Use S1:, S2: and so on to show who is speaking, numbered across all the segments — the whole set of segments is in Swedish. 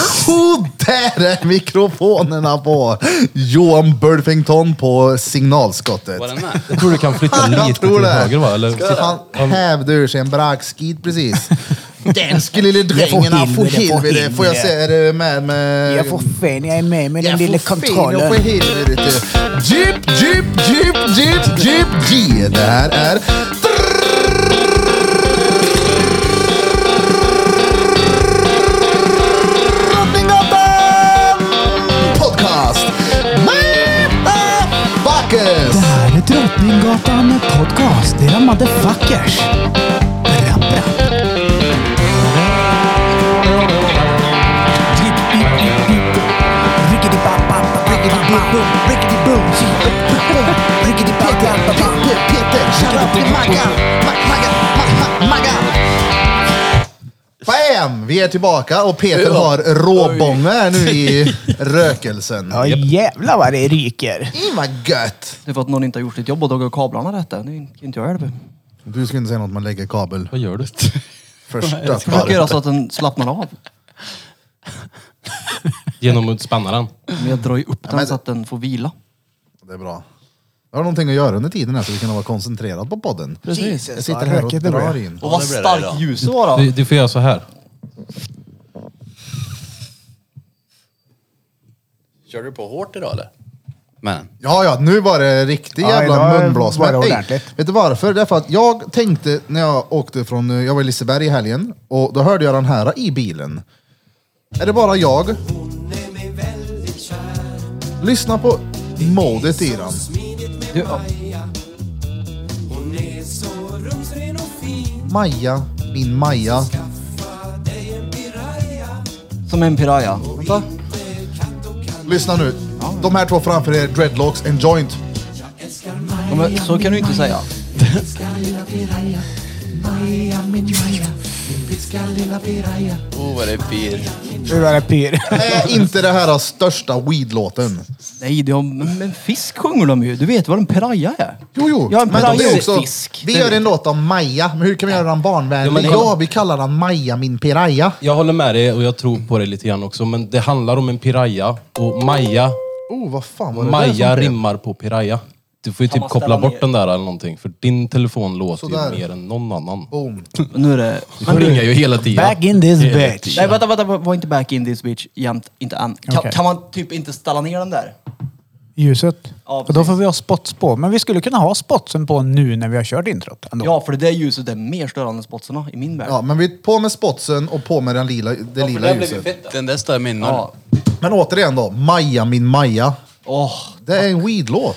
S1: Så där är mikrofonerna på! Johan Burfington på signalskottet.
S2: Var den med?
S3: Jag tror du kan flytta
S1: Jag
S3: lite
S1: tror
S3: till
S1: det.
S3: höger va? Eller,
S1: Han hävde ur sig en braggskit precis. Den skulle lille
S4: Jag får
S1: drängen, han får
S4: helvete, jag får
S1: helvete. Får jag
S4: helvete.
S1: säga det med med...
S4: Jag får fan, jag är med med den lilla
S1: får fin, Jag
S4: kontrollen.
S1: får helvete. Jeep, jeep, jeep, jeep, jeep, G. Det här är... Drottninggatan Podcast med Backes.
S4: Det här är Drottninggatan podcast. Era motherfuckers. Rapp, rapp. Jipp, jipp, jipp, jipp. Rickety-bop-bop-bop-bop-bop. Rickety-boom. Rickety-bop-bop-bop-bop.
S1: Peter, Peter, shoutout till Magga. Ma- Magga, ma- ma- Magga. Bam! Vi är tillbaka och Peter har råbånga här nu i rökelsen.
S4: Ja jävlar vad det ryker.
S1: Mm, vad gött!
S5: Det är för att någon inte har gjort sitt jobb och dragit kablarna rätt. Det kan inte jag hjälpa.
S1: Du ska inte säga något man lägger kabel
S3: vad gör du?
S1: första
S5: Försök göra så
S1: skarpt.
S5: att den slappnar av.
S3: Genom att spänna den?
S5: Men jag drar ju upp den
S1: men-
S5: så att den får vila.
S1: Det är bra. Jag har någonting att göra under tiden här så vi kan vara koncentrerad på podden.
S4: Jesus,
S1: Jag sitter
S4: vad
S1: här och
S4: rökigt det
S1: drar
S4: blev.
S1: in.
S5: Och vad
S2: det blir det idag.
S5: starkt ljuset var då.
S3: Du, du får göra så här.
S2: Kör du på hårt idag eller? Men.
S1: Ja, ja, nu var det riktig
S4: Ja,
S1: jävla
S4: idag
S1: munblås.
S4: var det
S1: Men, ey,
S4: ordentligt.
S1: Vet du varför? Därför att jag tänkte när jag åkte från, eh, jag var i Liseberg i helgen och då hörde jag den här i bilen. Är det bara jag? Lyssna på modet i den.
S5: Du, ja,
S1: Maja, min Maja.
S5: som en piraya. Vänta.
S1: Lyssna nu. De här två framför er, dreadlocks and joint.
S5: Ja, men Så kan du inte säga.
S2: Oh vad det är bir.
S4: Nu var det pyr.
S1: Är inte det här största weed-låten?
S5: Nej, det har, men men fisk sjunger de ju. Du vet vad en piraya är?
S1: Jo, jo.
S5: Ja, en
S1: men de
S5: piraya
S1: är
S5: är
S1: också,
S5: fisk.
S1: vi
S5: Det
S1: gör
S5: vet
S1: en låt om Maja, men hur kan vi göra den
S3: Ja,
S1: barnvänlig?
S3: men-
S1: Ja, vi kallar den Maja, min piraya.
S3: Jag håller med dig och jag tror på dig lite grann också. Men det handlar om en piraya och Maja,
S1: Oh, vad fan var det där som
S3: Maja
S1: blev?
S3: rimmar på piraya. Du får ju typ
S5: man
S3: koppla
S5: ställa
S3: bort
S5: ner?
S3: den där eller någonting. För din telefon låter
S1: Sådär.
S3: ju mer än någon annan.
S1: Boom.
S5: Men Nu är det...
S3: Du ringer ju hela tiden.
S4: Back in this bitch.
S5: Nej, vänta, vänta. Var inte back in this bitch jämt. Inte än. Kan,
S4: Okej.
S5: kan man typ inte ställa ner den där?
S4: Ljuset.
S5: Ja,
S4: och då får vi ha spots på. Men vi skulle kunna ha spotsen på nu när vi har kört introt. Ändå.
S5: Ja, för det där ljuset är mer störande än spotsarna i min värld.
S1: Ja, men vi på med spotsen och på med den lila, det lila ljuset.
S2: Den där stör minnen.
S5: Ja.
S1: Men återigen då, Maja, min Maja.
S5: Åh,
S1: Det är en weed-låt.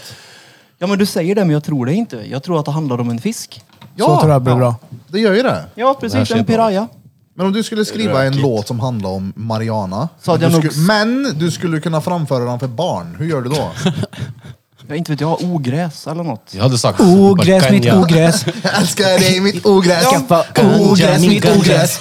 S5: Ja men du säger det men jag tror det inte. Jag tror att det handlar om en fisk.
S1: Ja,
S4: Så tror jag det blir bra.
S1: det gör ju det.
S5: Ja
S3: här
S5: precis,
S3: ser
S5: en piraya.
S1: Men om du skulle skriva en låt som handlar om Mariana,
S5: Så hade
S1: du
S5: jag nog-
S1: skulle, men du skulle kunna framföra den för barn, hur gör du då?
S5: Jag inte vet jag, ogräs eller något.
S3: Jag hade sagt...
S4: Ogräs, mitt
S3: Bacania.
S4: ogräs.
S1: Jag älskar dig mitt ogräs.
S4: Skaffa ogräs, mitt ogräs.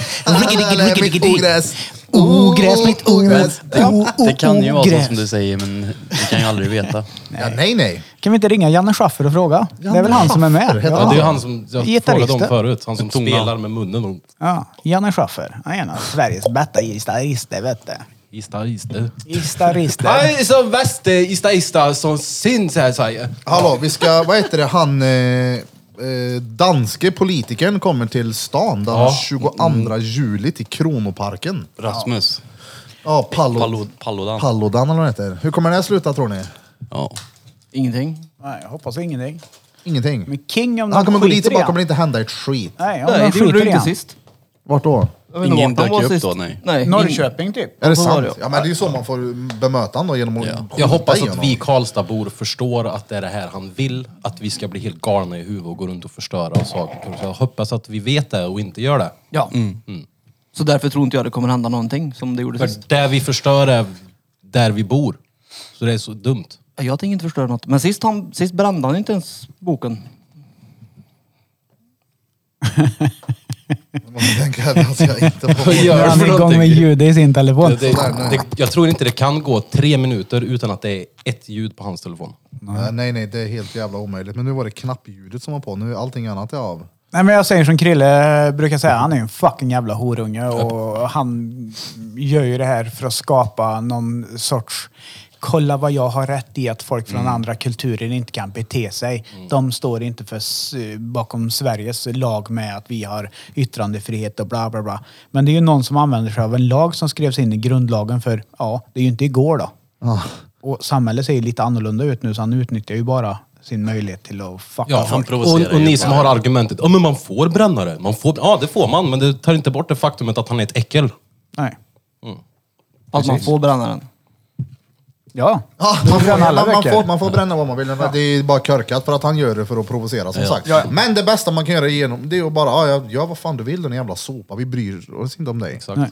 S1: Mitt ogräs.
S4: Ogräs, mitt ogräs. O- o-
S2: Det kan ju vara så
S4: ogräs.
S2: som du säger men det kan ju aldrig veta.
S1: Ja, nej, nej.
S4: Kan vi inte ringa Janne Schaffer och fråga? det är väl han som är med?
S1: heter
S3: Ja, det är ju han som jag frågade om
S4: Gitarristen.
S3: förut. Han som
S2: Tunga.
S3: spelar med munnen. och-
S4: Ja, Janne Schaffer. Han är en av Sveriges bästa gitarrister, vet du.
S3: Ista, ista.
S4: Gitarrister.
S3: Han är som värste ista, ista som syns här säger.
S1: Hallå, vi ska, vad heter det, han eh, eh, danske politikern kommer till stan den
S3: Ja.
S1: 22 juli till Kronoparken.
S2: Rasmus.
S1: Ja, Pallo,
S2: Pallod- Pallodan.
S1: Pallodan eller vad det heter. Hur kommer det här sluta tror ni?
S2: Ja.
S5: Ingenting.
S4: Nej, jag hoppas ingenting.
S1: Ingenting.
S4: Men King om de
S1: Han kommer gå dit
S4: skiter
S1: och bara
S4: i han.
S1: kommer det inte hända ett skit.
S4: Nej, om de
S5: Nej det gjorde
S4: skiter
S5: du
S4: i
S5: inte
S4: han.
S5: sist.
S1: Vart då?
S5: Jag vet inte
S2: Ingen
S5: vart han
S2: dök
S5: var
S2: ju upp
S5: sist.
S2: då, nej.
S5: nej
S4: Norrköping typ.
S1: Är det
S5: Vad var
S1: sant?
S5: det?
S1: Ja, men det är ju så man får bemöta honom då, genom att skjuta
S3: Jag hoppas att
S1: igenom.
S3: vi Karlstadbor förstår att det är det här han vill. Att vi ska bli helt galna i huvudet och gå runt och förstöra och saker. Så jag hoppas att vi vet det och inte gör det.
S5: Ja. Mm. Så därför tror inte jag det kommer hända någonting som det gjorde
S3: För
S5: sist.
S3: där vi förstör är där vi bor. Så det är så dumt.
S5: Jag tänker inte förstöra något. Men sist, han, sist brände han inte ens boken.
S1: Man måste tänka att han ska inte få...
S3: gör
S4: Nu är
S3: du
S4: han
S3: för
S4: igång
S3: någonting?
S4: med ljudet i sin telefon.
S3: Det, det, det, jag tror inte det kan gå tre minuter utan att det är ett ljud på hans telefon.
S1: Nej, nej, nej, det är helt jävla omöjligt. Men nu var det knappljudet som var på. Nu är allting annat är av.
S4: Nej, men jag säger som Krille brukar säga, han är ju en fucking jävla horunge och han gör ju det här för att skapa någon sorts Kolla vad jag har rätt i att folk från andra kulturer inte kan bete sig. De står inte för, s- bakom Sveriges lag med att vi har yttrandefrihet och bla bla bla. Men det är ju någon som använder sig av en lag som skrevs in i grundlagen för, ja, det är ju inte igår då.
S1: Ja.
S4: Och samhället ser ju lite annorlunda ut nu så han utnyttjar ju bara sin möjlighet till att fucka
S3: Ja,
S4: folk.
S2: provocerar
S3: och, och
S2: ju
S3: ni
S2: bara.
S3: som har argumentet, ja men man får bränna det. Man får, ja det får man, men det tar inte bort det faktumet att han är ett äckel.
S4: Nej.
S5: Att man får bränna den.
S4: Ja,
S1: Ja,
S4: Du
S1: man, får,
S4: bränner alla
S1: man, man,
S4: veckor.
S1: får, man får bränna vad man vill, men det är bara körkat för att han gör det för att provocera som sagt. Men det bästa man kan göra igenom, det är att bara, ja, ja, gör vad fan du vill den jävla sopa, vi bryr oss inte om dig. Exakt.
S4: Nej.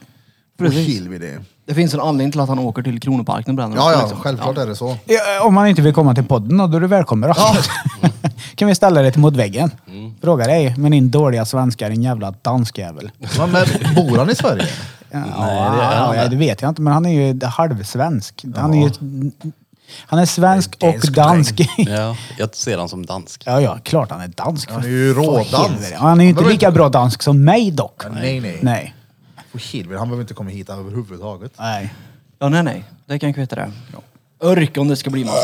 S1: Precis.
S5: Precis.
S1: chill vid det.
S5: Det finns en anledning till att han åker till Kronoparken och bränner
S1: Ja,
S5: den,
S1: ja,
S5: liksom.
S1: självklart är det så.
S4: Ja, Eh, Om man inte vill komma till podden då, då är du välkommen. Då. kan vi ställa dig mot väggen? Fråga dig med din dåliga svenska, din jävla danskjävel.
S1: Men, men bor han i Sverige?
S4: Ja, ja, det vet jag inte, men han är ju halvsvensk. Han är ju... Han är svensk
S1: Han är
S4: och dansk.
S2: Ja, jag ser han som dansk.
S4: Ja, ja, klart han är dansk.
S1: Han är ju
S4: För
S1: rådansk.
S4: helvete. Han är ju inte
S1: Vadå?
S4: lika bra dansk som mig dock.
S1: Nej, nej.
S4: Nej.
S1: För helvete, Han behöver inte komma hit överhuvudtaget.
S4: Nej.
S5: Ja, nej, nej. Det kan jag kvitta det. Örk om det ska bli massa...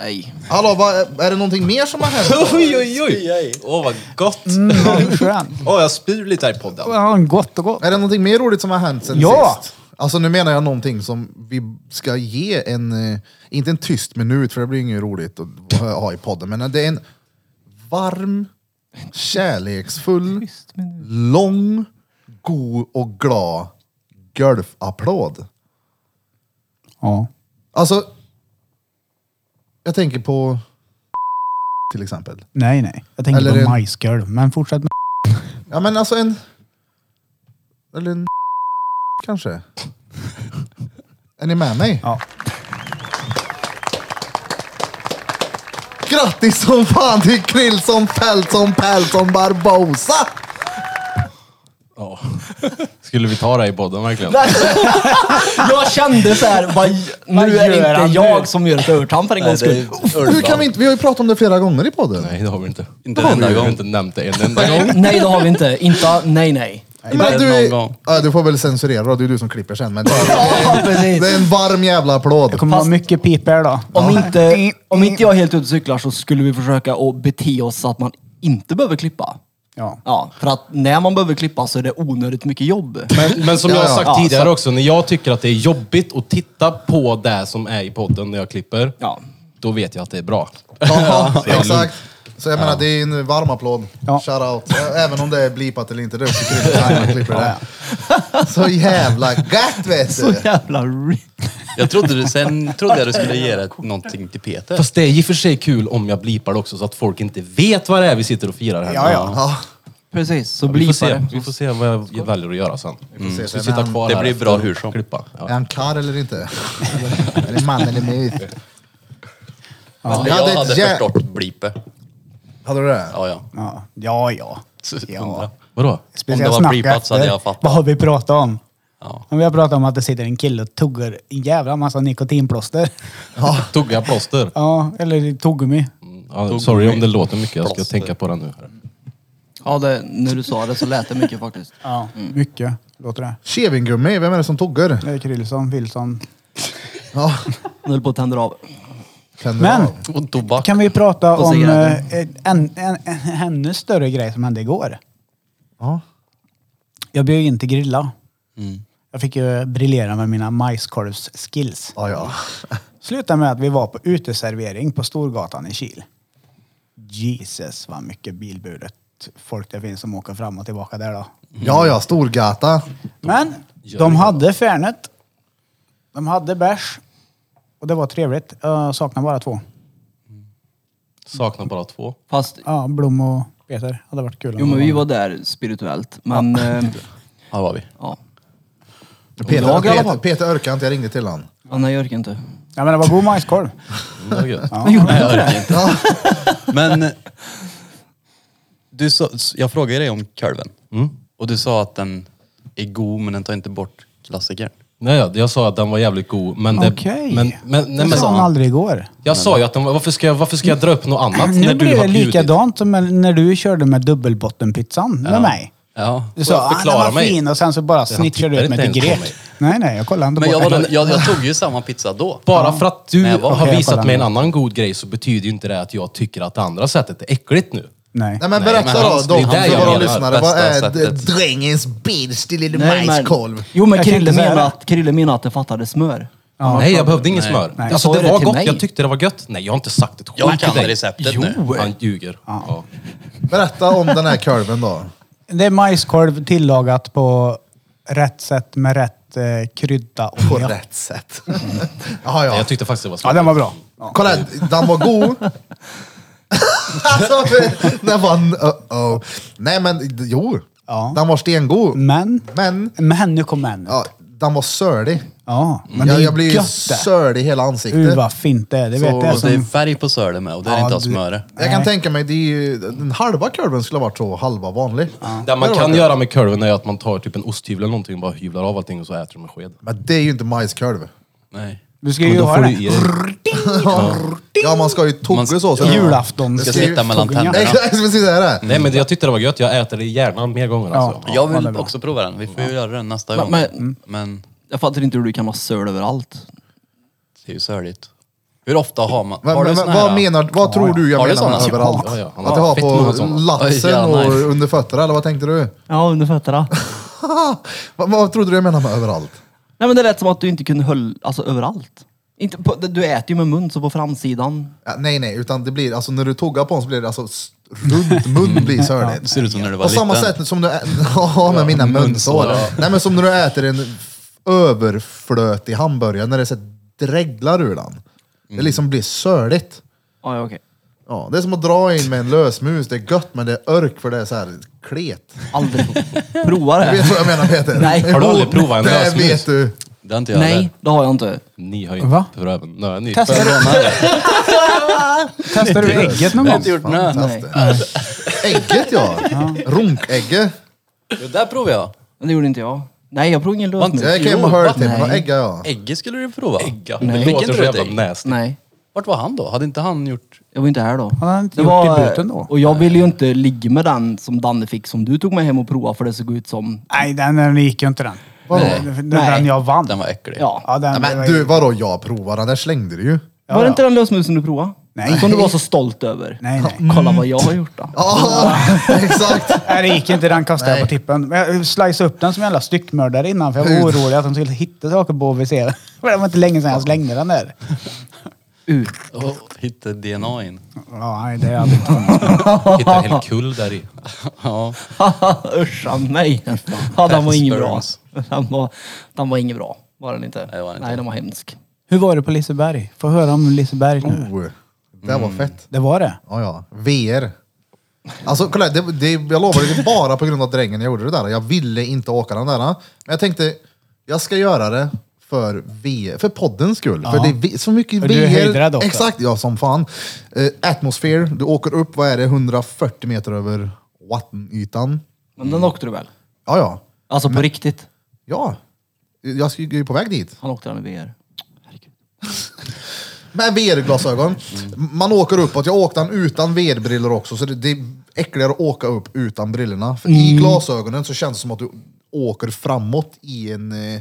S5: Nej.
S1: Hallå, vad, är det någonting mer som har hänt?
S3: Oj, oj, oj! Åh vad gott! Åh,
S4: Mm, vad skön.
S3: jag spyr lite här i podden.
S4: Ja, gott och gott.
S1: Är det någonting mer roligt som har hänt sen
S4: Ja!
S1: sist? Alltså nu menar jag någonting som vi ska ge en, eh, inte en tyst minut för det blir inget roligt att ha i podden, men det är en varm, kärleksfull, lång, god och glad golfapplåd.
S4: Ja.
S1: Alltså, jag tänker på till exempel.
S4: Nej, nej. Jag tänker
S1: Eller
S4: på
S1: en-
S4: majskolv, men fortsätt med...
S1: Ja men alltså en... Eller en kanske? Är ni med mig?
S4: Ja.
S1: Grattis som fan till Krillson, Peltson, Peltson, Barbosa!
S3: Ja. Skulle vi ta det här i podden verkligen?
S5: Jag kände så här, vad, nu
S4: Vad
S5: är det
S4: gör han
S5: inte
S4: nu?
S5: jag som gör ett övertramp för en gångs skull.
S1: Hur kan vi inte, vi har ju pratat om det flera gånger i podden.
S3: Nej, det har vi inte.
S2: Inte
S3: det
S2: en enda
S3: har vi
S2: gång.
S3: inte nämnt det en enda gång.
S5: Nej, det har vi inte. Inte, nej, nej.
S2: bara
S1: men du, är,
S2: någon gång.
S1: ja, du får väl censurera då, det är du som klipper sen. Men det,
S5: Ja, precis.
S1: det är en varm jävla
S4: Det
S1: applåd.
S4: kommer vara mycket pip här då.
S5: Om inte, om inte jag är helt ute och cyklar så skulle vi försöka att bete oss så att man inte behöver klippa.
S4: Ja.
S5: Ja, för att när man behöver klippa så är det onödigt mycket jobb.
S3: Men, men som
S1: Ja,
S3: jag
S1: ja.
S3: har sagt
S5: Ja,
S3: tidigare också, när jag tycker att det är jobbigt att titta på det som är i podden när jag klipper,
S5: Ja.
S3: då vet jag att det är bra.
S1: Ja, exakt. Så jag menar, det är en varm applåd.
S4: Ja.
S1: Shoutout. Ä- Även om det är blipat eller inte, det är upp till Krille. Nej, man klipper det. Så jävla gött vet
S5: Så
S1: du!
S5: jävla... re-
S2: Jag trodde du, sen trodde jag du skulle ge det någonting till Peter.
S3: Fast det är i och för sig kul om jag blipar det också så att folk inte vet vad det är vi sitter och firar här.
S4: Ja, ja.
S1: Ja,
S5: Precis, så
S3: Vi får,
S5: blipar
S3: se.
S5: det.
S3: vi får se vad jag väljer att göra sen.
S1: får se
S3: Mm. Så
S1: sen.
S3: sitta
S1: Men-
S3: kvar
S2: Det
S3: här
S2: blir bra
S3: och
S2: hur som.
S3: Klippa. Ja.
S1: är han karl eller inte? är det man eller mus?
S2: Men
S1: Ja, det är
S2: jag hade
S1: ett jä-
S2: förstått blipe.
S1: Hade du det?
S2: Ja, ja.
S4: Ja, ja. ja.
S2: Undra.
S3: Vadå?
S4: Speciellt
S2: Om det var
S4: snack
S2: prepat så hade
S4: efter.
S2: jag fattat.
S4: Vad har vi pratat om?
S2: Ja.
S4: Vi har pratat om att det sitter en kille och tuggar en jävla massa nikotinplåster.
S3: Tugga plåster.
S4: Ja, eller tuggummi.
S3: Ja, sorry om det låter mycket, jag ska tänka på det nu. här.
S5: Ja, det, när du sa det så lät det mycket faktiskt.
S4: Ja,
S2: Mm.
S4: mycket låter det.
S1: Kevinggummi, vem är det som tuggar?
S4: Det är Krillson, Wilson.
S1: Ja,
S5: Nu höll på att tända av.
S1: tänder
S4: Men
S1: av.
S2: Och tobak.
S4: kan vi prata
S5: Och
S4: om
S5: cigaretter.
S4: eh, en, en, en ännu större grej som hände igår?
S1: Ja.
S4: Jag bjöd in till grilla.
S2: Mm.
S4: Jag fick ju briljera med mina majskorvs-skills.
S1: Ja, ja.
S4: Slutade med att vi var på uteservering på Storgatan i Kil. Jesus vad mycket bilburet folk det finns som åker fram och tillbaka där då.
S1: Ja, ja, Storgata.
S4: Men de hade Fernet. De hade bärs. Och det var trevligt. Jag saknar bara två.
S3: Saknar bara två.
S5: Fast,
S4: Ja, Blom och Peter. hade varit kul. om
S5: jo men
S4: de
S5: vi var där spirituellt. Men, eh,
S2: Ja, det var
S3: Mm,
S2: vi.
S5: ja.
S1: Peter,
S5: Jag i alla
S1: Peter,
S5: fall.
S1: Peter orkar inte, jag ringde till han.
S5: ja. Nej, jag orkar inte.
S4: Ja men det var god majskorv.
S3: Mm, det var gött.
S2: Nej, jag orkar inte. Men du sa, jag Mm. frågade dig om kurven. Och du sa att den är god men den tar inte bort klassikern.
S3: Nej, jag, jag sa att den var jävligt god, men... det-
S4: Okej.
S3: Men, men, nej,
S4: det
S3: men
S4: sa han aldrig igår.
S3: jag sa ju att den var, varför ska jag, varför ska jag dra upp något annat när
S4: Nu
S3: du
S4: blir
S3: har
S4: det
S3: bjudit?
S4: likadant som när du körde med dubbelbottenpizzan med mig.
S2: Ja.
S4: Du sa att ah, den
S3: förklarar
S4: var
S3: mig.
S4: fin och sen så bara snitchade du
S3: tittar
S4: ut mig
S3: inte
S4: till
S3: ens på
S4: grek. Nej, nej, jag kollade inte
S2: Men
S4: på
S2: jag, var
S4: den.
S2: den, jag, jag tog ju samma pizza då.
S3: Bara för att du
S2: Men jag var-
S3: har
S4: Okej, jag kollar
S3: visat mig en
S4: nu.
S3: annan god grej så betyder ju inte det att jag tycker att det andra sättet är äckligt nu.
S4: Nej.
S1: Nej men berätta
S2: men han-
S1: då, de,
S2: det är där
S1: för
S2: jag
S1: våra
S2: menar,
S1: lyssnare. Vad
S2: bästa
S1: är d-
S2: sättet.
S1: drängens bitch, din lille
S5: Nej, men-
S1: majskolv?
S5: Jo, men
S4: Jag kan
S5: Krille
S4: inte säga
S5: menar,
S4: det.
S5: att, Krille menar att det fattades smör.
S3: nej, jag behövde inget smör. Alltså
S4: Nej.
S5: Jag sa
S3: det
S5: det
S3: var
S5: till
S3: gott,
S5: mig.
S3: jag tyckte det var gött. Nej, jag har inte sagt ett skit
S2: Jag
S3: till
S2: kan
S3: dig.
S2: receptet nu.
S3: Han ljuger. Ja.
S1: Berätta om den här korven då.
S4: Det är majskorv tillagat på rätt sätt med rätt eh, krydda och
S1: På
S4: mjöl.
S1: rätt sätt. Jaha,
S3: Nej,
S1: ja.
S3: Jag tyckte faktiskt det var
S4: Ja,
S3: smakligt.
S4: den var bra.
S1: Kolla, här, den var god. alltså, den var... en- Uh-oh. Nej men jo,
S4: Ja.
S1: den var stengod.
S4: Men,
S1: Men,
S4: men nu kom men. Ja,
S1: ja, den var sörlig.
S4: men
S1: jag,
S4: det är
S1: jag blir ju
S4: gött det.
S1: sörlig i hela ansiktet.
S4: Uh, vad fint det är, det vet jag.
S2: Och det är
S4: Som,
S2: färg på sölet med och det är
S4: Ja,
S2: inte av
S4: du-
S2: smöre.
S1: Jag kan tänka mig, det är ju, den halva korven skulle ha varit så, halva vanlig.
S3: Det man
S1: Det
S3: kan
S1: var-
S3: göra med korven är att man tar typ en osthyvel eller någonting och bara hyvlar av allting och så äter du med sked.
S1: Men det är ju inte majskorv.
S2: Nej.
S4: du ska
S3: Men
S4: ju
S3: då får
S4: ha
S3: du
S4: det.
S3: i dig-
S1: Ja, man ska ju
S2: Man ska-
S1: tugga så. så-
S4: Julaftons...
S2: Ska sitta mellan
S4: tugga.
S2: tänderna.
S1: Exakt, precis det är det.
S3: Nej men jag tyckte det var gött, jag äter det gärna mer gånger alltså.
S2: Jag
S4: ja, det är
S2: vill
S4: bra.
S2: också prova den. Vi får ju göra den nästa
S5: Men-
S2: gång. Mm.
S5: men-
S2: Men,
S5: Jag fattar inte hur du kan ha söl överallt.
S2: det är ju söligt. Hur ofta har man...
S1: Men,
S2: har du
S1: men,
S2: såna
S1: vad,
S2: här-
S1: menar, vad tror du jag
S2: Har du
S1: menar med
S2: såna?
S1: överallt?
S3: Ja, ja, han
S1: Att
S3: har
S1: jag har
S3: fett många
S1: på
S3: såna.
S1: latsen
S2: Oj, ja,
S1: och
S2: nej.
S1: under fötterna, eller vad tänkte du?
S5: Ja, under fötterna.
S1: Vad, vad trodde du jag menade med överallt?
S5: Nej men det lät som att du inte kunde höll, alltså överallt. Inte på, du äter ju med mun, så på framsidan.
S1: Ja, nej, nej, utan det blir, alltså när du tuggar på den så blir det alltså s- runt mun blir
S2: Mm. Det
S1: söligt.
S2: ser ut som när du var
S1: På samma
S2: liten.
S1: sätt som du ä- ja, med mina munsår.
S2: ja.
S1: Nej, men som när du äter en f- överflötig hamburgare, när det så här dreglar ur den. Det
S2: Mm.
S1: liksom blir söligt.
S5: Ja, ja, okej.
S1: Ja, det är som att dra in med en lösmus, det är gött men det är örk för det är så här klet.
S5: Aldrig provat. Prova
S1: Du vet
S5: det.
S1: vad jag menar Peter?
S5: Nej.
S3: Har du aldrig provat en
S1: Det
S3: lösmus?
S1: vet du.
S2: Det har inte jag
S5: Nej,
S2: heller.
S5: det har jag inte.
S3: Ni har ju inte
S4: Va?
S3: för öven. Nej, ni
S4: Testa
S3: för-
S4: Testar du ägget någon
S2: Jag har
S4: gång?
S2: inte gjort
S1: Fan,
S2: det.
S1: testar. Ägget ja. Runkägget.
S2: Det där provade jag.
S5: Men det gjorde inte jag. Nej, jag provade ingen lösmus.
S1: Jag kan ju
S2: Jo,
S1: ha hört till
S5: nej.
S1: men vad äggar jag?
S2: Ägget skulle du prova.
S3: Ägga.
S5: Nej.
S3: Det
S2: Fick
S3: låter
S2: inte
S3: så
S2: du
S3: jävla
S2: ägg?
S3: nasty.
S5: Nej,
S2: Vart var han då? Hade inte han gjort...
S5: jag var inte här då.
S4: Han hade inte
S5: Det
S4: gjort
S5: var-
S4: debuten då.
S5: Och jag ville ju inte ligga med den som Danne fick, som du tog med hem och prova för det såg ut som...
S4: Nej, den, den gick ju inte den.
S1: Vadå?
S4: Den,
S5: Nej.
S4: den jag vann.
S2: Den var äcklig.
S5: Ja.
S4: Ja, den,
S1: Nej,
S4: den var-
S1: men du vadå jag provar den, där slängde du ju.
S4: Ja,
S5: var det
S4: ja.
S5: inte den lösmusen du provade?
S4: Nej.
S5: Som du var så stolt över?
S4: Nej, nej.
S5: Kolla vad jag har gjort då.
S1: Ja, exakt.
S4: Nej, det gick inte. Den kastade jag på
S1: Nej.
S4: tippen. Men jag sliceade upp den som en jävla styckmördare innan för jag var
S1: Ut.
S4: orolig att de skulle hitta saker på OVC. Det var inte länge sedan jag slängde den där.
S5: Ut.
S2: Oh, hitta DNA in.
S4: Ja, nej, det är aldrig
S3: Hitta en hel kull där i.
S2: Ja.
S5: Uscha mig. Ja, den var ingen bra.
S2: Sperms.
S5: Den var, den var ingen bra. Var den inte?
S2: det var den inte.
S5: Nej, den var hemsk.
S4: Hur var det på Liseberg? Få höra om Liseberg nu.
S1: Oh, det var fett.
S4: Det var det?
S1: Ja, ja. VR. Alltså kolla, det, det, jag lovar, det är bara på grund av drängen jag gjorde det där. Jag ville inte åka den där. Men jag tänkte, jag ska göra det för, v, för poddens skull. För det är vi- så mycket
S4: För du är höjdrädd också.
S1: Exakt, ja som fan. Eh, atmosphere, du åker upp, vad är det, 140 meter över vattenytan.
S5: Men
S3: Mm.
S5: den åkte du väl?
S1: Ja, ja.
S5: Alltså på riktigt?
S1: Ja. Jag ska ju på väg dit.
S5: Han åkte den i VR. Herregud.
S1: Med VR-glasögon. Man åker uppåt. Jag åkte den utan VR-briller också, så det, det är äckligare att åka upp utan brillorna. För I glasögonen så känns det som att du åker framåt i en... eh,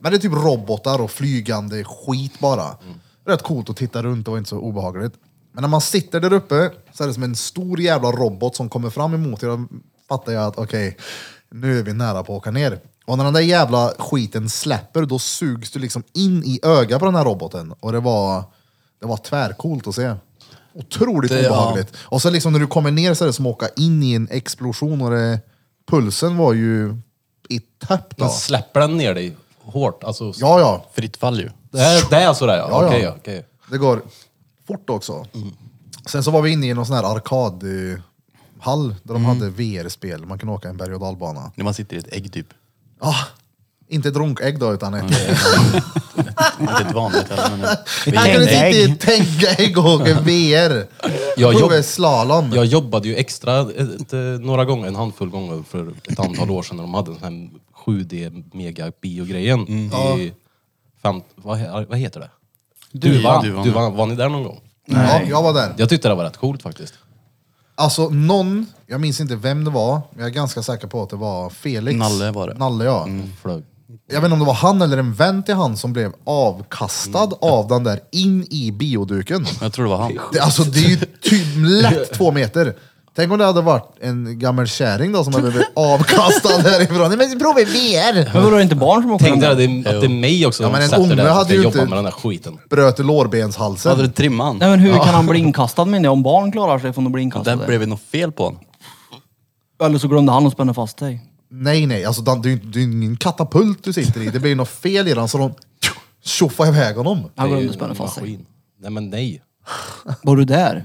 S1: Men det är typ robotar och flygande skit bara. Rätt coolt att titta runt, det var inte så obehagligt. Men när man sitter där uppe så är det som en stor jävla robot som kommer fram emot er. Då fattar jag att okej, nu är vi nära på att åka ner. Och när den där jävla skiten släpper, då sugs du liksom in i ögat på den här roboten. Och det var... Det var tvärcoolt att se. Otroligt
S2: Det- ja.
S1: obehagligt. Och sen liksom när du kommer ner så är det som att åka in i en explosion och det, pulsen var ju i tapp då.
S3: Men släpper den ner dig hårt? Alltså,
S1: Ja, ja.
S2: Fritt fall ju.
S3: det, är, det är så där ja?
S1: Ja, ja.
S3: Okej, ja, okej.
S1: Det går fort också. Sen så var vi inne i någon sån här arkadhall där de hade VR-spel. Man kunde åka en berg och dalbana.
S2: När man sitter i ett ägg typ.
S1: Ah, inte ett runkägg då, utan ett...
S2: Inte ett vanligt eller men ett
S1: Man kunde sitta
S4: Tänkägg.
S1: i ett tänkägg och åka VR.
S3: Jag
S1: Jag
S3: jobb-
S1: slalom.
S3: Jag jobbade ju extra ett, eh, några gånger, en handfull
S1: Mm.
S3: gånger för ett antal år sedan när de hade den här 7D mega biogrejen i fem, vad, he- vad heter det?
S2: Duvan. Duvan.
S3: Duvan. Duvan. Var ni där någon gång?
S1: Ja, jag var där.
S3: Jag tyckte det var rätt coolt faktiskt.
S1: Alltså någon, jag minns inte vem det var, men jag är ganska säker på att det var Felix.
S2: Nalle var det. Mm.
S1: Nalle ja.
S3: Flög.
S1: Jag vet inte om det var han eller en vän till han som blev avkastad
S2: Mm.
S1: av den där in i bioduken.
S2: Jag tror det var han.
S1: Det, alltså det är ju typ lätt två meter. Tänk om det hade varit en gammal kärring då som hade blivit avkastad härifrån. Nej, men prova VR!
S5: Men vadå, är det inte barn som åker
S3: Tänk dig
S5: med?
S3: att det, är- att det är mig också
S1: Ja,
S3: som
S1: men en
S3: sätter
S1: unge
S3: där och
S1: hade
S3: ska
S1: ju
S3: jobba
S1: inte-
S3: med den där skiten.
S1: Bröt
S2: Hade
S1: lårbenshalsen.
S2: du trimmat
S5: Nej
S2: han?
S5: men hur kan han bli inkastad menar jag? Om barn klarar sig från att bli inkastade?
S2: Där blev det något fel på honom.
S5: Eller så glömde han att spänna fast dig.
S1: Nej, nej, alltså Dan, det är ju inte- det är ju ingen katapult du sitter i. Det blir ju något fel i den så de tjoffar iväg honom.
S5: Han
S3: Det är ju
S5: glömde att spänna
S3: en
S5: fast sig.
S3: maskin. Nej men nej.
S5: Var du där?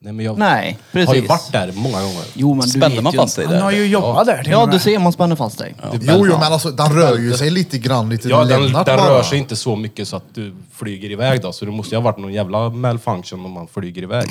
S3: Nej, men jag
S5: Nej,
S3: har ju
S5: precis.
S3: varit där många gånger.
S5: Jo men Oh, du
S2: Spände
S5: vet
S2: man
S5: ju
S2: fast sig
S5: inte.
S4: Han har
S2: där?
S4: ju jobbat där till
S5: Ja
S4: och med.
S5: du ser, man spänner fast dig.
S1: Jo, jo, men alltså den rör ju sig lite grann. Lite
S3: Ja, den,
S1: Lennart
S3: den
S1: bara.
S3: rör sig inte så mycket så att du flyger iväg då, så det måste ju ha varit någon jävla malfunction om man flyger iväg.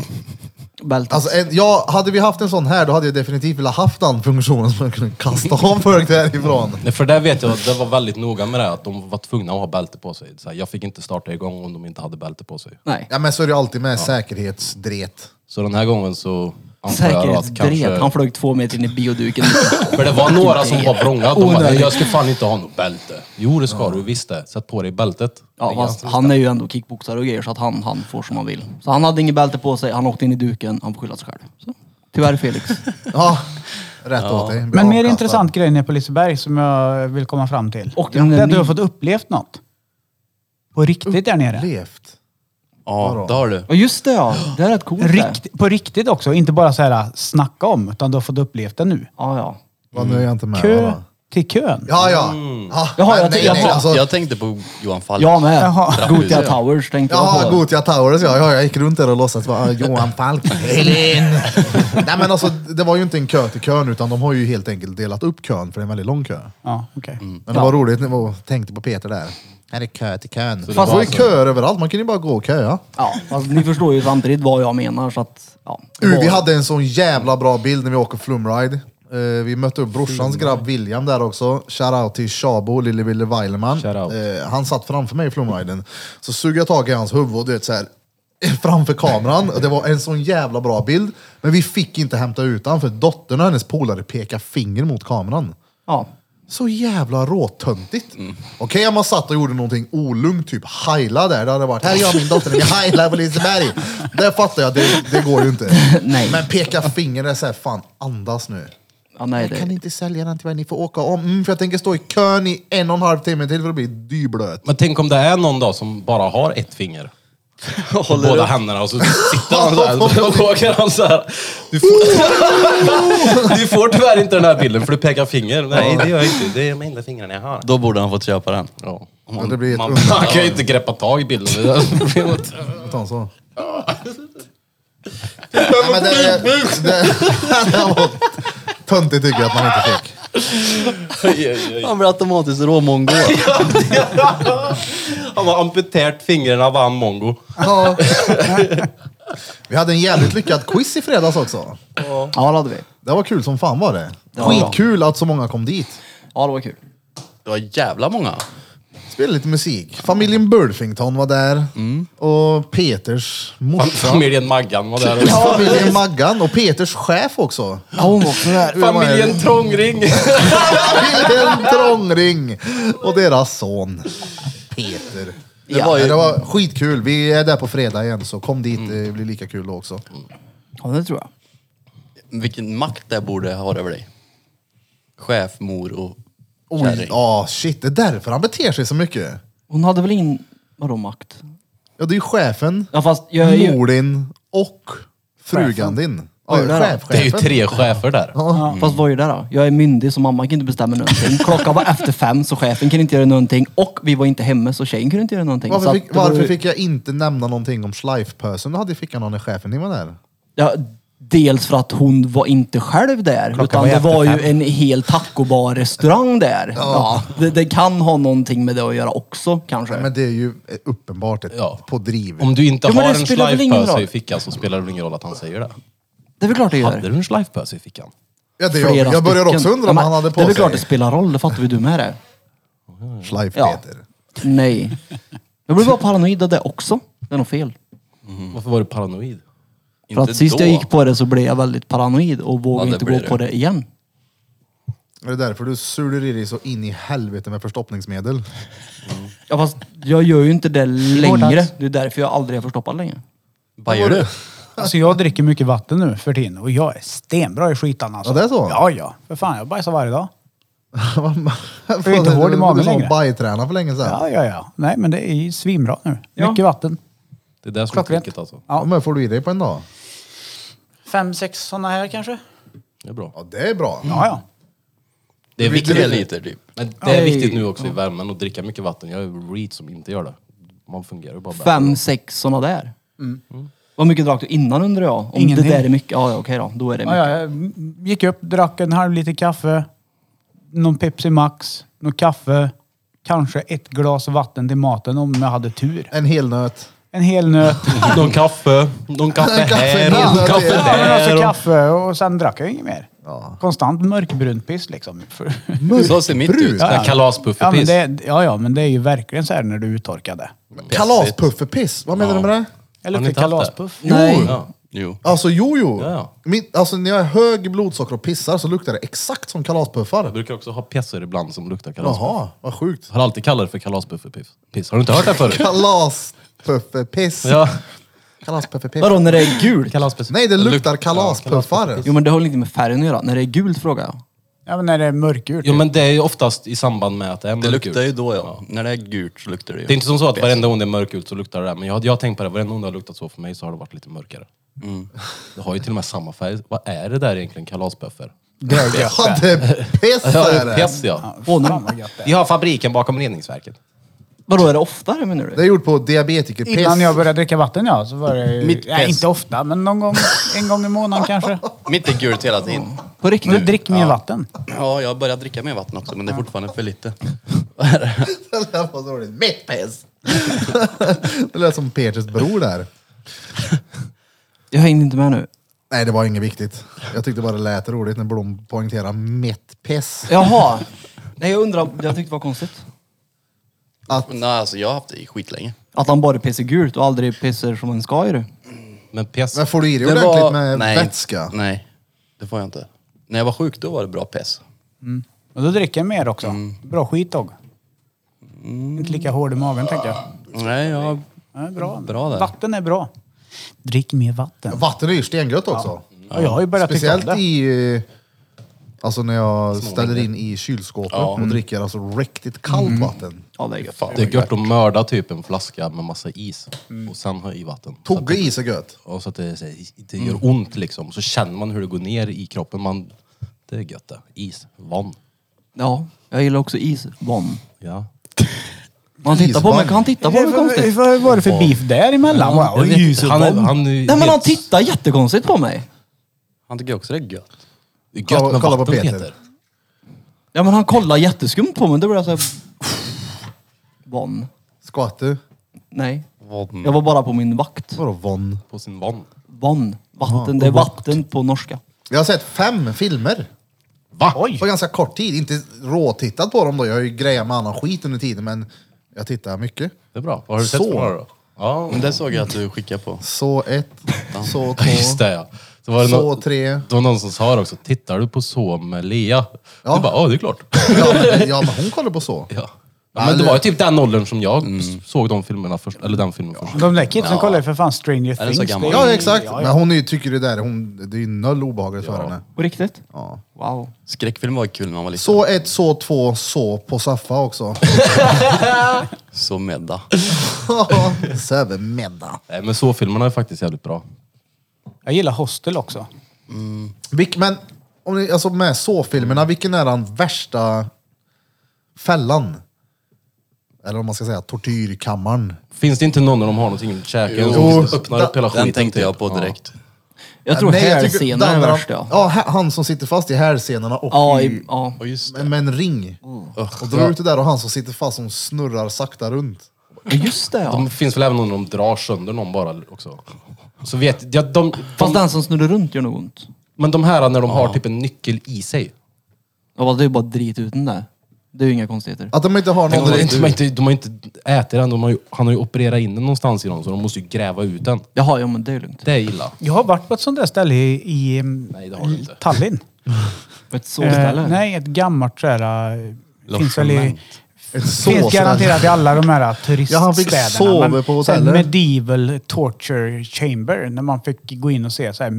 S5: Bältet.
S1: Alltså, en, ja, hade vi haft en sån här, då hade jag definitivt velat haft den funktionen som man kunde kasta av folk därifrån.
S3: Nej, för där vet jag att det var väldigt noga med det, att de var tvungna att ha bälte på sig. Så här, jag fick inte starta igång om de inte hade bälte på sig.
S5: Nej.
S1: Ja, men så är det ju alltid med säkerhetsdret.
S3: Så den här gången så antar jag då att
S5: Säkerhetsdret. Han
S3: kanske...
S5: flög två meter in i bioduken.
S3: För det var några som var vrånga. De bara,
S5: Onödigt.
S3: jag ska fan inte ha något bälte. Jo, det ska du visst det. Sätt på dig bältet.
S5: Ja, fast han är ju ändå kickboxare och grejer så att han, han får som han vill. Så han hade inget bälte på sig, han åkte in i duken, han får skylla sig själv. Så. Tyvärr Felix.
S1: Ja, rätt åt dig. Bra
S4: Men mer
S1: avkastad.
S4: intressant grej nere på Liseberg som jag vill komma fram till.
S5: Och
S4: det är
S5: den-
S4: att du har fått upplevt något. På riktigt där nere.
S1: Levt.
S2: Ja, det har du.
S5: Ja just det ja, det är rätt coolt det.
S4: Rikt, på riktigt också, inte bara så här äh, snacka om, utan du har fått upplevt det nu.
S5: Ja ja.
S1: Vad
S3: Mm.
S1: nu är jag inte med.
S4: Kö
S1: va?
S4: till kön.
S1: Ja, ja. ja
S5: Jaha, jag
S1: nej,
S5: tänkte-
S1: nej,
S5: jaha.
S1: alltså,
S2: Jag tänkte på Johan Falk.
S5: Jag med.
S4: Jaha.
S5: Gothia Towers tänkte
S1: Jaha,
S5: jag på.
S1: Gothia Towers ja. ja. Jag gick runt där och låtsades vara ah, Johan Falk. Elin! Nej men alltså, det var ju inte en kö till kön utan de har ju helt enkelt delat upp kön för det är en väldigt lång kö.
S4: Ja, okej.
S1: Men det var roligt när jag tänkte på Peter där. Här är kö till kön.
S3: det
S1: Fast det
S3: var
S1: var ju köer överallt, man kunde ju bara gå och köa.
S5: Ja, fast ni förstår ju samtidigt vad jag menar så att... Ja.
S1: Uh, vi hade en sån jävla bra bild när vi åker flumride. Eh, vi mötte upp brorsans grabb William där också. Shoutout till Shabo, lille Wille Weileman.
S3: Shoutout.
S1: Eh, han satt framför mig i flumriden. Så suger jag tag i hans huvud och du vet så här framför kameran. Och Det var en sån jävla bra bild. Men vi fick inte hämta ut han för dottern och hennes polare pekade finger mot kameran.
S5: Ja.
S1: Så jävla råtöntigt. Okej om man satt och gjorde någonting olugnt, typ heila där. Det hade varit, här är jag och min dotter, vi heilar på Liseberg. Det fattar jag, det, det går ju inte.
S5: Nej.
S1: Men peka finger är såhär, fan andas nu.
S5: ja nej
S1: Jag kan
S5: det...
S1: inte sälja den till mig, ni får åka om. Mm, för jag tänker stå i kön i en och en halv timme till för att bli dyblöt.
S3: Men tänk om det är någon dag som bara har ett finger.
S2: Håller
S3: båda
S2: upp.
S3: händerna och så sitter han såhär. Då åker han såhär. Du får, du får tyvärr inte den här bilden för du pekar finger. Nej, det gör jag inte. Det är de enda fingrarna jag har.
S2: Då borde han fått köpa den.
S3: Ja.
S1: Men det blir ett
S3: Man, man kan ju inte greppa tag i bilden. Det blir något-
S1: undantag så. Nej, men det, det, det, var töntigt tycker jag att man inte fick.
S2: Han blir automatiskt råmongo.
S3: Han har amputerat fingrarna av en mongo.
S1: Ja. Vi hade en jävligt lyckad quiz i fredags också.
S5: Ja det hade vi.
S1: Det var kul som fan var det.
S5: Ja.
S1: Skitkul att så många kom dit.
S5: Ja det var kul.
S2: Det var jävla många.
S1: Spelade lite musik. Familjen Burfington var där. Och Peters
S3: Fam-
S1: morsa.
S3: Familjen Maggan var där också.
S1: Familjen Maggan och Peters chef också.
S5: Ja hon var också där.
S3: Familjen Trångring.
S1: Familjen Trångring och deras son Peter.
S5: Det
S1: Det
S5: var
S1: var,
S2: ju-
S1: det var skitkul. Vi är där på fredag igen så kom dit. Det blir lika kul då också.
S5: Ja det tror jag.
S2: Vilken makt det borde ha över dig. Chef, mor och
S1: Oj,
S2: kärring.
S1: ja shit. Det är därför han beter sig så mycket.
S5: Hon hade väl ingen... Vadå makt?
S1: Ja, det är ju chefen,
S5: Ja fast jag är Eh, ju...
S1: mor din och frugan din. Ja,
S5: Oj, där då.
S1: chef,
S3: Det är ju
S1: chefen.
S3: tre chefer där.
S5: Ja. Mm. Fast vad är det då? Jag är myndig så mamma kan inte bestämma någonting. Klockan var efter fem så chefen kunde inte göra någonting. Och vi var inte hemma så tjejen kunde inte göra någonting. så
S1: Varför,
S5: att
S1: fick,
S5: det var ju-
S1: varför fick jag inte nämna någonting om schleifpösen du hade i fickan när chefen var där?
S5: Ja, dels för att hon var inte själv där. utan
S4: var
S5: det
S4: efter
S5: var ju
S4: fem.
S5: en hel tacobar-restaurang där. Ja. det, det kan ha någonting med det att göra också kanske.
S1: Men det är ju eh, uppenbart ett
S3: Ja.
S1: pådriv.
S3: Om du inte
S5: Jo, men
S3: har
S5: det
S3: en
S5: spelar väl ingen
S3: schleifpöse i
S5: roll.
S3: fickan så spelar det väl ingen roll att han säger det.
S5: det är väl klart det
S3: Hade
S5: gör.
S3: du en schleifpöse i fickan?
S1: Ja, det
S5: Flera
S1: jag, jag börjar
S5: stycken.
S1: också undra
S5: Ja,
S1: om
S5: men
S1: han hade på
S5: Det är väl
S1: sig
S5: klart det spelar roll, det fattar vi du med det. Ja.
S1: schleif-Peter.
S5: Nej. Jag blev bara paranoid av det också. Det är nog fel.
S3: Varför var du paranoid?
S5: För att
S3: Inte
S5: sist
S3: då.
S5: jag gick på det så blev jag väldigt paranoid och vågade
S3: Ja, det
S5: inte gå
S3: blir det.
S5: på det igen.
S1: Är det därför du suler i dig så in i helvete med förstoppningsmedel?
S5: Ja, fast jag gör ju inte det längre.
S4: dags.
S5: Det är därför jag aldrig är förstoppad längre.
S3: Bajar du?
S4: Alltså jag dricker mycket vatten nu för tiden och jag är stenbra i skitan alltså.
S1: Ja, det är så?
S4: Ja, ja. För fan, jag bajsar varje dag.
S1: Fan,
S4: inte hård i
S1: du-
S4: magen
S1: Du sa
S4: längre.
S1: bajträna för länge sedan.
S4: Ja, ja, ja. Nej, men det är ju svinbra nu.
S5: Ja.
S4: Mycket vatten.
S3: Det är det som är
S4: Klockrent.
S3: tricket alltså.
S1: Ja, men får du i dig på en dag?
S4: Fem, sex sådana här kanske?
S3: Det är bra.
S1: Ja, det är bra.
S4: Ja, ja.
S3: Det är
S1: blir
S3: viktiga
S1: tre
S3: liter typ. Men det är
S5: Nej.
S3: viktigt nu också i värmen att dricka mycket vatten. Jag är reed som inte gör det. Man fungerar ju bara bättre.
S5: Fem, sex sådana där. Vad mycket drack du innan undrar jag? Om
S4: Ingenting.
S5: det där är mycket, ja ja, okej då. Då är det
S4: ja,
S5: mycket.
S4: ja. Jag gick upp, drack en halv liter kaffe, någon Pepsi Max, någon kaffe, kanske ett glas vatten till maten om jag hade tur.
S1: En hel nöt.
S4: En hel nöt.
S3: Någon kaffe, någon kaffe
S1: Kaffe
S3: här,
S1: där.
S3: någon kaffe
S1: Ja,
S4: Ja, men alltså
S3: där.
S4: kaffe och sen drack jag inget mer.
S1: Ja.
S4: Konstant mörkbrunt piss liksom. För-
S2: Så ser mitt
S1: Brun.
S2: ut.
S3: Ja, ja.
S4: Ja men,
S3: Kalaspuffepiss.
S4: det, ja, ja, men det är ju verkligen så här när du är uttorkade.
S1: Kalaspuffepiss, vad menar du med det?
S4: Eller
S3: Har ni
S4: till
S3: inte haft det?
S4: kalaspuff.
S5: Nej.
S3: Ja. Jo.
S1: Alltså jo, jo.
S3: Ja, ja.
S1: Min, alltså, när jag har hög blodsocker och pissar så luktar det exakt som
S3: Jag
S1: kalaspuffar.
S3: brukar också ha pjäser ibland som luktar kalaspuff.
S1: Jaha, vad sjukt.
S3: Har alltid kallat det för kalaspuffepiss. Har du inte hört det förut?
S1: Kalaspuffepiss.
S3: Ja.
S1: Kalaspuffepiss.
S5: Vadå när det är gult?
S3: Kalaspuff.
S1: Nej, det luktar
S3: kalaspuffar.
S1: kalaspuffar.
S5: Jo men det har väl inte med färgen att göra? När det är gult frågar jag.
S4: Ja men när det är mörkgult.
S3: Jo men det är ju oftast i samband med att det
S2: Det
S3: är mörkgult.
S2: luktar ju då ja. När det är gult så luktar det ju.
S3: Det är inte som så att varenda gång det är mörkgult så luktar det där. Men jag, jag har tänkt på det, varenda gång det har luktat så för mig så har det varit lite mörkare. Det har ju till och med samma färg. Vad är det där egentligen? Kalaspuffer?
S4: Det är gött
S1: Ja,
S4: det.
S1: det är piss
S3: Ja, det
S1: är
S3: är
S1: det.
S3: Pepsi ja.
S5: Åh,
S4: Fan
S5: nej.
S4: vad gött det är.
S3: Vi har fabriken bakom reningsverket.
S5: Vadå är det oftare menar
S1: Det är
S5: du?
S1: gjort på diabetikerpiss.
S4: Innan jag började dricka vatten ja, så var det ju,
S2: Mitt
S4: ja,
S2: piss.
S4: inte ofta, men någon gång, en gång i månaden kanske.
S2: Mitt är gult hela tiden.
S5: På
S4: Men
S5: riktigt?
S4: drick mer vatten.
S2: Ja, jag har börjat dricka mer vatten också men det är fortfarande för lite.
S1: Det där var dåligt. Mitt piss! det lät som Peters bror där.
S5: Jag hängde inte med nu.
S1: Nej, det var inget viktigt. Jag tyckte bara det lät roligt när Blom poängterade mitt piss.
S5: Jaha. Nej jag undrar, jag tyckte det var konstigt.
S1: Att,
S2: Nej, alltså jag har haft det i skitlänge.
S5: Att han bara pissar gult och aldrig pissar som en ska ju.
S3: Men pjäs...
S1: men får du i dig
S2: Det
S1: ordentligt
S2: var-
S1: med
S2: nej,
S1: vätska?
S2: Nej, det får jag inte. När jag var sjuk då var det bra pess.
S4: Och då dricker jag mer också. Bra skitdog. Inte lika hård i magen tänker jag.
S2: Nej, jag...
S4: Ja, bra.
S2: Bra där.
S4: Vatten är bra. Drick mer vatten.
S1: Vatten är ju stengött också.
S4: Ja, jag har ju börjat tycka om
S1: Speciellt
S4: det.
S1: i... eh, Alltså när jag ställer in i kylskåpet
S3: Mm.
S1: och dricker alltså riktigt kallt
S4: Mm.
S1: vatten.
S5: Ja det är gött.
S2: Fan,
S3: Det är gött att mörda typ en flaska med massa is och sen ha i vatten. Så att,
S1: Togge is är gött.
S3: och så att det, så här, det gör ont liksom. Så känner man hur det går ner i kroppen. Man, det är gött det. Is. Vann.
S5: Ja, jag gillar också isbomb.
S3: Ja.
S5: Man tittar på mig, kan han titta på mig konstigt?
S4: Vad var det för beef däremellan?
S3: Jag
S4: Wow,
S3: vet inte.
S4: ljus och
S3: han, är-
S4: bomb.
S3: han, är ju
S5: Nej men han
S3: helt-
S5: tittar jättekonstigt på mig.
S2: Han tycker också det är gött.
S3: Det är gött
S1: Kolla-
S3: med
S1: kolla på
S3: vatten,
S1: Peter.
S5: Ja men han kollar jätteskumt på mig. Då blir alltså- jag såhär... Von.
S1: Skvatt du?
S5: Nej.
S6: Mm.
S2: Vad-
S5: Jag var bara på min vakt.
S1: Vadå von?
S3: På sin vann.
S5: Von. Vatten. Det är vatten på norska.
S1: Jag har sett fem filmer.
S3: Va?
S1: På ganska kort tid. Inte råtittat på dem då. Jag har ju grejat med annan skit under tiden men jag tittar mycket.
S3: Det är bra. Vad har du sett
S1: Så.
S3: för några då? Ja,
S2: Men det såg jag att du skickade på.
S1: Så ett, så
S3: Ja, Just
S1: två,
S3: det ja. Så var det,
S1: så
S3: nå-
S1: tre.
S3: det var någon som sa det också, tittar du på så med Lea?
S1: Ja.
S3: Du bara, ja det är klart.
S1: Ja men, ja, men hon kollar på så.
S3: Ja. Ja, men det var ju typ den åldern som jag s- såg de filmerna först, eller den filmen först.
S4: De där kidsen kollar ju för fan Stranger
S2: den
S4: Things.
S2: så gammal?
S4: Det är ju-
S1: Ja exakt.
S4: Ja,
S1: Men
S4: ja.
S1: hon är ju, tycker det där, hon, det är ju noll obehagligt för henne.
S5: På riktigt?
S1: Ja.
S5: Wow.
S2: Skräckfilm var kul när man var liten.
S1: Så ett, så två, så på Saffa också.
S2: Så medda.
S1: Sövermedda.
S3: Nej men så filmerna är faktiskt jävligt bra.
S4: Jag gillar Hostel också.
S1: Vilk, men om ni, alltså med så-filmerna, vilken är den värsta fällan? Eller om man ska säga tortyrkammaren.
S3: Finns det inte någon när de har någonting i käken
S1: Jo.
S3: och öppnar upp hela skiten?
S2: Den tänkte jag
S3: typ?
S2: på
S3: Ja.
S2: direkt.
S5: Jag tror
S1: Nej, tycker
S5: hälsenan är
S1: den-
S5: värst ja.
S1: Ja, hä- han som sitter fast i hälsenorna och
S5: Ja, Mm. i,
S1: i,
S5: ja.
S2: Och just
S1: med, med en ring. Och drar ut det där och han som sitter fast som snurrar sakta runt.
S5: Ja, just det ja.
S3: De finns väl även någon de drar sönder någon bara också. Så vet, ja, de,
S5: Fast
S3: de,
S5: den som snurrar runt gör nog ont.
S3: men de här när de har typ en nyckel i sig.
S5: Ja fast det är ju bara drit ut den där. Det är ju inga konstigheter.
S1: Att de inte har
S3: Tänk
S1: någon...
S3: om de, inte, de, har inte, de har inte ätit den, de har ju, han har ju opererat in den någonstans i dem så de måste ju gräva ut den.
S5: Jaha, ja men det är lugnt.
S3: Det är illa.
S4: Jag har varit på ett sånt där ställe i, i mm,
S3: Nej, det har du inte.
S4: Tallinn.
S5: Ett solställe?
S4: Eh, nej, ett gammalt sådär... Finns väl i...
S3: Logement.
S1: Ett
S4: Finns
S1: sås.
S4: garanterat i alla de här
S1: Ja, han fick
S4: turiststäderna.
S1: sova
S4: men
S1: på
S4: så här
S1: hotellet.
S4: Medieval torture chamber. När man fick gå in och se så här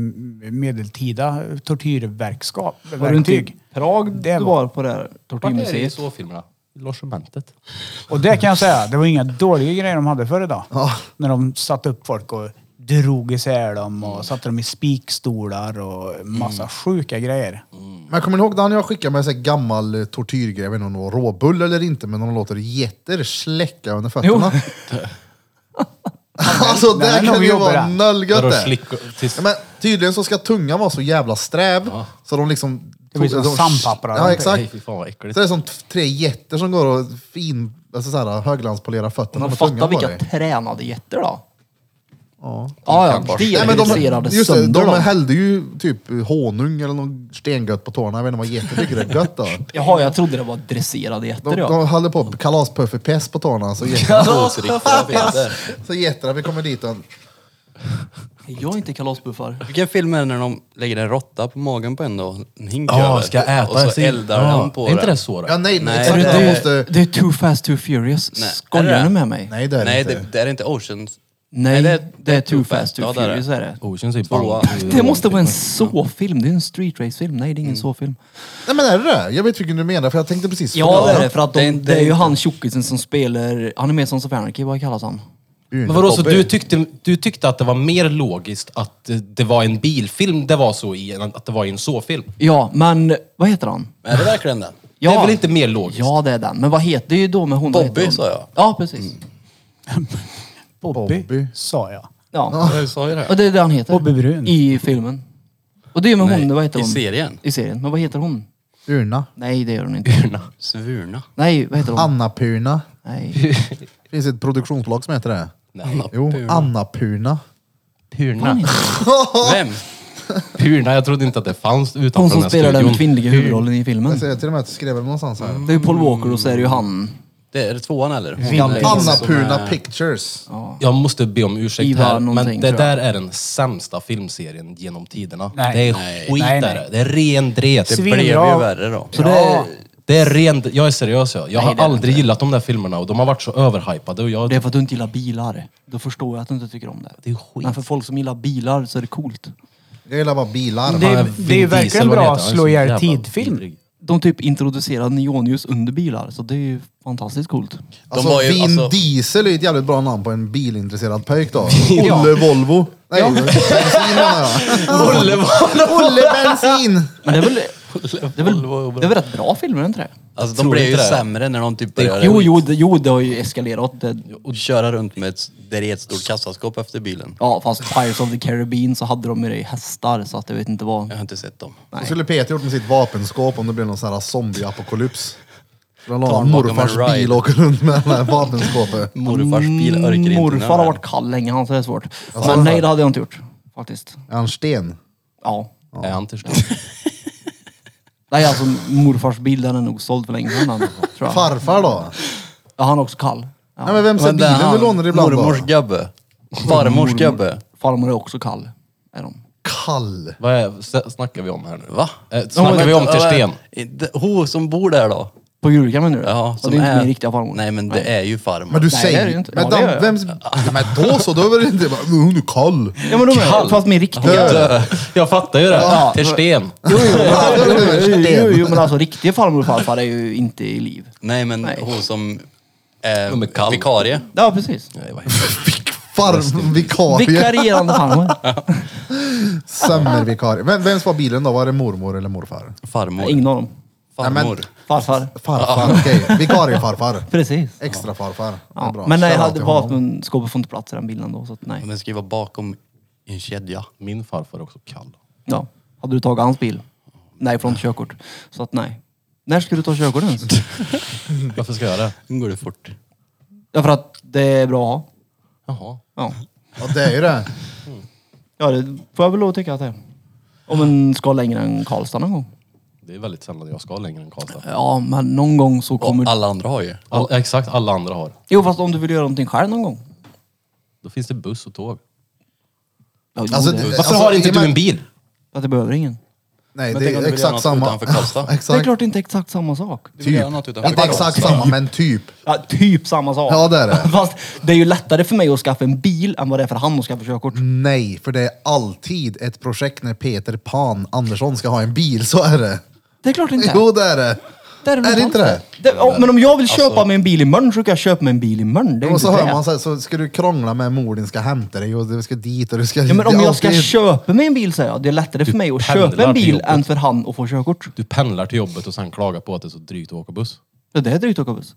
S4: medeltida tortyrverkskap.
S5: Var du inte i
S4: verktyg.
S5: Prag
S4: Det
S5: du
S4: var-
S5: var på det här
S3: Vart är det i
S5: tortyrmuseet?
S3: så-filmerna? Logementet.
S4: Och det kan jag säga, det var inga dåliga grejer de hade förr idag.
S1: Ja.
S4: När de satte upp folk och drog isär dem och satte dem i spikstolar och massa sjuka grejer.
S1: Men kommer ni ihåg när jag skickade mig en sån här gammal eh, tortyrgrej, jag vet inte om det var råbull eller inte, men de låter getter släcka under fötterna. alltså
S4: Den är
S1: det kan
S4: nog
S1: ju
S4: jobbig,
S1: vara
S4: den.
S1: nöllgött
S3: Vadå,
S1: det.
S3: slick- tills-
S1: Ja, men tydligen så ska tungan vara så jävla sträv så de liksom...
S4: Det blir som
S1: de-
S4: sandpapper eller
S1: Ja
S4: någonting.
S1: exakt.
S3: Nej, fy fan vad äckligt.
S1: Så det är som t- tre getter som går och fin, alltså så här, höglandspolerar fötterna
S5: Men
S1: med
S5: fatta
S1: tungan på
S5: vilka
S1: dig.
S5: tränade getter då.
S1: Ja.
S5: Ja, ja.
S1: Nej, men
S5: Delreducerade
S1: de, just det,
S5: sönder
S1: de
S5: dem.
S1: hällde ju typ honung eller något stengött på tårna. Jag vet inte vad getter tycker det är gött då.
S5: Jaha, jag trodde det var dresserade
S1: De,
S5: getter ja.
S1: de höll på kalaspuffepest på tårna så getterna, så getterna vi kommer dit och
S5: Jag är inte kalasbuffar.
S6: Vilken film är det när de lägger en råtta på magen på en då? En hink
S3: Ja,
S6: över.
S3: ska äta
S6: Och så
S3: sin-
S6: eldar
S3: Ja,
S6: de på
S3: Är inte
S6: den.
S3: det så då?
S1: Ja nej, nej
S6: Nej,
S1: exakt,
S6: det-
S1: de måste...
S5: Det är Too Fast Too Furious.
S6: Nej. Är
S5: Skojar
S6: det?
S5: du med mig?
S1: Nej det är det
S6: Nej,
S1: inte.
S6: det, det är inte Oceans.
S5: Nej,
S6: det
S5: det,
S6: är-
S5: är Too Fast Too
S6: Ja, det är det.
S5: Furious är det.
S3: Oceans är ju
S6: Tvåa. Mm.
S3: band.
S5: Det måste vara en så-film. Det är en street race-film. Nej, det är ingen så-film.
S1: Nej men är det det Jag vet vilken du menar för jag tänkte precis
S5: Ja, det är det. För att de,
S6: Det
S5: det,
S6: är
S5: är,
S6: inte-
S5: ju han tjockisen som spelar... Han är med som Anarchy, vad kallas han?
S3: Men vadå, så du tyckte, du tyckte att det var mer logiskt att eh, det var en bilfilm det var så i, än att det var i en så-film?
S5: Ja, men vad heter han?
S6: Är det verkligen den?
S5: Ja.
S3: Det är väl inte mer logiskt?
S5: Ja, det är den. Men vad heter... Det är ju då med hon... vad
S6: Bobby,
S5: heter hon?
S6: sa jag.
S5: Ja, precis.
S4: Bobby,
S1: Bobby.
S4: sa jag.
S5: Ja.
S6: Jag sa ju det.
S5: Och det är det han heter.
S4: Bobby Brun.
S5: I filmen. Och det är med
S6: Nej,
S5: hon, vad heter
S6: i
S5: hon?
S6: serien.
S5: I serien. Men vad heter hon?
S1: Urna.
S5: Nej, det gör hon inte.
S6: Svurna.
S5: Nej, vad heter hon?
S1: Annapurna.
S5: Nej.
S1: Det finns ett produktionsbolag som heter det.
S6: Nej.
S1: Jo, Annapurna.
S5: Vad
S3: Purna.
S5: heter hon?
S6: Vem?
S3: Purna, jag trodde inte att det fanns utanför
S5: Hon
S3: den här
S5: som spelar den
S3: studion.
S5: kvinnliga
S3: Pur-
S5: huvudrollen i filmen.
S1: Jag ser till och med att jag skrev det någonstans här.
S5: Det är ju Paul Walker och så är det ju han.
S6: Det är det tvåan eller? Hon
S4: Vinna.
S6: är-
S1: Annapurna
S6: som är-
S1: Pictures.
S3: Jag måste be om ursäkt
S5: Ivar
S3: här,
S5: någonting,
S3: men det
S5: tror jag.
S3: där är den sämsta filmserien genom tiderna.
S4: Nej.
S3: det är
S4: Nej.
S3: skit
S4: Nej,
S3: där.
S4: nej.
S3: Det är ren dret.
S6: Det
S4: Svin-
S6: blev ju
S4: Ja.
S6: värre då.
S5: Så det är,
S3: Det är ren... Jag är seriös jag. Jag
S5: Nej, det
S3: har
S5: är det
S3: aldrig gillat de där filmerna och de har varit så överhypade och jag...
S5: det är för att du inte gillar bilar. Då förstår jag att du inte tycker om det.
S3: Det är skit.
S5: Men för folk som gillar bilar så är det coolt.
S1: Jag gillar bara bilar.
S4: Det,
S3: Fan,
S4: är-
S3: Vin
S4: det är
S3: Diesel,
S4: ju verkligen
S3: vad han
S4: bra
S3: heter,
S4: att
S3: han är
S4: slå
S3: så
S4: ihjäl
S3: jävla
S4: tidfilm.
S3: vidrig.
S5: De typ introducerar neonljus under bilar, så det är ju fantastiskt coolt.
S1: Alltså,
S6: var ju-
S1: Vin
S6: alltså-
S1: Diesel är ju ett jävligt bra namn på en bilintresserad pöjk då. Olle Volvo. Nej, bensin menar jag. Olle Volvo. Olle Bensin.
S5: Men det är väl, det är väl, det är väl rätt bra filmer, är inte det?
S6: Alltså de
S3: Tror
S6: blev
S3: inte
S6: ju
S3: det.
S6: sämre när de typ började
S5: Jo, jo, det, jo, det har ju eskalerat. Det,
S6: och köra runt med ett, det är ett stort kassaskåp efter bilen.
S5: ja, fast Pirates of the Caribbean så hade de med dig hästar, så att jag vet inte vad.
S6: Jag har inte sett dem.
S1: Vad skulle Peter gjort med sitt vapenskåp om det blev någon sån här zombie-apokalyps? Han la
S6: Tar
S1: en
S6: han bakom
S1: morfars
S6: en ride.
S1: bil och åker runt med det här vapenskåpet.
S6: Morfars bil örker inte
S5: Mm, Morfar har
S6: nöra.
S5: varit kall länge, han så det är svårt.
S1: så-
S5: Men nej, det hade jag inte gjort. Faktiskt.
S1: Är han sten?
S5: Ja.
S3: Är han till slut?
S5: Nej, alltså morfars bil den är nog såld för länge sedan. alltså, Tror jag.
S1: Farfar då?
S5: Ja, han är också kall. Ja.
S1: Nej men vem ser
S6: Men det är
S1: bilen du
S6: han,
S1: lånar ibland då?
S6: Mormors gubbe. Farmors gubbe.
S5: Farmor är också kall. Är de.
S1: Kall.
S3: Vad är, s- snackar vi om här nu?
S6: Va?
S3: Eh, snackar vi om till sten?
S6: Inte- Hon som bor där då?
S5: På Julika menar du?
S6: Ja,
S5: som det är inte min riktiga farmor.
S6: Nej men det är ju farmor.
S1: Men du
S5: Nej,
S1: säger...
S5: det är det ju inte.
S1: Men,
S5: Ja, det
S1: dam-
S5: gör jag.
S1: vems... men då så, då var det inte bara, hon är kall.
S5: Ja, men de är
S3: Kall.
S5: Fast min riktiga.
S3: Jag fattar ju det.
S5: Ja.
S3: Till sten.
S5: Jo, jo,
S1: Ja, det är
S5: jo,
S1: det.
S5: jo, jo, men alltså riktiga farmor och farfar är ju inte i liv.
S6: Nej men
S5: Nej.
S6: hon som är
S3: Hon är kall.
S6: vikarie.
S5: Ja, precis.
S1: Farm, vikarie,
S5: Vikarierande farmor.
S1: sämmervikarie. Vem, vems var bilen då? Var det mormor eller morfar?
S6: Farmor.
S5: Nej, Ingen av dem.
S6: Farmor.
S1: Nej,
S5: Farfar.
S1: Farfar, okej. Vikariefarfar.
S5: Precis.
S1: Extra farfar.
S5: Ja. Men nej, jag hade vapenskåpet får inte plats i den bilen då, så att nej.
S6: Men den ska ju vara bakom en kedja.
S3: Min farfar är också kall.
S5: Ja. Hade du tagit hans bil? Nej, från körkort. Så att nej. När ska du ta körkort ens?
S3: Varför ska jag det?
S6: Nu går det fort.
S5: Ja, för att det är bra att ha.
S3: Jaha.
S5: Ja.
S1: Ja, det är ju det.
S5: Ja, det får jag väl lov att tycka att det är. Om en ska längre än Karlstad någon gång.
S3: Det är väldigt sällan jag ska längre än Karlstad.
S5: Ja, men någon gång så kommer...
S6: Och alla andra har ju.
S3: All, exakt, alla andra har.
S5: Jo, fast om du vill göra någonting själv någon gång.
S3: Då finns det buss och tåg.
S5: Alltså, Ja, jo,
S1: Alltså,
S5: det,
S1: det-
S3: Varför har inte
S1: i och med-
S3: du en bil?
S5: att det behöver ingen.
S1: Nej,
S6: Men
S1: det
S6: tänk om du
S1: är
S6: vill göra
S1: exakt
S6: något
S1: samma.
S6: utanför Karlstad.
S5: Det är
S1: exakt,
S5: klart inte exakt samma sak.
S6: Du vill
S1: typ.
S6: göra något utanför
S1: Inte
S6: Karlstad.
S1: exakt samma, men typ.
S5: Ja, typ samma sak.
S1: Ja, det är det.
S5: Fast det är ju lättare för mig att skaffa en bil än vad det är för han att skaffa körkort.
S1: Mm. Nej, för det är alltid ett projekt när Peter Pan Andersson ska ha en bil, så är det.
S5: Det är klart inte.
S1: Jo, det är det.
S5: är, väl
S1: är det
S5: sant
S1: inte det?
S5: ja, men om jag vill köpa mig en bil imorgon så kan jag köpa mig en bil imorgon. Det är
S1: Och så
S5: inte
S1: hör
S5: det.
S1: man så, här, så ska du krångla med mor din ska hämta dig och du ska dit och du ska...
S5: Ja, men om
S1: det är
S5: jag ska
S1: alltid-
S5: köpa mig en bil säger jag, det är lättare för mig att
S3: pendlar
S5: köpa en
S3: till
S5: bil
S3: jobbet.
S5: än för han att få körkort.
S3: Du pendlar till jobbet och sen klagar på att det är så drygt att åka buss.
S5: Ja, Det är drygt att åka buss.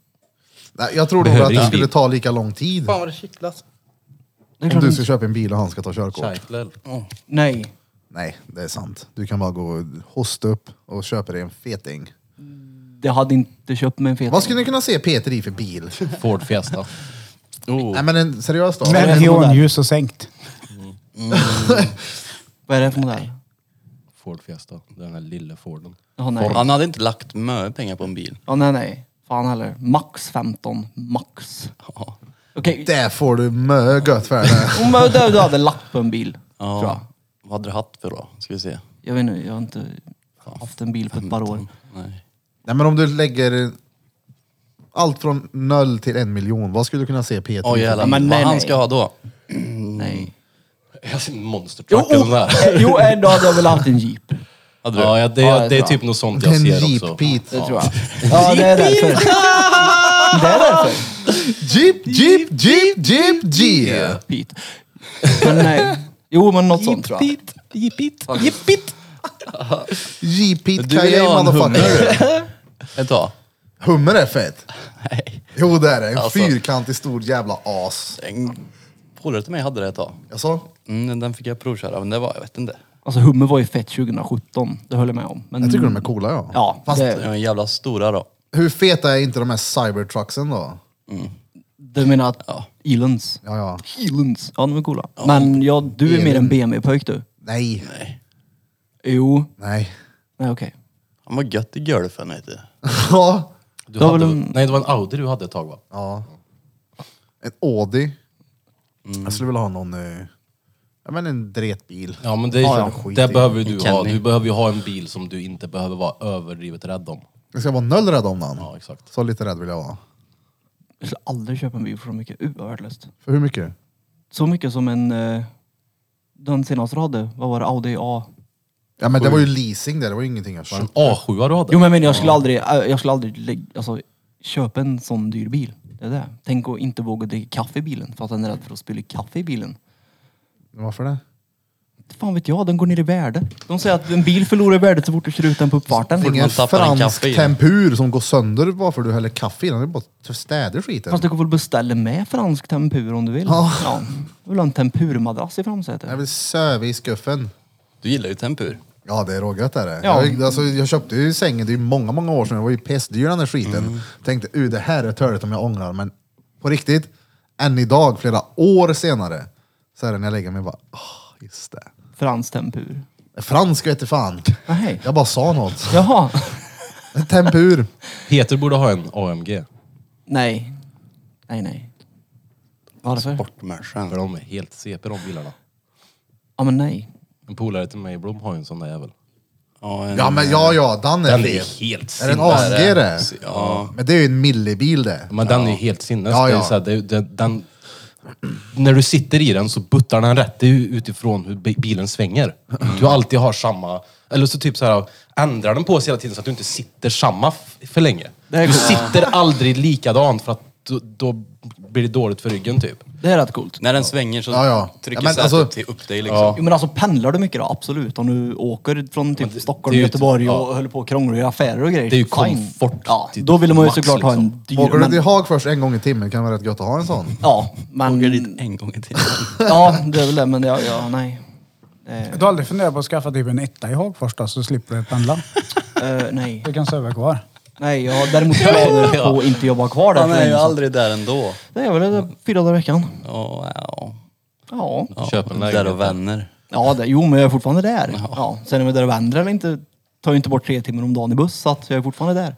S1: Nej, Jag tror nog
S3: Behöver
S1: att det
S3: ingen
S1: skulle
S3: bil.
S1: ta lika lång tid
S6: Fan vad det kittlas.
S5: Det är
S1: om
S5: klart
S1: du
S5: inte.
S1: ska köpa en bil och han ska ta körkort.
S3: Scheitel.
S5: Nej.
S1: Nej, det är sant. Du kan bara gå och hosta upp och köpa dig en feting.
S5: Det hade inte köpt mig en fet.
S1: Vad skulle ni kunna se Peter i för bil?
S3: Ford Fiesta.
S1: Nej men en, seriöst då?
S4: Med
S5: en modell.
S4: neonljus och sänkt.
S5: Vad är det för modell?
S3: Ford Fiesta. Det är den här lilla Forden.
S5: Ja, nej.
S6: Han hade inte lagt mycket pengar på en bil.
S5: Ja, nej, nej. Fan heller. Max 15. Max.
S6: Ja.
S5: Okej.
S1: Där får du mö gött för det.
S5: Om jag dör, du hade lagt på en bil. Tror jag.
S6: ja. Vad hade du haft för då? Ska vi se.
S5: Jag vet inte, jag har inte haft en bil på ett par år.
S6: Nej.
S1: Nej men om du lägger allt från noll till en miljon, vad skulle du kunna se Peter
S6: Åh
S1: i för
S6: jävlar.
S1: bil?
S5: men
S6: vad
S5: nej,
S6: han
S5: nej.
S6: ska ha då?
S5: Nej.
S3: Jag ser en
S5: Jo,
S3: monstertruck eller nåt där.
S5: eh, jo, eh, då hade jag väl haft en jeep.
S6: Hade du?
S3: Ja, ja, det,
S5: Ja, jag
S3: det är
S5: tror
S3: typ något sånt
S1: Det är
S3: jag
S1: en
S3: ser
S1: Jeep
S3: också.
S1: Pete.
S5: Det tror jag. Ja, det är därför. Det är därför.
S1: Jeep, Jeep, Jeep, Jeep, Jeep!
S5: Pete. Men nej. Jo, men något sånt tror jag.
S6: Jippit.
S1: Jeep Pete
S6: Du vill ju ha
S1: Cayenne
S6: en hummer
S1: motherfucker.
S6: Ett tag.
S1: Hummer är fett.
S6: Nej.
S1: Jo det är det. En
S6: Alltså.
S1: fyrkantig stor jävla as.
S6: En polare till mig hade det ett tag.
S1: Alltså,
S6: Mm, den- den fick jag provköra men det var, jag vet inte.
S5: Alltså Hummer var ju fett 2017, det höll jag med om. Men,
S1: jag tycker de är coola ja.
S5: Ja,
S1: Fast
S5: det-
S6: Det var en jävla stora då.
S1: hur feta är inte de här cybertrucksen då?
S5: Du menar att Elons?
S1: Ja, ja.
S5: Elons, ja de är coola. Men ja, du är mer en BMW-pojk du.
S1: Nej,
S6: Nej.
S5: Jo,
S1: nej.
S5: nej okej.
S6: Han var gött i golfen vet du.
S1: Ja.
S3: Du
S5: Det var
S3: hade,
S5: väl en-
S3: Nej, det var en Audi du hade ett tag va?
S1: Ja. En Audi. Jag skulle vilja ha någon... eh, Ja men en dretbil.
S3: Ja men det,
S1: Ja, ja, skit i.
S3: det behöver ju du ha.
S6: Kenny.
S3: Du behöver ju ha en bil som du inte behöver vara överdrivet rädd om.
S1: Jag ska vara noll rädd om den.
S3: Ja exakt.
S1: Så lite rädd vill jag vara.
S5: Jag skulle aldrig köpa en bil för så mycket. Uh, vad värdelöst.
S1: För hur mycket?
S5: Så mycket som en... eh, Den senaste du hade, vad var det? Audi A?
S1: Ja men det var ju leasing där, det var ju ingenting jag
S3: Var det en
S1: köpte.
S3: A7 du hade?
S5: Jo men jag menar, jag skulle aldrig, eh, jag skulle aldrig lägga- alltså, köpa en sån dyr bil. Det är det. Tänk att inte våga dricka kaffe i bilen för att den är rädd för att spilla kaffe i bilen.
S1: Varför det?
S5: Inte Fan vet jag, den går ner i värde. De säger att en bil förlorar värdet så fort du kör ut den på uppfarten.
S1: Det är ingen
S6: man tappar en
S1: fransk
S6: kaffe i den.
S1: tempur som går sönder bara för du häller kaffe i den. Det är bara att städa skiten.
S5: Fast du kan väl beställa med fransk tempur om du vill?
S1: Ja.
S5: ja. Jag vill ha en tempurmadrass i framsätet.
S1: Jag vill söva i skuffen.
S6: Du gillar ju tempur.
S1: Ja det är rågött är det.
S5: Ja.
S1: Jag, alltså, jag köpte ju sängen, det är ju många, många år sedan. Det var ju pestdyr den där skiten.
S5: Mm.
S1: Tänkte, uh det här är töligt om jag ångrar. Men på riktigt, än idag, flera år senare, så är det när jag lägger mig bara, ah, just det.
S5: Fransk tempur.
S1: Fransk vete fan.
S5: Nej.
S1: Jag bara sa något.
S5: Jaha.
S1: Tempur.
S3: Peter borde ha en AMG.
S5: Nej. Nej, nej. Varför?
S6: Sportmänniskan.
S3: För de är helt CP de bilarna.
S5: Ja, men nej.
S3: En polare till mig, Blom, har ju en sån där jävel.
S6: Ja, en,
S1: Ja men ja, ja, den är
S3: Den
S1: fet.
S3: är helt
S1: Är det en
S3: sinnes.
S1: AMG det?
S6: Ja.
S1: Men det är ju en millibil det.
S3: Men den är ju helt sinnes.
S1: Ja,
S3: Det är
S1: ja.
S3: så här, det, är- det, den, när du sitter i den så buttar den rätt. Det är ju utifrån hur bi- bilen svänger. Du alltid har samma... Eller så typ så här, ändrar den på sig hela tiden så att du inte sitter samma f- för länge.
S5: Det är
S3: Du
S5: coolt.
S3: sitter aldrig likadant för att då, då blir det dåligt för ryggen typ.
S5: Det är rätt coolt.
S6: När den svänger så
S1: Ja, ja.
S6: trycker
S1: Ja, men
S6: sätet
S1: alltså-
S6: till upp dig liksom.
S5: Jo, men alltså pendlar du mycket då? Absolut. Om du åker från typ Stockholm,
S3: det är ju
S5: Göteborg
S3: inte-
S5: och håller på och krånglar i affärer och grejer.
S3: Det är ju
S5: fine.
S3: komfort
S5: Ja,
S3: till
S5: då vill man ju
S3: max,
S5: såklart ha en
S3: liksom.
S5: dyr.
S1: Åker du
S5: men-
S1: till Haag först en gång i timmen kan det vara rätt gött att ha en sån.
S5: Ja, men...
S6: Åker dit en gång till.
S5: Ja, det är väl det. Men ja, ja nej. Eh,
S4: Du har aldrig funderat på att skaffa typ en etta i Hagfors då, så slipper du pendla.
S5: eh, nej.
S4: Du kan söva kvar.
S5: Nej, jag har däremot planer på att inte jobba kvar där
S6: Han
S5: för
S6: är ju
S5: länge sedan.
S6: aldrig där ändå.
S5: Det är väl det, fyra dagar i veckan.
S6: Ja, ja.
S5: Ja.
S6: ja.
S3: Köp en
S6: Där
S3: lägenhet.
S6: och vänner.
S5: Ja, det, jo men jag är fortfarande där. Ja. Sen om jag är där och vänder eller inte, tar ju inte bort tre timmar om dagen i buss så att jag är fortfarande där.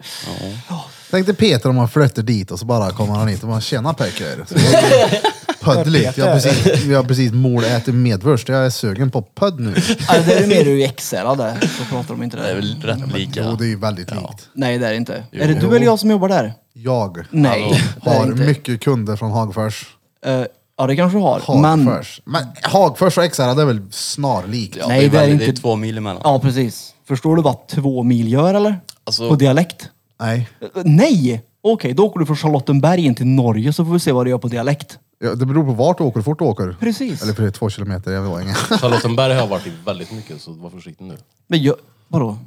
S1: Tänk dig Peter om han flyttar dit och så bara kommer han hit och bara tjena Pecker. Så jag blir Pödligt. Jag har precis, jag har precis molätit medvurst. Jag är sugen på pödd nu.
S5: Alltså, det är ju mer ur XL där så pratar de inte
S6: Det är
S5: där.
S6: väl rätt lika.
S1: Jo, det är ju väldigt likt.
S5: Nej det är det inte. Är det du eller jag som jobbar där?
S1: Jag
S5: Nej. det är
S1: har
S5: det inte.
S1: mycket kunder från Hagfors.
S5: Eh, ja det kanske du har. Men,
S1: Hagfors. Men Hagfors och XR det är väl snarlikt?
S6: Ja,
S5: Nej, det är
S6: väldigt-
S5: inte-
S6: det är två mil emellan.
S5: ja precis. Förstår du vad två mil gör eller?
S6: Alltså-
S5: På dialekt?
S1: Nej.
S5: Eh, Nej! Okej, då åker du från Charlottenberg in till Norge så får vi se vad det gör på dialekt.
S1: Ja, det beror på vart du åker, hur fort du åker.
S5: Precis.
S1: Eller för det är två kilometer, jag vet inte.
S3: Charlottenberg har jag varit i väldigt mycket, så var försiktig nu.
S5: Men jag, vadå?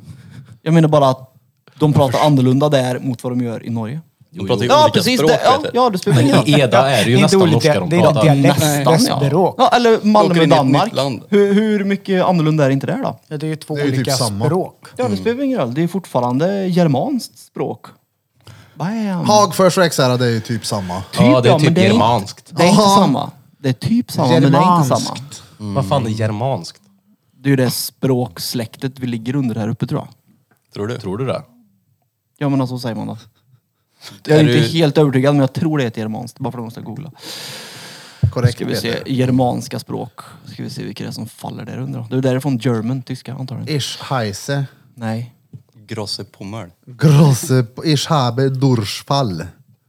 S5: Jag menar bara att de pratar annorlunda där mot vad de gör i Norge.
S6: De pratar ju
S5: Ja
S6: olika
S5: precis,
S6: språk
S5: det, ja,
S6: Peter.
S5: ja det spelar ingen roll.
S3: I Eda är det ju
S4: Inte
S3: nästan
S4: olika,
S3: norska de
S4: det är
S3: pratar.
S4: dialekt.
S5: Nästan ja.
S4: Språk.
S5: ja. Eller
S6: Åker in
S5: Malmö
S6: i
S5: och
S6: ett
S5: Danmark.
S6: nytt land.
S5: Hur, hur mycket annorlunda är inte det här då?
S4: Ja, det är ju två
S1: Det är ju typ
S4: olika
S1: samma.
S4: språk.
S5: Ja
S6: Mm.
S5: det spelar ingen roll. Det är fortfarande germanskt språk. Bam.
S1: Hagfors och XR det är ju typ samma.
S5: Typ,
S3: Ja, det är
S5: men
S3: typ
S5: det inte-
S3: germanskt.
S5: Det är inte
S1: Ja.
S5: samma. Det är typ samma men det är inte samma.
S1: Germanskt.
S3: Vad fan är germanskt?
S5: Det är ju det språksläktet vi ligger under här uppe tror jag.
S6: Tror du?
S3: Tror du det?
S5: Ja men alltså, så säger man då. Jag är,
S6: Är
S5: inte
S6: du-
S5: helt övertygad men jag tror det är ett germanskt. Bara för att de ska googla.
S1: Korrekt
S5: Ska vi se,
S1: Peter.
S5: germanska språk. Ska vi se vilka det är som faller där under då. Det är därifrån German, tyska antagligen.
S1: Ich heiße
S5: Nej.
S6: Grosse Pommel.
S1: große, ich habe Durchfall.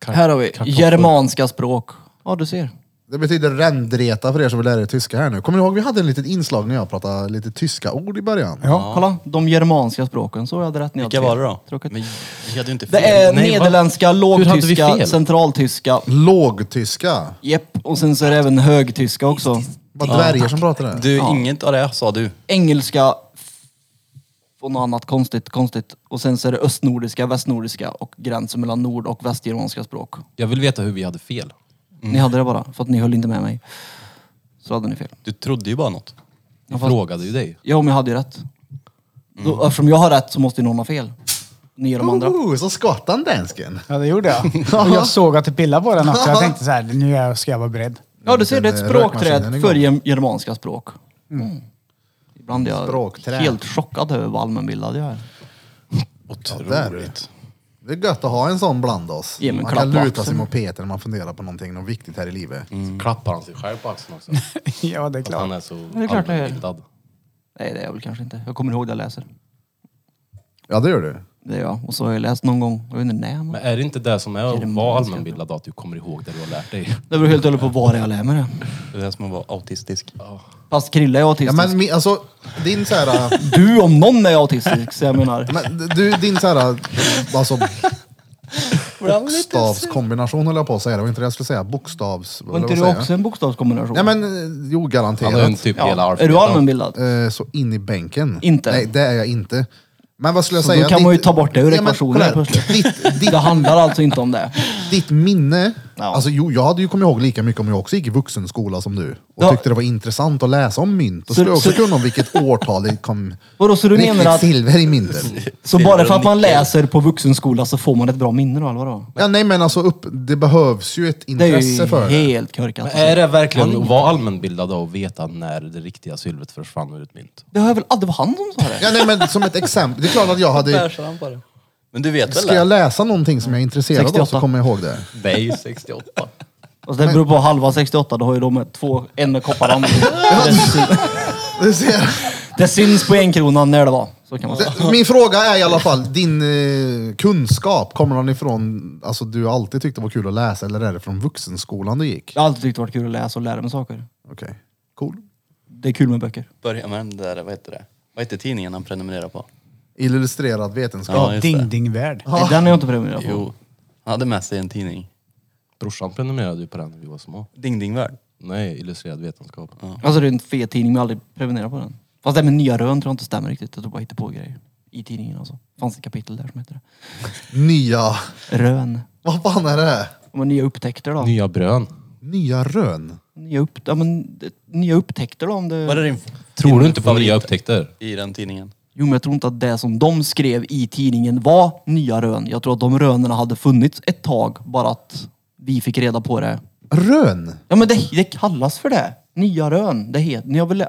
S5: Här har vi germanska språk. Ja du ser.
S1: Det betyder rändreta för er som vill lära er tyska här nu. Kommer ni ihåg vi hade en litet inslag när jag pratade lite tyska ord i början?
S5: Kolla, de germanska språken. Så jag hade rätt när jag
S6: Vilka
S5: hade
S6: var
S5: fel.
S6: det då?
S5: Tråkigt.
S6: Men vi hade ju inte
S5: Det
S6: fel.
S5: är
S3: Nej, va?
S5: nederländska,
S3: hade vi
S5: lågtyska,
S3: fel?
S5: centraltyska.
S1: Lågtyska.
S5: Jepp, och sen så är det även högtyska också.
S1: Vad dvärgar som pratar det.
S6: Du, inget av det sa du.
S5: Engelska f- och något annat konstigt, konstigt. Och sen så är det östnordiska, västnordiska och gränsen mellan nord och västgermanska språk.
S3: Jag vill veta hur vi hade fel.
S1: Mm.
S5: Ni hade det bara, för att ni höll inte med mig. Så hade ni fel.
S6: Du trodde ju bara något.
S3: Jag frågade ju dig.
S5: Jo, men jag hade ju rätt.
S1: Mm.
S5: Då, eftersom jag har rätt så måste ju någon ha fel. Ni och de andra.
S1: Oh, så skott han dansken.
S4: Ja, det gjorde jag. Och jag såg att det pillade på den också. Jag tänkte så här, nu är jag- ska jag vara beredd.
S5: Ja, du ser, det är
S1: Den,
S5: ett
S1: eh, rökmaskinen
S5: språkträd för
S1: igång.
S5: gem- germanska språk. Mm. Ibland är jag
S1: Språkträd.
S5: helt chockad över vad allmänbildad jag är.
S1: Otroligt. Det är gött att ha en sån bland oss.
S5: Ge mig en
S1: Man
S5: klapp
S1: kan
S5: på
S1: luta
S5: axeln.
S1: sig mot Peter när man funderar på någonting något viktigt här i livet.
S5: Mm.
S3: Så Mm. klappar han sig själv på axeln också.
S4: Ja, det är
S3: Att
S4: klart.
S3: han är så
S5: är klart jag gör.
S3: allmänbildad.
S5: Nej, det är jag väl kanske inte. Jag kommer ihåg det jag läser.
S1: Ja, det gör du.
S5: Det är jag. Och så har jag läst någon gång, jag vet inte när.
S3: Men
S5: Men...
S3: är det inte det som är att
S5: Germanska.
S3: vara allmänbildad, att du kommer ihåg det du har lärt dig?
S5: Det beror helt och hållet på var jag lär mig det.
S6: Det är det som att vara autistisk.
S5: Fast Krille är
S1: Ja,
S5: autistisk.
S1: men mi- alltså, din så här...
S5: Du om någon är autistisk, så jag menar.
S1: Men du, din så här... Alltså, bokstavskombination höll jag på att säga. Det var inte det jag skulle säga. Bokstavs...
S5: Var
S1: eller vad
S5: inte du
S1: säger jag?
S5: också en bokstavskombination?
S1: Nej men, eh, jo
S3: Han har ju en
S1: garanterat.
S3: typ
S5: Ja.
S3: hela
S5: Är du
S3: alfabetet.
S5: allmänbildad?
S1: Eh, Så in i bänken.
S5: Inte.
S1: Nej, det är jag inte. Men vad skulle jag
S5: Så
S1: säga?
S5: då kan
S1: Ditt-
S5: man ju ta bort det ur
S1: Ja, men
S5: ekvationen
S1: kolla här.
S5: plötsligt.
S1: Ditt, ditt,
S5: Det handlar alltså inte om det.
S1: ditt minne.
S5: Ja.
S1: Alltså jo, jag hade ju kommit ihåg lika mycket om jag också gick i vuxenskola som du. Och
S5: Ja.
S1: tyckte det var intressant att läsa om mynt. Då
S5: Så-
S1: skulle jag också
S5: så-
S1: kunna om vilket årtal det kom.
S5: Vadå, så du
S1: riktigt
S5: menar att-
S1: silver i myntet.
S5: Så bara för att man läser på vuxenskola så får man ett bra minne då, eller vadå?
S1: Ja, nej men alltså, upp, det behövs ju ett
S5: Det är
S1: intresse
S5: ju
S1: för det.
S5: helt korkat.
S3: Men är det verkligen att vara allmänbildad då och veta när det riktiga silvret försvann ur ett mynt?
S5: Det har jag väl aldrig varit han som sa det?
S1: Ja, nej, men som ett exempel. Det är klart att jag hade...
S6: Bärsaren på det. Men du vet väl
S1: Ska jag
S6: det?
S1: läsa någonting som jag är intresserad av så
S5: 68.
S1: kommer jag ihåg det.
S6: Nej, 68.
S5: Alltså det beror på halva 68, då har ju de två, en koppar andra.
S1: Du ser.
S5: Det syns på en krona när det var. Så kan man säga.
S1: Det- Min fråga är i alla fall, din eh, kunskap, kommer den ifrån, alltså du alltid tyckte det var kul att läsa eller är det från vuxenskolan du gick?
S5: Jag har alltid tyckt det varit kul att läsa och lära mig saker.
S1: Okej, cool.
S5: Det är kul med böcker.
S6: Börja med den där, vad heter det? Vad heter tidningen han prenumererar på?
S1: Illustrerad
S6: Ja,
S1: vetenskap.
S6: just det.
S4: Ding, ding, värld.
S5: Nej, den är jag inte prenumererad på.
S6: Jo, han hade med sig en tidning.
S3: Brorsan prenumererade ju på den när vi var små.
S6: Ding Ding Värld.
S3: Nej, illustrerad vetenskap.
S5: Alltså det är en fet tidning, men jag har aldrig prenumererat på den. Fast det här med nya rön tror jag inte stämmer riktigt. Jag tror bara jag hittar på grejer. I tidningen alltså. Fanns ett kapitel där som heter
S1: Nya,
S5: det. Rön.
S1: vad fan är det? här?
S5: Ja, men nya upptäckter då.
S3: Nya brön.
S1: Nya rön.
S5: Nya, upp, ja, men, det- nya upptäckter då om det...
S6: Var det din
S3: Tror du inte på
S6: favorit
S3: nya upptäckter?
S6: I den tidningen.
S5: Jo men jag tror inte att det som de skrev i tidningen var nya rön. Jag tror att de rönerna hade funnits ett tag, bara att vi fick reda på det.
S1: Rön?
S5: Ja men det, det kallas för det. Nya rön. Det heter... Ni har väl... lä-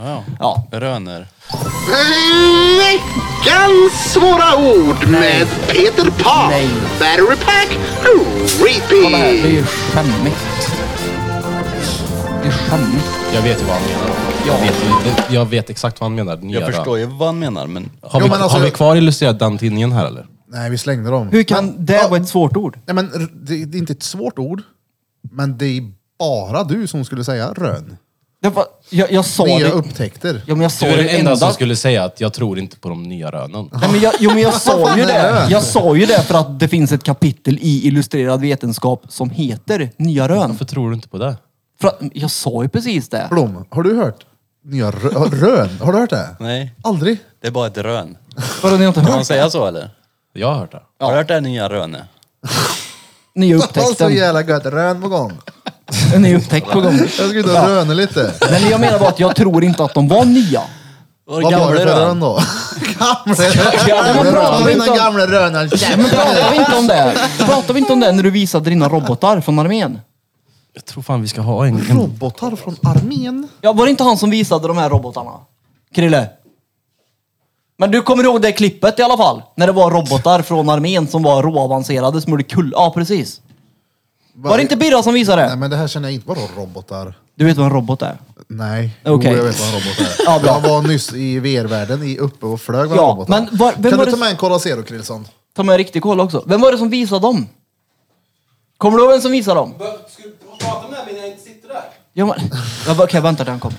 S6: Ja.
S5: Ja.
S6: Röner.
S7: Veckans svåra ord med Peter Pan.
S5: Nej.
S7: Battery Pack
S5: Kolla här, det är
S7: Repeat.
S5: ju skämmigt. Det är skämmigt.
S3: Jag vet ju vad han menar. Jag vet, ju- jag vet exakt vad han menar. den
S6: Jag
S3: nya
S6: förstår ju vad han menar men...
S3: Har,
S1: Jo,
S3: vi,
S1: men alltså-
S3: har vi kvar illustrerat den tidningen här eller?
S1: Nej, vi slängde dem.
S5: Hur kan
S1: Men-
S5: det
S1: ja,
S5: vara ett svårt ord?
S1: Nej, men r- det, det är inte ett svårt ord, men det är bara du som skulle säga rön.
S5: Det var, jag, jag sa
S1: Nya
S5: det.
S1: upptäkter.
S5: Ja, men jag sa
S3: Du är den
S5: det
S3: enda som
S5: enda.
S3: skulle säga att jag tror inte på de nya rönen.
S5: Nej, men jag, jo, men jag sa ju
S1: fan är
S5: det.
S1: det?
S5: Jag sa ju det för att det finns ett kapitel i Illustrerad vetenskap som heter Nya rön.
S3: Varför tror du inte på det?
S5: För att, jag sa ju precis det.
S1: Blom, har du hört nya rö- rön? Har du hört det?
S6: Nej.
S1: Aldrig?
S6: Det är bara ett rön.
S5: Vadå, ni har inte
S6: Kan man
S5: hört?
S6: säga så eller?
S3: Jag har hört det.
S6: Har du hört det här nya röne?
S5: Nya
S1: Så
S5: upptäckten.
S1: jävla gött, rön på gång.
S5: En ny upptäckt på gång.
S1: Jag ska ut och röna lite.
S5: Nej, men jag menar bara att jag tror inte att de var nya.
S6: Vad
S1: Vad var det för
S6: rön?
S1: rön då? Gamle
S5: Ja,
S1: rön!
S5: men
S1: Har
S5: pratar
S1: vi
S5: vi inte
S1: någon
S5: om-
S1: gamle rönan?
S5: Men pratar vi inte om det? Pratar vi inte om det när du visade dina robotar från armén?
S3: Jag tror fan vi ska ha en... en
S1: Robotar från armén?
S5: Ja, var det inte han som visade de här robotarna? Krille? Men du kommer ihåg det klippet i alla fall? När det var robotar från armén som var råavancerade som gjorde kull... Ja, precis. Var det inte Birra som visade
S1: Nej
S5: det?
S1: men det här känner jag inte. Vadå robotar?
S5: Du vet vad en robot är?
S1: Nej.
S5: Okej.
S1: Jo, jag vet vad en robot är.
S5: Ja, bra.
S1: jag var nyss i VR-världen i- uppe och flög med
S5: Ja,
S1: robotar.
S5: men var- vem
S1: kan
S5: var
S1: du
S5: det-
S1: ta med en Colacero, Krillson?
S5: Ta med en riktig koll också. Vem var det som visade dem? Kommer du ihåg vem som visade dem? Ska du prata med mig när jag inte sitter där? Ja, men... Ja, Okej, vänta till han kommer.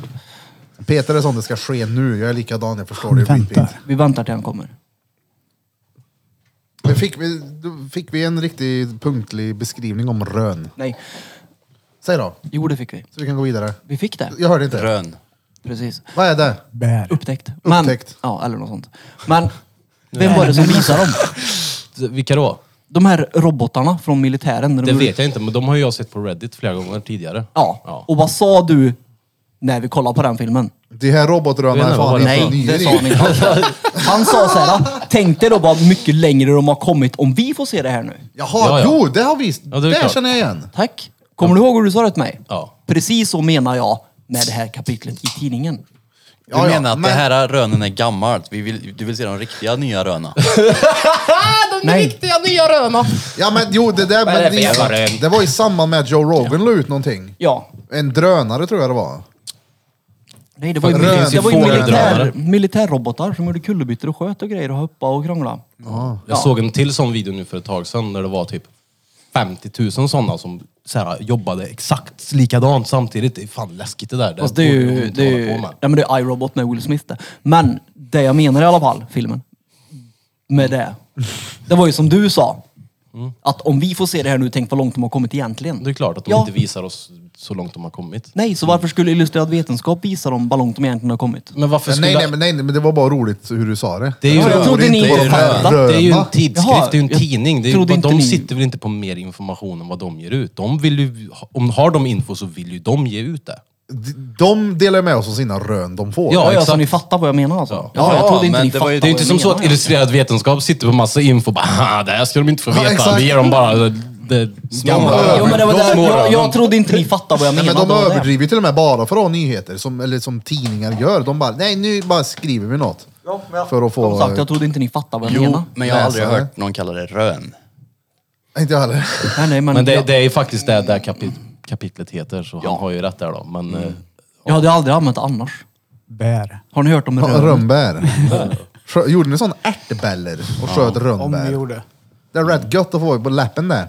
S1: Peter är sånt det ska ske nu. Jag är likadan, jag förstår det.
S4: Vänta.
S5: Vi väntar till han kommer.
S1: Men fick vi, då fick vi en riktig punktlig beskrivning om rön?
S5: Nej.
S1: Säg då,
S5: Jo, det fick vi.
S1: så vi kan gå vidare.
S5: Vi fick det.
S1: Jag hörde inte.
S6: Rön.
S5: Precis.
S1: Vad är det?
S4: Bär.
S5: Upptäckt. Men,
S1: Upptäckt.
S5: Ja, eller något sånt. Men vem var det som visade dem?
S3: vilka då?
S5: De här robotarna från militären. när de
S3: Det
S5: gjorde-
S3: vet jag inte, men de har ju jag sett på Reddit flera gånger tidigare.
S5: Ja.
S3: ja.
S5: Och vad sa du när vi kollade på den filmen?
S1: De här robotrönen är
S3: Vet ni vad
S1: fan
S3: det
S1: inte
S5: Nej,
S1: nya
S5: det
S1: i.
S5: sa han inte. Han sa så här, tänk dig då vad mycket längre de har kommit om vi får se det här nu.
S1: Jaha,
S3: Ja, ja.
S1: jo det har vi.
S3: Ja, det är
S1: det
S3: klart.
S1: känner jag igen.
S5: Tack. Kommer du ihåg hur du sa det till mig?
S3: Ja.
S5: Precis så menar jag med det här kapitlet i tidningen.
S6: Du
S1: Ja, ja,
S6: menar att
S1: men-
S6: det här rönen är gammalt? Vi vill, du vill se de riktiga nya röna?
S5: Nej,
S1: Ja men jo, det där...
S3: är det
S1: Men
S3: för jävla
S1: det,
S3: rön?
S1: det var i samband med att Joe Rogan la ut någonting.
S5: ja.
S1: En drönare tror jag det var.
S5: Nej, det var ju,
S1: För rön-
S5: det var ju militär,
S3: fågeldrönare.
S5: militärrobotar som gjorde kullerbyttor och sköt och grejer och hoppade och krånglade.
S3: Jag såg en till sån video nu för ett tag sedan där det var typ 50 000 sådana som så här, jobbade exakt likadant samtidigt. Det är fan läskigt det där.
S5: Fast det är
S3: borde de
S5: ju...
S3: inte
S5: Det är
S3: hålla
S5: ju
S3: på
S5: nej,
S3: med.
S5: men det är iRobot med Will Smith det. Men det jag menar i alla fall, filmen. Med det. Det var ju som du sa. Att om vi får se det här nu, tänk vad långt de har kommit egentligen.
S3: Det är klart att de
S5: Ja.
S3: inte visar oss så långt de har kommit.
S5: Nej, så varför skulle Illustrerad Vetenskap visa dem vad långt de egentligen har kommit?
S3: Men varför skulle...
S1: Nej, nej, men- nej, nej, men det var bara roligt hur du sa det.
S3: det är ju,
S5: Jag trodde
S1: inte
S5: ni
S1: på
S5: var
S1: de här
S5: skämtade.
S3: det är ju
S1: röna.
S3: en tidskrift,
S5: Jaha,
S3: det är ju en
S5: jag
S3: tidning. Det är, ju-
S5: trodde inte
S3: de
S5: ni-
S3: sitter väl inte på mer information än vad de ger ut. De vill ju, om har de info så vill ju de ge ut det.
S1: D- De delar med oss av sina rön de får.
S3: Ja,
S5: Ja, ja, så
S3: exakt.
S5: ni fattar vad jag menar alltså. Ja,
S6: Ja,
S5: jag trodde inte
S6: men
S5: ni
S6: det var
S5: fattade
S6: ju-
S3: Det är ju inte som så att illustrerad vetenskap sitter på massa info och bara "Haha, det här ska de inte få
S1: Ja,
S3: veta.
S1: exakt.
S3: vi ger dem bara det, det gamla.
S5: Jo, men det var
S3: De
S5: där,
S3: små
S5: jag,
S3: rönen.
S5: jag trodde inte ni fattade vad jag
S1: Nej,
S5: menade.
S1: men de
S5: det var det.
S1: överdriver till och med bara för att ha nyheter, som, eller som tidningar gör. De bara, nej nu bara skriver vi något. För att få...
S5: Som sagt, jag trodde inte ni fattade vad jag
S6: Jo,
S5: menade.
S6: men jag har aldrig
S1: Läsare.
S6: hört någon kalla det rön.
S1: Inte jag heller.
S5: Nej, nej, men
S3: Men det,
S5: jag,
S3: det är ju faktiskt det där kapit, kapitlet heter, så han har ju rätt där då. Men eh,
S5: jag hade aldrig använt det annars.
S4: Bär.
S5: Har ni hört om röven?
S1: Rönnbär. Skö- Gjorde ni sån ärtbäller och sköt
S4: Om vi
S1: rönnbär?
S4: gjorde.
S1: Det är rätt gött att få på läppen där.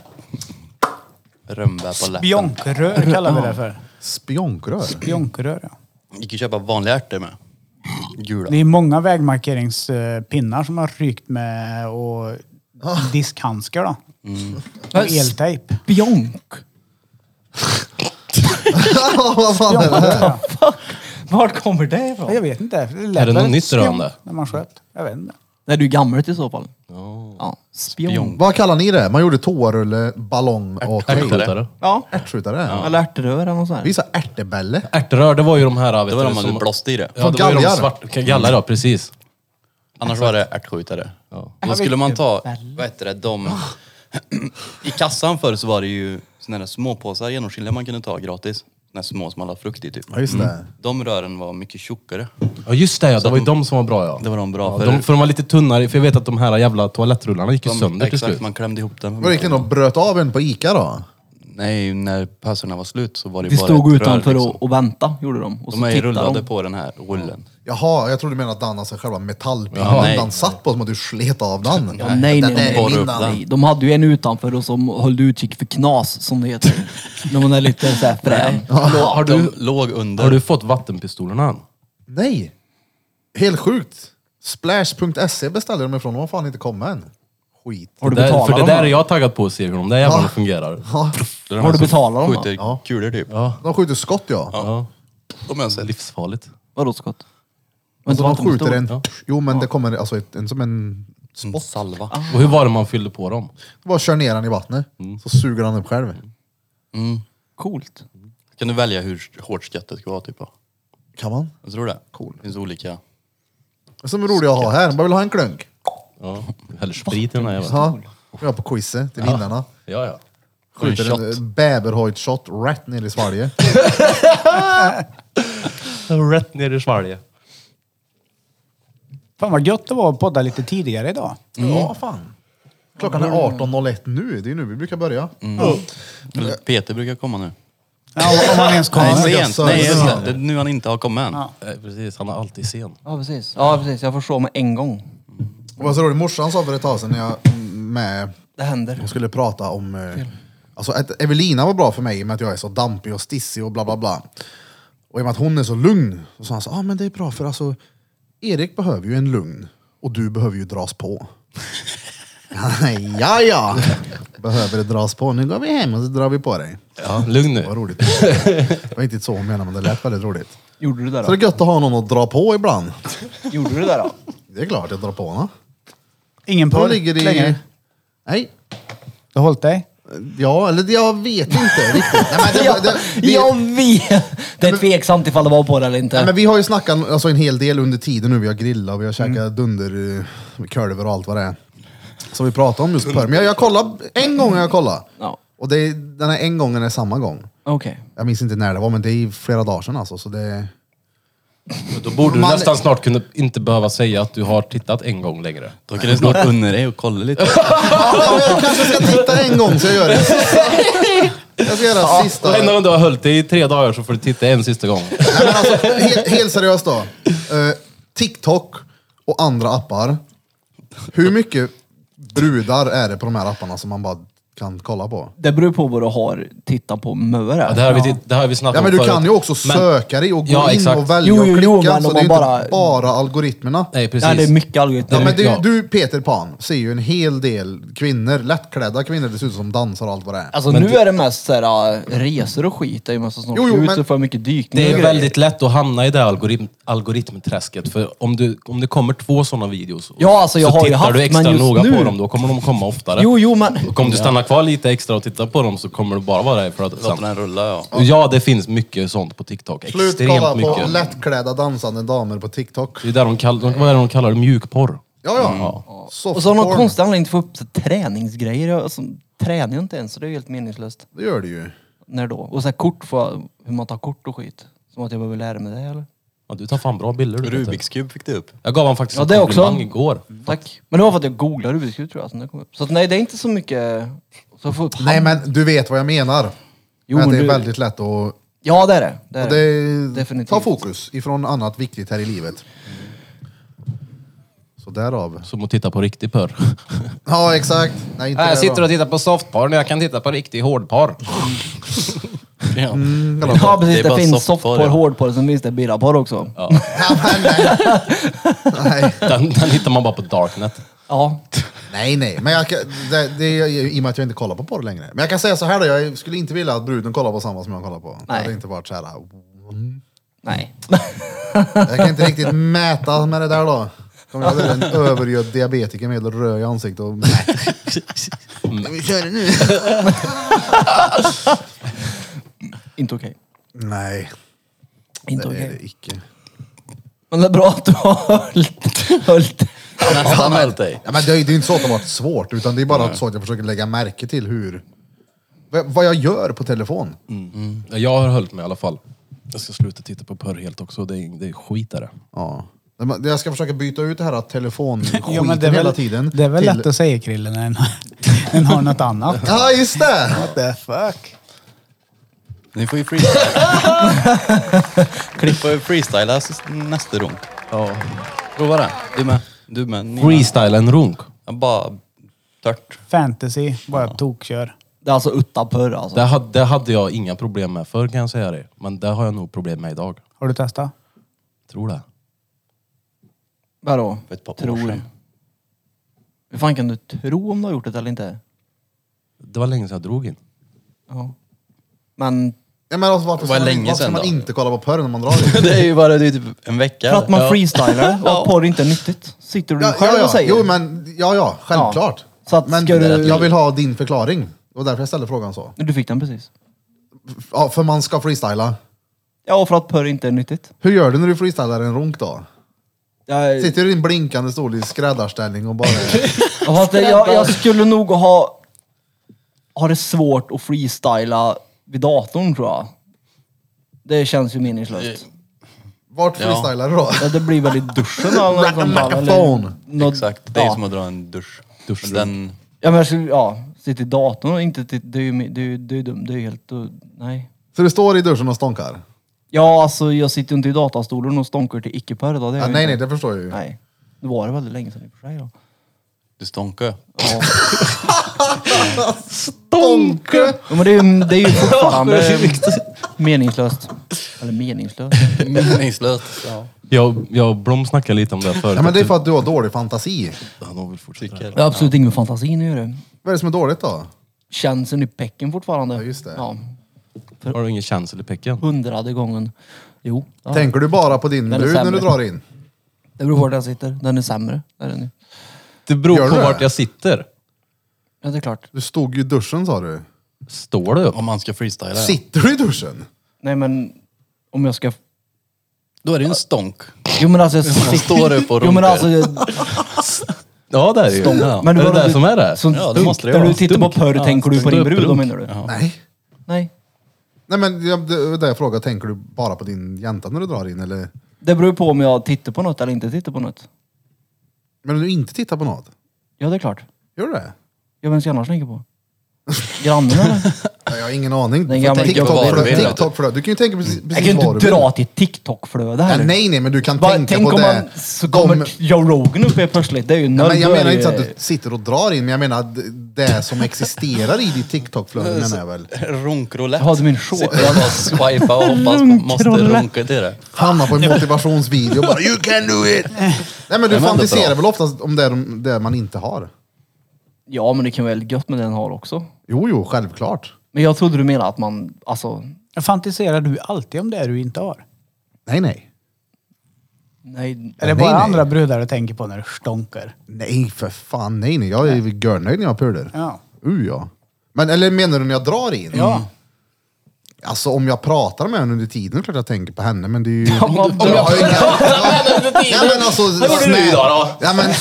S6: Rönnbär på läppen.
S4: Bjonkrör kallar vi det för.
S1: Spionkrör.
S4: Bjonkrör, ja.
S6: Gick ju köpa vanliga ärtor med. Gula.
S4: Det är många vägmarkeringspinnar som har rykt med och diskhandskar då. Och eltejp.
S5: Bjonk?
S1: Vad fan är det här?
S4: Ja,
S5: Vart kommer det ifrån?
S4: jag vet inte. Det
S3: Är det något nytt
S4: spion
S3: rön det?
S4: När man sköt. Jag vet inte.
S5: Nej, du är gammalt i så fall. Ja, spion.
S1: Vad kallar ni det? Man gjorde toarulle, ballong och
S3: ärtskjutare.
S5: Ja.
S1: ärtskjutare.
S5: Eller ärterör eller något sånt.
S1: Vi sa ärtebälle.
S3: Ärterör, det var ju de här... eh, Vet
S6: Det var
S3: du,
S6: de man
S3: som-
S6: blåste i det.
S3: Ja, det var ju de
S1: Galgar.
S3: svarta. Gallar, ja precis.
S6: Annars var det ärtskjutare. Då skulle man ta, vad heter det, de... Ah. I kassan förr så var det ju såna där småpåsar genomskinliga man kunde ta gratis. här små som alla frukt i typ.
S1: Ja, just det.
S6: De rören var mycket tjockare.
S3: Ja just det ja, det var ju de som var bra ja.
S6: Det var de bra
S3: ja,
S6: för.
S3: de, för de var lite tunnare, för jag vet att de här jävla toalettrullarna gick ju
S6: De-
S3: sönder till
S6: Exakt,
S3: slut.
S6: man klämde ihop dem.
S1: Var det inte någon bröt av en på Ica då?
S6: Nej, när passerna var slut så var det
S5: De
S6: bara
S5: stod
S6: ett rör,
S5: utanför
S6: liksom.
S5: och, och väntade, gjorde de. Och så
S6: De är ju
S5: tittade
S6: rullade
S5: de.
S6: på den här rullen.
S1: Jaha, jag trodde du menade att Danna sig själva metallpinnen
S6: Ja, nej.
S1: han satt på som att du slet av den.
S5: Ja, nej, nej,
S1: Den där
S5: nej,
S1: är
S6: borrar
S1: min
S6: upp den.
S1: Dan.
S5: nej. De hade ju en utanför och som höll utkik för knas, som det heter. När man är lite såhär frän.
S6: Lå-
S3: Har du-
S6: de låg under.
S3: Har du fått vattenpistolerna än?
S1: Nej! Helt sjukt! Splash.se beställde de ifrån, de har fan inte kommit än. Skit.
S5: Har du
S3: Där-
S5: betalat
S3: För det
S5: dem?
S3: där är
S5: då?
S3: jag taggad på att se hur de där jävlarna
S1: Ja.
S3: fungerar.
S1: Ja,
S3: Det är de
S5: Har du
S3: som-
S5: betalat dem? då?
S6: alltså, skjuter kulor typ. Ja.
S1: de skjuter skott ja.
S3: Ja,
S6: De har jag sett.
S3: livsfarligt.
S5: Vadå skott?
S1: alltså, de
S5: Vänta, vad
S1: skjuter
S5: stor?
S1: en...
S3: ja.
S1: Jo men det kommer alltså ett, en, som en...
S6: En salva.
S3: Och hur var det man fyllde på dem?
S1: Bara kör ner den i vattnet, så suger han upp själv.
S5: Coolt.
S6: Kan du välja hur hårt skattet ska vara typ? ja?
S1: Kan man?
S6: Jag tror det.
S1: Cool.
S6: Det finns olika.
S1: Som är rolig att ha här, bara vill ha en klunk.
S3: Ja, häller sprit i den här jäveln.
S1: Ja, vi har på quizet till vinnarna.
S3: Ja, ja.
S1: Skjuter en, en bäverhojt-shot rätt ner i svalget.
S3: Rätt ner i svalget.
S4: Fan vad gött det var att podda lite tidigare idag.
S1: Ja, fan. Klockan är 18.01 nu, det är ju nu vi brukar börja.
S6: Eller Peter brukar komma nu.
S4: Ja, om man ens
S1: Ja,
S6: Nej,
S1: men
S4: kommer.
S1: jag
S6: sent.
S1: sa-
S6: Nej, just
S1: Ja.
S6: det. Det är nu han inte har kommit än.
S3: Precis, han är alltid sen.
S5: Ja, precis. Ja, precis. Jag får slå mig en gång.
S1: Det var så roligt, morsan sa för ett tag sedan när jag med,
S5: Det händer.
S1: hon skulle prata om, eh, alltså att Evelina var bra för mig i och med att jag är så dampig och stissig och bla bla bla. Och i och med att hon är så lugn, så sa han så, ah, men det är bra för alltså, Erik behöver ju en lugn och du behöver ju dras på. ja, ja, behöver det dras på. Nu går vi hem och så drar vi på dig.
S3: Ja, lugn
S1: Vad
S3: nu.
S1: roligt. Det var inte så hon menade, men det lät väldigt roligt.
S5: Gjorde du det
S1: Så
S5: då?
S1: det är gött att ha någon att dra på ibland.
S5: Gjorde du det då?
S1: Det är klart jag drar på honom.
S4: Ingen
S1: Då
S4: porr
S1: ligger det i...
S4: längre.
S1: Nej.
S4: Du har hållit dig?
S1: Ja, eller det- jag vet inte riktigt. Nej, men, det, det, vi,
S5: Jag vet! Det är tveksamt ifall det var på det eller
S1: nej, men
S5: inte.
S1: vi har ju snackat alltså, en hel del under tiden nu. Vi har grillat och vi har käkat dunder, eh, kurver och allt vad det är. Som vi pratade om just förr. Men jag, jag kollade, en gång har jag kollat.
S5: Ja.
S1: Och det, är- den här en gången är samma gång.
S5: Okej.
S1: Jag minns inte när det var, men det är ju flera dagar sedan alltså. Så det,
S3: Då borde du
S1: Man-
S3: nästan snart kunna, inte behöva säga att du har tittat en gång längre.
S6: Då kan du snart unna dig och kolla lite.
S1: ja, jag kanske ska titta en gång så jag gör det. Jag ska göra sista.
S3: Och även om du har hållit dig i tre dagar så får du titta en sista gång.
S1: Nej, men alltså, helt, helt seriöst då. Eh, TikTok och andra appar. Hur mycket brudar är det på de här apparna som man bara kan kolla
S3: Alltså,
S1: på?
S5: Det beror på vad du har tittat på möre.
S3: Ja, det, här har vi, det här har vi snackat
S1: Ja
S3: om
S1: men du kan
S3: förut.
S1: ju också
S3: Men-
S1: söka dig och gå
S3: Ja,
S1: in
S3: exakt.
S1: och välja
S5: Jo,
S1: och
S5: jo,
S1: klicka.
S5: jo, men
S1: så
S5: om
S1: det är ju
S5: man
S1: inte bara algoritmerna.
S3: Nej, precis.
S5: Ja, det är mycket
S3: Det
S5: algoritmer.
S1: Ja,
S3: är
S1: men du,
S3: ja.
S1: du Peter Pan ser ju en hel del kvinnor, lättklädda kvinnor dessutom som dansar och allt vad det är.
S5: Alltså
S3: Men
S5: nu
S3: det-
S5: är det mest såhär, äh, resor och skit. Det är ju massa sånt.
S1: Jo, jo,
S5: ut
S1: men-
S5: och för mycket dykning
S3: Det
S5: och
S3: är
S5: grejer.
S3: väldigt lätt att hamna i det här algoritm, algoritmträsket. För om, du, om det kommer två sådana videos
S5: Ja, alltså, jag
S3: så
S5: har ju
S3: tittar
S5: haft,
S3: du extra
S5: men just
S3: noga
S5: nu-
S3: på dem, då kommer de komma oftare.
S5: Jo, jo, men...
S3: Och om du stannar kvar lite extra och tittar på dem så kommer du bara vara där för att...
S6: Låter
S3: Sen.
S6: den rulla ja.
S3: Ja, det finns mycket sånt på TikTok.
S1: Slut kolla
S3: Extremt
S1: på
S3: mycket.
S1: lättklädda dansande damer på TikTok.
S3: Det är där de kallar, vad är det de kallar det? Mjukporr.
S1: Ja, ja.
S5: Och så har någon
S1: Softporn.
S5: konstig anledning inte få upp så träningsgrejer. Jag alltså, tränar ju inte ens, så det är ju helt meningslöst.
S1: Det gör det ju.
S5: När då? Och så här kort, får jag, hur man tar kort och skit. Som att jag behöver lära mig det eller?
S3: Ja, du tar fan bra bilder du. vet du.
S6: Rubiks kub fick du upp.
S3: Jag gav han faktiskt
S5: Ja,
S3: en
S5: det också.
S3: komplimang igår.
S5: Tack. Men det var för att jag googlade Rubiks kub tror jag, som det kom upp. Så att, nej, det är inte så mycket... Så jag får upp
S1: Nej
S5: hand-
S1: men du vet vad jag menar.
S5: Jo,
S1: att det är
S5: du-
S1: väldigt lätt att och
S5: Ja, det är det. det, är
S1: det
S5: det...
S1: är,
S5: Definitivt.
S1: ta fokus ifrån annat viktigt här i livet. Så därav.
S3: Som att titta på riktig porr.
S1: Ja exakt. Nej, inte
S3: Jag
S1: det
S3: sitter
S1: då.
S3: och tittar på softporr när jag kan titta på riktig hårdporr.
S6: Ja.
S1: Mm.
S5: Ja
S6: Det
S5: precis,
S6: är
S5: det,
S6: bara
S5: finns
S6: softporr,
S5: softporr,
S6: ja.
S5: hårdporr, sen finns det birraporr också. Ja.
S1: Ja, men, nej. nej.
S3: Den, den hittar man bara på darknet.
S1: Nej nej. Men jag, kan- det, det är ju i och med att jag inte kollar på porr längre. Men jag kan säga så här då. Jag skulle inte vilja att bruden kollar på samma som jag kollar på. Det
S5: Nej.
S1: hade inte varit så här.
S5: Nej.
S1: Jag kan inte riktigt mäta med det där då. Kommer jag vara en övergödd diabetiker med helt röd i ansiktet och... Nej. Ska vi köra nu?
S5: inte okej.
S1: Nej,
S5: Inte
S1: det
S5: okej.
S1: är det icke.
S5: Men det är bra att du har höll- höll-
S6: Nästan höll dig.
S1: Ja, men det, är, det är inte så att det har varit svårt, utan det är bara så att jag försöker lägga märke till hur V- Vad jag gör på telefon.
S3: Jag har hållit mig i alla fall. Jag ska sluta titta på porr helt också. Det är, det är skit där.
S1: Ja. Nej, men Jag ska försöka byta ut det här telefonskiten
S4: Jo, men det är väl,
S1: hela tiden.
S4: Det är väl
S1: till-
S4: lätt att säga Krille när en, en har något annat.
S1: Ja, just det!
S4: What the fuck?
S6: Ni får ju freestyle. Ni får ju freestyla s- nästa runk. Ja. Prova det. Du med. Du med. Ni med.
S3: Freestyle en runk.
S6: Ja, Bara tört.
S4: Fantasy, bara tokkör.
S5: Det är alltså utanför alltså.
S3: Det hade, det hade jag inga problem med förr kan jag säga det. Men det har jag nog problem med idag.
S4: Har du testat?
S3: Tror det.
S5: Vadå?
S6: För ett par år
S5: Tror.
S6: sedan.
S5: Hur fan kan du tro om du har gjort det eller inte?
S3: Det var länge sedan jag drog in.
S5: Ja. Men
S1: Ja, men alltså, varför
S6: Det var
S1: ska man,
S6: länge
S1: varför ska
S6: sedan
S1: man
S6: då.
S1: inte kolla på porr när man drar det?
S6: Det är ju bara det är typ en vecka.
S5: för att man
S6: Ja.
S5: freestylar och att porr inte är nyttigt. Sitter du
S1: Ja,
S5: själv
S1: ja,
S5: och
S1: ja.
S5: säger?
S1: Jo, men ja, ja, självklart.
S5: Så att
S1: men
S5: ska du-
S1: jag vill ha din förklaring. Det var därför jag ställde frågan så.
S5: Du fick den precis.
S1: Ja, för man ska freestyla.
S5: Ja, och för att porr inte är nyttigt.
S1: Hur gör du när du freestylar en runk då?
S5: Jag,
S1: Sitter du i din blinkande stol i skräddarställning och bara...
S5: Ja, fast det- jag, jag skulle nog ha, ha det svårt att freestyla vid datorn tror jag. Det känns ju meningslöst.
S1: Vart freestylar du då?
S5: Ja, det blir väl i duschen eller något sånt där,
S1: Rackamackaphone.
S5: eller något-
S6: Exakt. Det är ju
S5: ja.
S6: som att dra en dusch. dusch. Den,
S5: Ja, men jag skulle, ja, sitta i datorn och inte titta, det är ju mi- det är ju- det är ju dumt, det är ju helt, uh, nej.
S1: Så du står i duschen och stånkar?
S5: Ja, alltså jag sitter ju inte i datastolen och stånkar till icke-porr idag. det gör
S1: Ja,
S5: jag
S1: nej, nej,
S5: inte.
S1: det förstår jag ju.
S5: Nej. Det var det väldigt länge sedan i och för sig då.
S6: du stånkar.
S5: Ja. Ja, men det är ju, det är ju fortfarande meningslöst. Eller meningslöst.
S6: Meningslöst. Ja.
S3: Jag, jag och Blom snackade lite om det förut.
S1: Ja, men det är för att du har dålig fantasi.
S3: Han har väl fortsatt det.
S6: Tycker.
S5: Det har absolut inget med fantasin att göra.
S1: Vad är det som är dåligt då?
S5: Känseln i bäcken fortfarande.
S1: Ja, just det.
S5: Ja,
S3: Har du ingen känsel i pecken?
S5: hundrade gången. Jo, ja.
S1: Tänker du bara på din
S5: Den är
S1: brud när du
S5: sämre.
S1: drar in?
S5: det beror på vart jag sitter. Den är sämre. Där är den. ju.
S3: Det beror
S1: Gör
S3: på
S1: du det?
S3: vart jag sitter.
S5: Ja, det är klart.
S1: Du stod ju i duschen sa du.
S3: Står du upp?
S6: Om man ska freestyla. ja.
S1: Sitter du i duschen?
S5: Nej men, om jag ska...
S6: Då är det ju en stånk.
S5: Jo men alltså jag sitter...
S6: Man står upp och
S5: Jo men
S6: runkar.
S5: alltså... Jag...
S3: Ja det är det ju. Ja.
S5: Men
S3: är det
S5: vadå,
S3: det
S5: du-
S3: som är det?
S5: Så,
S6: Ja, det måste det
S5: när du
S6: vara.
S5: tittar på
S3: Stunk.
S5: porr
S3: Ja,
S5: tänker du på
S3: stunk.
S5: din brud då
S3: Stunk.
S5: menar du?
S6: Ja.
S1: Nej.
S5: Nej.
S1: Nej men jag- det var det jag frågade, tänker du bara på din jänta när du drar in eller?
S5: Det beror på om jag tittar på något eller inte tittar på något.
S1: Men om du inte tittar på något?
S5: Ja det är klart.
S1: Gör du det?
S5: Ja, vem ska jag annars tänka på? Grannen eller?
S1: Nej, Jag har ingen aning.
S5: Den gamla
S1: TikTok,
S5: gubben.
S1: för,
S6: Varvin,
S1: TikTok för, du kan ju tänka precis,
S5: Jag kan ju
S1: precis vad du
S5: inte
S1: vill.
S5: dra till
S1: Ja,
S5: TikTok-flöde här.
S1: nej, nej, men du kan
S5: Bara,
S1: tänka
S5: tänk
S1: på
S5: om
S1: det.
S5: man, så kommer
S1: De-
S5: Joe Rogan upp helt plötsligt. Det är ju
S1: Ja,
S5: nöjd.
S1: men jag
S5: då är
S1: menar
S5: det
S1: inte att du
S5: ju-
S1: sitter och drar in, men jag menar d- det som existerar i ditt TikTok-flöde menar jag väl.
S6: Runkroulette.
S5: Ja, du menar så.
S6: Sitter jag bara och swipar och hoppas man måste
S5: Runkroulette.
S6: runka till det.
S1: Hamnar på en motivationsvideo och bara “You can do it!” Nej men
S6: Det
S1: du
S6: är ändå
S1: fantiserar
S6: bra.
S1: väl oftast om det, de- det man inte har?
S5: Ja, men det kan väl gött med den har också.
S1: Jo, jo, självklart.
S5: Men jag trodde du menade att man, alltså,
S4: Fantiserar du alltid om det du inte har?
S1: Nej, nej.
S5: nej.
S4: Är
S1: Nej,
S4: det bara
S1: nej.
S4: andra brudar du tänker på när du stonkar?
S1: Nej, för fan. Nej, nej. Jag är görnöjd när jag har puler.
S4: Ja.
S1: Uh, ja. Men eller menar du när jag drar in?
S4: Ja.
S1: Alltså om jag pratar med henne under tiden, det är klart jag tänker på henne, men det är ju...
S5: Om
S1: Om jag
S5: jag-
S1: har ju- Ja men alltså...
S3: Vad gjorde du idag då?
S1: Ja men...
S3: Ja,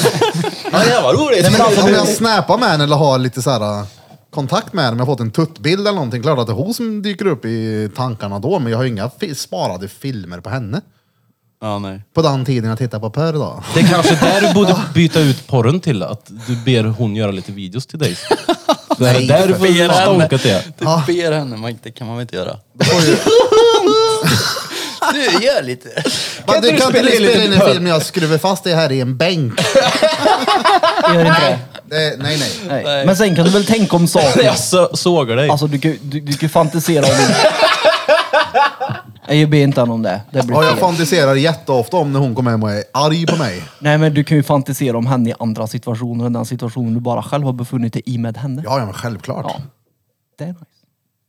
S3: Alltså, det var roligt.
S1: Men alltså- om jag snappar med henne eller har lite så här äh, kontakt med henne, om jag har fått en tuttbild eller någonting, klart att det är hon som dyker upp i tankarna då, men jag har ju inga fi- sparade filmer på henne.
S6: Ja, nej.
S1: På den tiden jag tittar på Per då.
S3: Det är kanske där du borde byta ut porren till. Att du ber hon göra lite videos till dig. Det är där du får stånka till.
S6: Du ber henne, men det kan man väl inte göra? du gör lite.
S1: Men du kan inte
S3: spela in
S1: spela
S3: lite
S1: in en
S3: Per?
S1: film när jag skruvar fast det här i en bänk.
S5: Gör inte det.
S1: Det, nej nej.
S5: Nej. Men sen kan du väl tänka om saker.
S3: Jag så- sågar dig.
S5: Alltså, du kan ju du, du kan ju fantisera om... Nej, Jag ber inte han om det. Det blir
S1: Ja, jag
S5: fel.
S1: fantiserar jätteofta om när hon kommer hem och är arg på mig.
S5: Nej, men du kan ju fantisera om henne i andra situationer än den situationen du bara själv har befunnit dig i med henne.
S1: Ja, ja men självklart.
S5: Ja. Det är nice.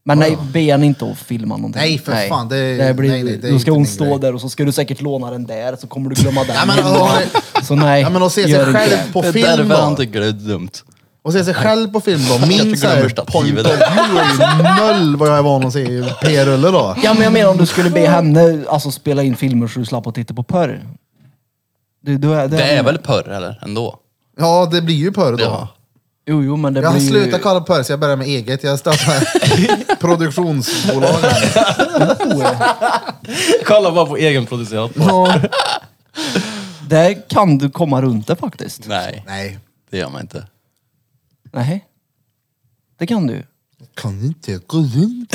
S5: Men nej, be henne inte att filma någonting.
S1: Nej, för fan, det- nej, nej, det är
S5: då ska
S1: inte
S5: hon
S1: min
S5: stå
S1: grej.
S5: där och så ska du säkert låna den där, så kommer du glömma den.
S1: Ja, men,
S5: igen då.
S1: och-
S5: så nej,
S1: Ja men att se sig
S5: gör inte
S1: själv på
S6: Det är
S1: film
S6: därför han
S1: då.
S6: tycker det är dumt.
S1: Och se sig själv på film då. Min
S6: tycker
S1: så här
S6: de första
S1: point of
S6: tio
S1: view är ju noll vad jag är van att se i p-rulle då.
S5: Ja, men jag menar om du skulle be henne alltså, spela in filmer så du slapp att titta på porr. Det, då är, det,
S6: Det är väl porr, eller? Ändå.
S1: Ja, det blir ju porr då.
S6: Ja.
S5: Jo, jo, men det
S1: Jag har
S5: blir ju-
S1: slutat kalla på Percy, jag börjar med eget. Jag startar produktionsbolag.
S3: Kolla bara på egenproducerat.
S1: Ja.
S5: Där kan du komma runt det faktiskt.
S6: Nej,
S1: Nej,
S6: det gör man inte.
S5: Nej. Det kan du.
S1: kan inte gå runt.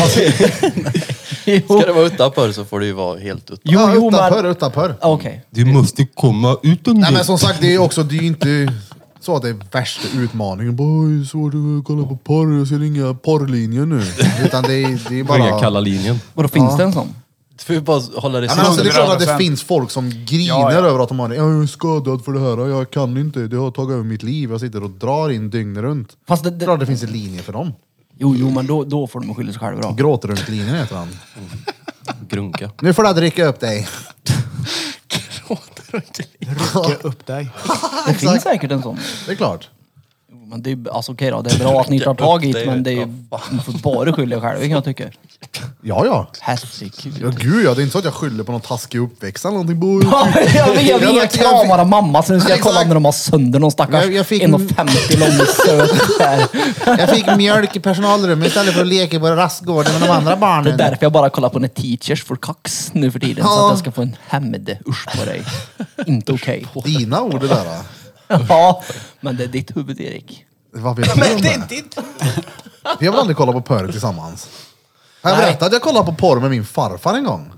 S5: Jo,
S6: Ska det vara utanför så får det ju vara helt utanför.
S5: jo, jo
S1: utanför,
S5: men...
S1: utanför.
S5: Ah, Okej.
S3: Du måste komma ut
S1: Nej men som sagt, det är ju också, det är ju inte så att det är värsta utmaningen. Bara, "Oj, svårt att kolla på porr, jag ser inga porrlinjer nu. Utan det är, det är bara...
S3: Ringa kalla linjen.
S5: Vadå, finns det en sån?
S6: Du får ju bara hålla det
S1: Ja, men alltså, det är klart att det
S4: 100%.
S1: finns folk som griner
S4: Ja, ja.
S1: över att de har jag är skadad för det här, jag kan inte, det har tagit över mitt liv, jag sitter och drar in dygnet runt.
S5: Fast det-
S1: det
S5: det-
S1: är klart det finns en linje för dem.
S5: Jo, jo, men då, då får de skylla sig själva då.
S1: Gråtrunklinjen heter han.
S3: Grunka.
S1: Nu får du dricka upp dig.
S4: Rycka upp dig.
S5: Det finns säkert en sån.
S1: Det är klart.
S5: Jo, Men det är, alltså okej då, det är bra att ni tar tag i det, men det är ju... Ni får bara skylla er själva kan jag tycka.
S1: Ja, ja. Ja,
S5: Herregud.
S1: gud ja, det är inte så att jag skyller på någon taskig uppväxt eller någonting. Bo-
S5: jag vet, jag
S1: Jag
S5: vet,
S1: fick-
S5: kramar av mamma så nu ska jag kolla
S1: Exakt.
S5: när de har sönder någon stackars
S1: Jag- jag fick-
S5: 1,50 lång söt där.
S1: Jag fick mjölk i personalrummet istället för att leka på rastgården med de andra
S5: Det är
S1: barnen.
S5: därför jag bara kollar på när teachers får kax nu för tiden. Så
S1: Ja.
S5: att jag ska få en hämnd. Usch på dig. Inte okej.
S1: Dina ord det där. va?
S5: Ja, men det är ditt huvud Erik.
S1: Vad vet du om det? Vi har väl aldrig kollat på porr tillsammans? Har jag berättat att jag kollade på porr med min farfar en gång?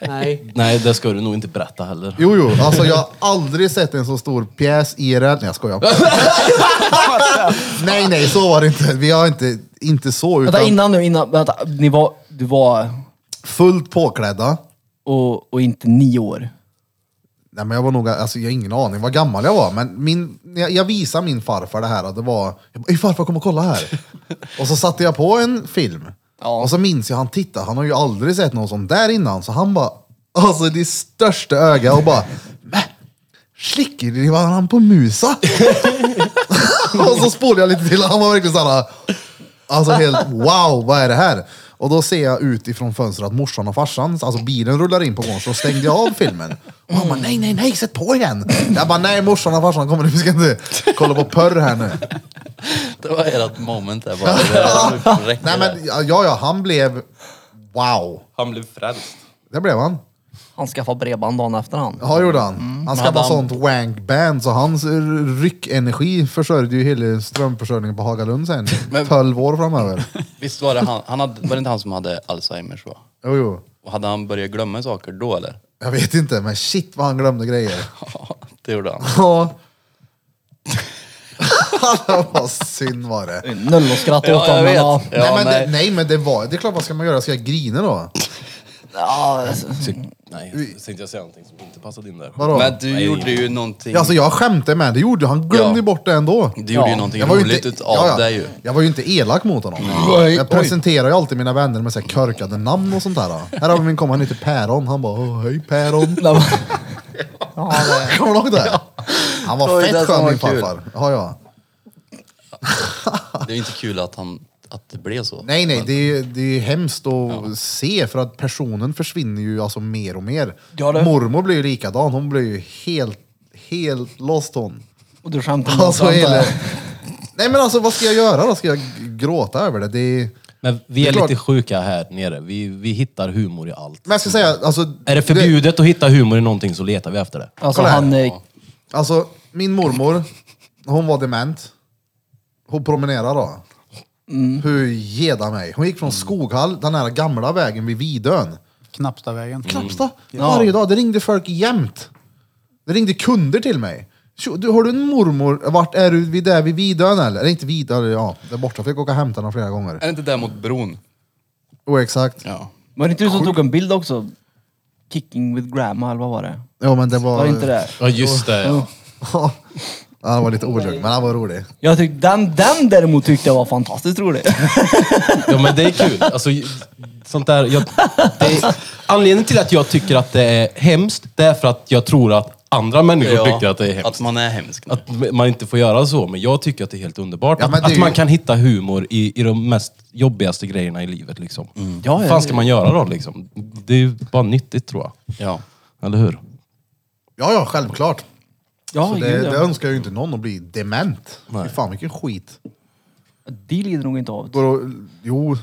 S5: Nej.
S3: Nej, det ska du nog inte berätta heller.
S1: Jo, jo. Alltså jag har aldrig sett en så stor pjäs IRL. Nej, jag skojar. nej, nej, så var det inte. Vi har inte, inte så,
S5: Vänta
S1: utan
S5: innan nu, innan. Vänta, ni var, du var
S1: fullt påklädda.
S5: och, och inte nio år.
S1: Nej, men jag var nog, alltså jag har ingen aning vad gammal jag var, men min, jag, jag visade min farfar det här, att det var, jag bara, "Ey, farfar kom och kolla här. och så satte jag på en film, och så minns jag han tittade, han har ju aldrig sett någon sån där innan, så han bara, alltså det största öga och bara, "Mä, slicker det var han på musa? och så spolade jag lite till, han var verkligen såhär, alltså helt wow, vad är det här? Och då ser jag ut ifrån fönstret att morsan och farsan, alltså bilen rullar in på gården, så då stängde jag av filmen. Och han bara, nej, nej, nej, sätt på igen! Jag bara, nej, morsan och farsan kommer nu, vi ska inte kolla på porr här nu.
S6: Det var ert moment där bara. Det här räcker
S1: Nej
S6: där.
S1: men, ja, ja, han blev, wow.
S3: Han blev frälst.
S1: Det blev han.
S5: Han skaffade bredband dagen efter han.
S1: Ja, gjorde han. Han skaffade sånt wankband, så hans ryckenergi försörjde ju hela strömförsörjningen på Hagalund sen. 12 år framöver.
S6: Visst var det han, han hade, var det inte han som hade Alzheimers va?
S1: Jo, jo.
S6: Och hade han börjat glömma saker då eller?
S1: Jag vet inte, men shit vad han glömde grejer.
S6: Ja, det gjorde han.
S1: Ja. vad synd var det.
S5: Nöll och skratt åt
S6: Ja, jag
S5: honom. men
S6: vet.
S5: Ja,
S6: Ja,
S1: nej, men
S6: nej.
S1: Det, nej men det var, det är klart vad ska man göra, ska jag grina då?
S5: ja, alltså,
S3: Nej, nu tänkte jag säga någonting som inte passade in där.
S1: Vadå?
S6: Men du gjorde ju någonting.
S1: Ja, alltså jag skämtade med det gjorde han glömde
S6: Ja.
S1: bort det ändå.
S6: Du gjorde ju någonting roligt utav det ju.
S1: Jag var ju inte elak mot honom. Jag presenterar ju alltid mina vänner med så här körkade namn och sånt där. då. Här har vi min kompis, han heter Päron. Han bara, "Åh, hej Päron. Kommer du ihåg det? Han
S6: Det var
S1: var
S6: ju det
S1: fett
S6: som
S1: skön
S6: var
S1: min
S6: kul.
S1: farfar. Ja, ja.
S6: Det är ju inte kul att, han, att det blev så.
S1: Nej, nej, det är ju det är ju hemskt att se för att personen försvinner ju alltså mer och mer.
S5: Ja, det-
S1: Mormor blir ju likadan, hon blir ju helt, helt lost hon.
S5: och du skämtar med
S1: Alltså,
S5: oss, antar
S1: hela...
S5: jag.
S1: Nej men alltså vad ska jag göra då? Ska jag g- gråta över det? det är...
S3: Men vi
S1: Det är
S3: är,
S1: klart-
S3: lite sjuka här nere. Vi, vi hittar humor i allt.
S1: Men jag ska säga, alltså...
S3: Är det förbjudet att hitta humor i någonting så letar vi efter det.
S5: Alltså
S1: Kolla här.
S5: han... eh,
S1: Det, alltså min mormor, hon var dement. Hon promenerade då. Hur geda mig. Hon gick från Skoghall, den här gamla vägen vid Vidön.
S4: Knappstavägen.
S1: Knapsta. Varje dag. Det ringde folk jämt. Det ringde kunder till mig. Tjo, Du, har du en mormor? Vart är du? Vid där vid Vidön eller? Eller inte Vidön, ja. Där borta. Fick åka och hämta henne flera gånger.
S6: Är det inte där mot bron?
S1: Jo, exakt.
S6: Ja.
S5: Var det inte du som tog en bild också? Kicking with grandma eller vad var det?
S1: Ja, men det var...
S5: Var det inte det?
S3: Ja, just det. Ja.
S1: Ja, han var lite olugn, men han var rolig.
S5: Jag tyckte den, den däremot tyckte jag var fantastiskt rolig.
S3: Ja, men det är kul. Alltså, sånt där, jag, det är, anledningen till att jag tycker att det är hemskt, det är för att jag tror att andra människor tycker att det är
S6: Att
S3: hemskt.
S6: man är hemsk. nu.
S3: Att man inte får göra så, men jag tycker att det är helt underbart.
S1: Ja, men
S3: att
S1: det är
S3: att
S1: ju-
S3: man kan hitta humor i, i de mest jobbigaste grejerna i livet. Liksom.
S5: Ja,
S3: Vad
S5: ja,
S3: fan
S5: det-
S3: ska man göra då? Liksom? Det är ju bara nyttigt tror jag.
S6: Ja.
S3: Eller hur?
S1: Ja, ja, självklart.
S5: Ja,
S1: Så det,
S5: gud,
S1: det
S5: ja.
S1: önskar jag ju inte någon att bli dement. Fy fan vilken skit.
S5: Det lider nog inte av.
S1: Går och, jo.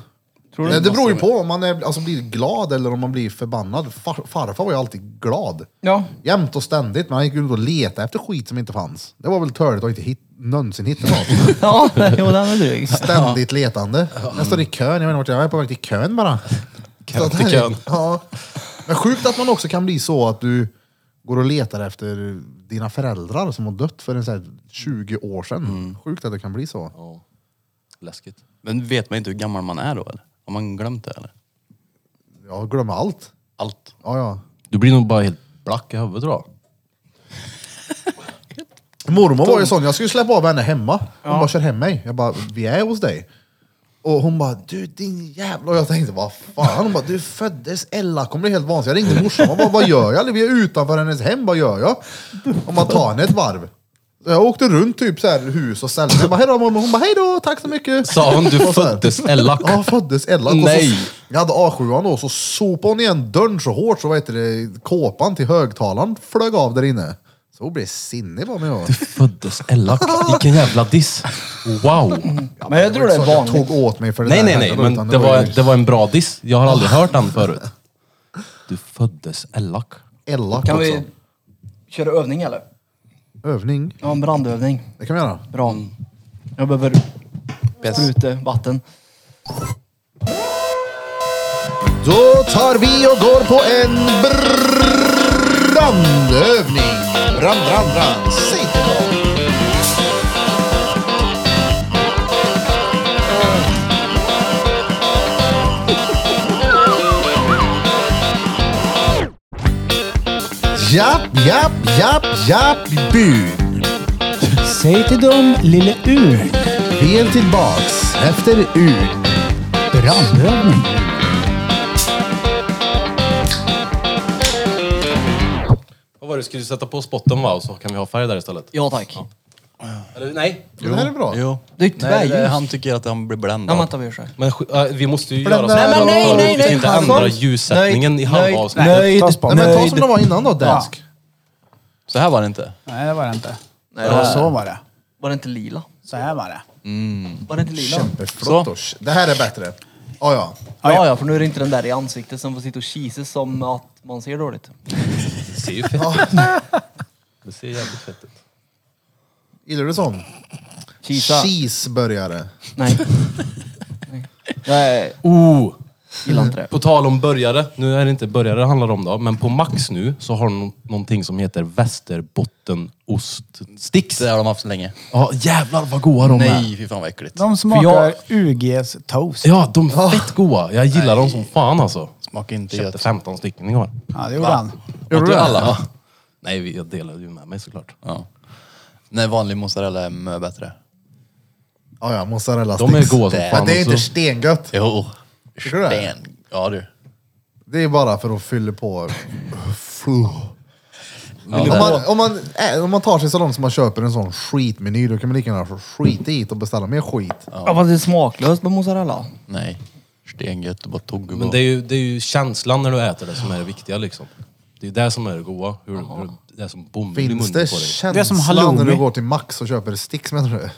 S6: du
S1: det,
S6: det
S1: det beror ju
S6: måste-
S1: på om man är, alltså, blir glad eller om man blir förbannad. Far, farfar var ju alltid glad.
S5: Ja.
S1: Jämt och ständigt. Men han gick runt och letade efter skit som inte fanns. Det var väl törligt att inte hit, någonsin hitta något.
S5: Ja, jo den är dryg.
S1: Ständigt letande. Jag står i kön, jag vet inte vart jag är, jag är på väg till kön bara. Kön
S3: till kön.
S1: Ja. Men sjukt att man också kan bli så att du går och letar efter dina föräldrar som har dött för en så här 20 år sedan.
S3: Mm.
S1: Sjukt att det kan bli så.
S6: Läskigt. Men vet man inte hur gammal man är då eller? Har man glömt det eller?
S1: Jag glömmer allt.
S6: Allt.
S1: Ja, ja.
S3: Du blir nog bara helt black i huvudet då.
S1: Mormor var ju sån, jag skulle släppa av henne hemma. Hon bara, kör hem mig. Jag bara, vi är hos dig. Och hon bara, du din jävla... Och jag tänkte, vad fan? Hon bara, du föddes Ella, kommer bli helt vansinnig. Jag ringde morsan, hon bara, vad gör jag? Vi är utanför hennes hem, vad gör jag? Om man tar henne ett varv. Så Jag åkte runt typ så här hus och ställe. Jag bara, hej då mamma. Hon bara, hej då, tack så mycket.
S3: Sa hon du
S1: Och så här.
S3: föddes Ella?
S1: Ja, föddes Ella. Och
S3: Nej.
S1: så, jag hade A7 då, så sopade hon igen dörren så hårt så vad heter det, kåpan till högtalaren flög av där inne. Så hon blev sinnig på mig. jag.
S3: Föddes Ella? Vilken jävla diss. Wow.
S5: Men jag tror det är
S1: Så jag
S5: vanligt.
S1: tog åt mig för det
S3: Nej,
S1: där
S3: nej, nej.
S1: heller,
S3: Men
S1: utan
S3: det var,
S1: ju
S3: det var en bra diss. Jag har aldrig hört den förut. Du föddes Ellak.
S1: elak
S5: Kan
S1: också.
S5: vi köra övning eller?
S1: Övning,
S5: Ja, en brandövning.
S1: det kan vi göra.
S5: Bra. Jag behöver sprute vatten.
S1: Då tar vi och går på en br- brandövning. Brand, brand, brand. Säg till dem. Japp, japp, japp, japp, byn.
S4: Säg till dem, lille U.
S1: Vi är tillbaks efter urn.
S4: Brandövning.
S3: Vad var det? Skulle du sätta på spotten va? Och så kan vi ha färg där istället?
S5: Ja tack.
S3: Eller, nej.
S1: Det här är bra.
S6: Jo.
S5: Det är
S6: Nej, det,
S5: tvärljus.
S6: han tycker att han blir bländad.
S5: Ja, vänta vi gör så här.
S3: Men sk- äh, vi måste ju göra så.
S1: Nej, men
S3: här
S1: nej,
S3: förut.
S1: nej,
S3: Vi ska inte
S5: Alltså,
S3: ändra ljussättningen i
S5: nöjd,
S3: halva avsnittet.
S5: Nöjd.
S4: Ta spotten.
S1: Nej, men ta som
S4: Nöjd.
S1: det var innan då, dansk.
S6: Så här var det inte.
S4: Nej, det var det inte.
S5: Nej,
S4: Ja,
S5: det-
S4: så var det.
S5: Var det inte lila?
S4: Så här var det.
S5: Var det inte lila?
S1: Kämpeflott. och- Eh, Det här är bättre. Ja, ja.
S5: Ja, ja, för nu är det inte den där i ansiktet som får sitta och kisa som att man ser dåligt.
S3: Det ser ju fett ut. Det ser jävligt fett ut.
S1: Gillar du sån?
S5: Kisa?
S1: Cheeseburgare.
S5: Nej. Nej,
S3: Oh!
S5: gillar inte det.
S3: På tal om börjare, nu är det inte börjare det handlar om då, men på Max nu så har de någonting som heter västerbottenoststicks.
S6: Det har de haft så länge.
S3: Ja, jävlar vad goda de är.
S6: Nej, fy fan vad äckligt.
S4: De smakar
S3: jag-
S4: UGs toast.
S3: Ja, de är fett goda. Jag gillar dem som fan alltså.
S6: Smakar inte
S3: Köpte
S6: Ah. gött.
S3: 15 stycken igår.
S4: Ja, det gjorde han.
S1: Gjorde
S6: Åt du
S1: det?
S6: alla? Ja.
S3: Nej, vi- jag delade ju med mig såklart.
S6: Nej, vanlig mozzarella är mycket bättre.
S1: Ah, Ja, ja. Mozzarella
S3: De är
S1: sticks.
S3: goda som
S6: Det-
S1: Men
S3: fan.
S1: det är inte
S3: också.
S1: stengött.
S6: Jo.
S1: Tycker du det?
S6: Sten. Ja du.
S1: Det är bara för att fylla på.
S6: det
S1: om, man, om, man, äh, om man tar sig så långt som man köper en sån skitmeny, då kan man lika gärna skita i det och beställa mer skit.
S5: Ja, fast det är smaklöst med mozzarella.
S6: Nej. Stengött och bara tog
S3: Men det är, ju, det är ju känslan när du äter det som är det viktiga liksom. Det är ju det som är det goda. Hur, hur, det är som bomull i munnen
S1: Finns
S3: på dig.
S1: det
S4: Det är som
S1: känslan
S4: halloumi.
S1: när du går till Max och köper sticks menar du?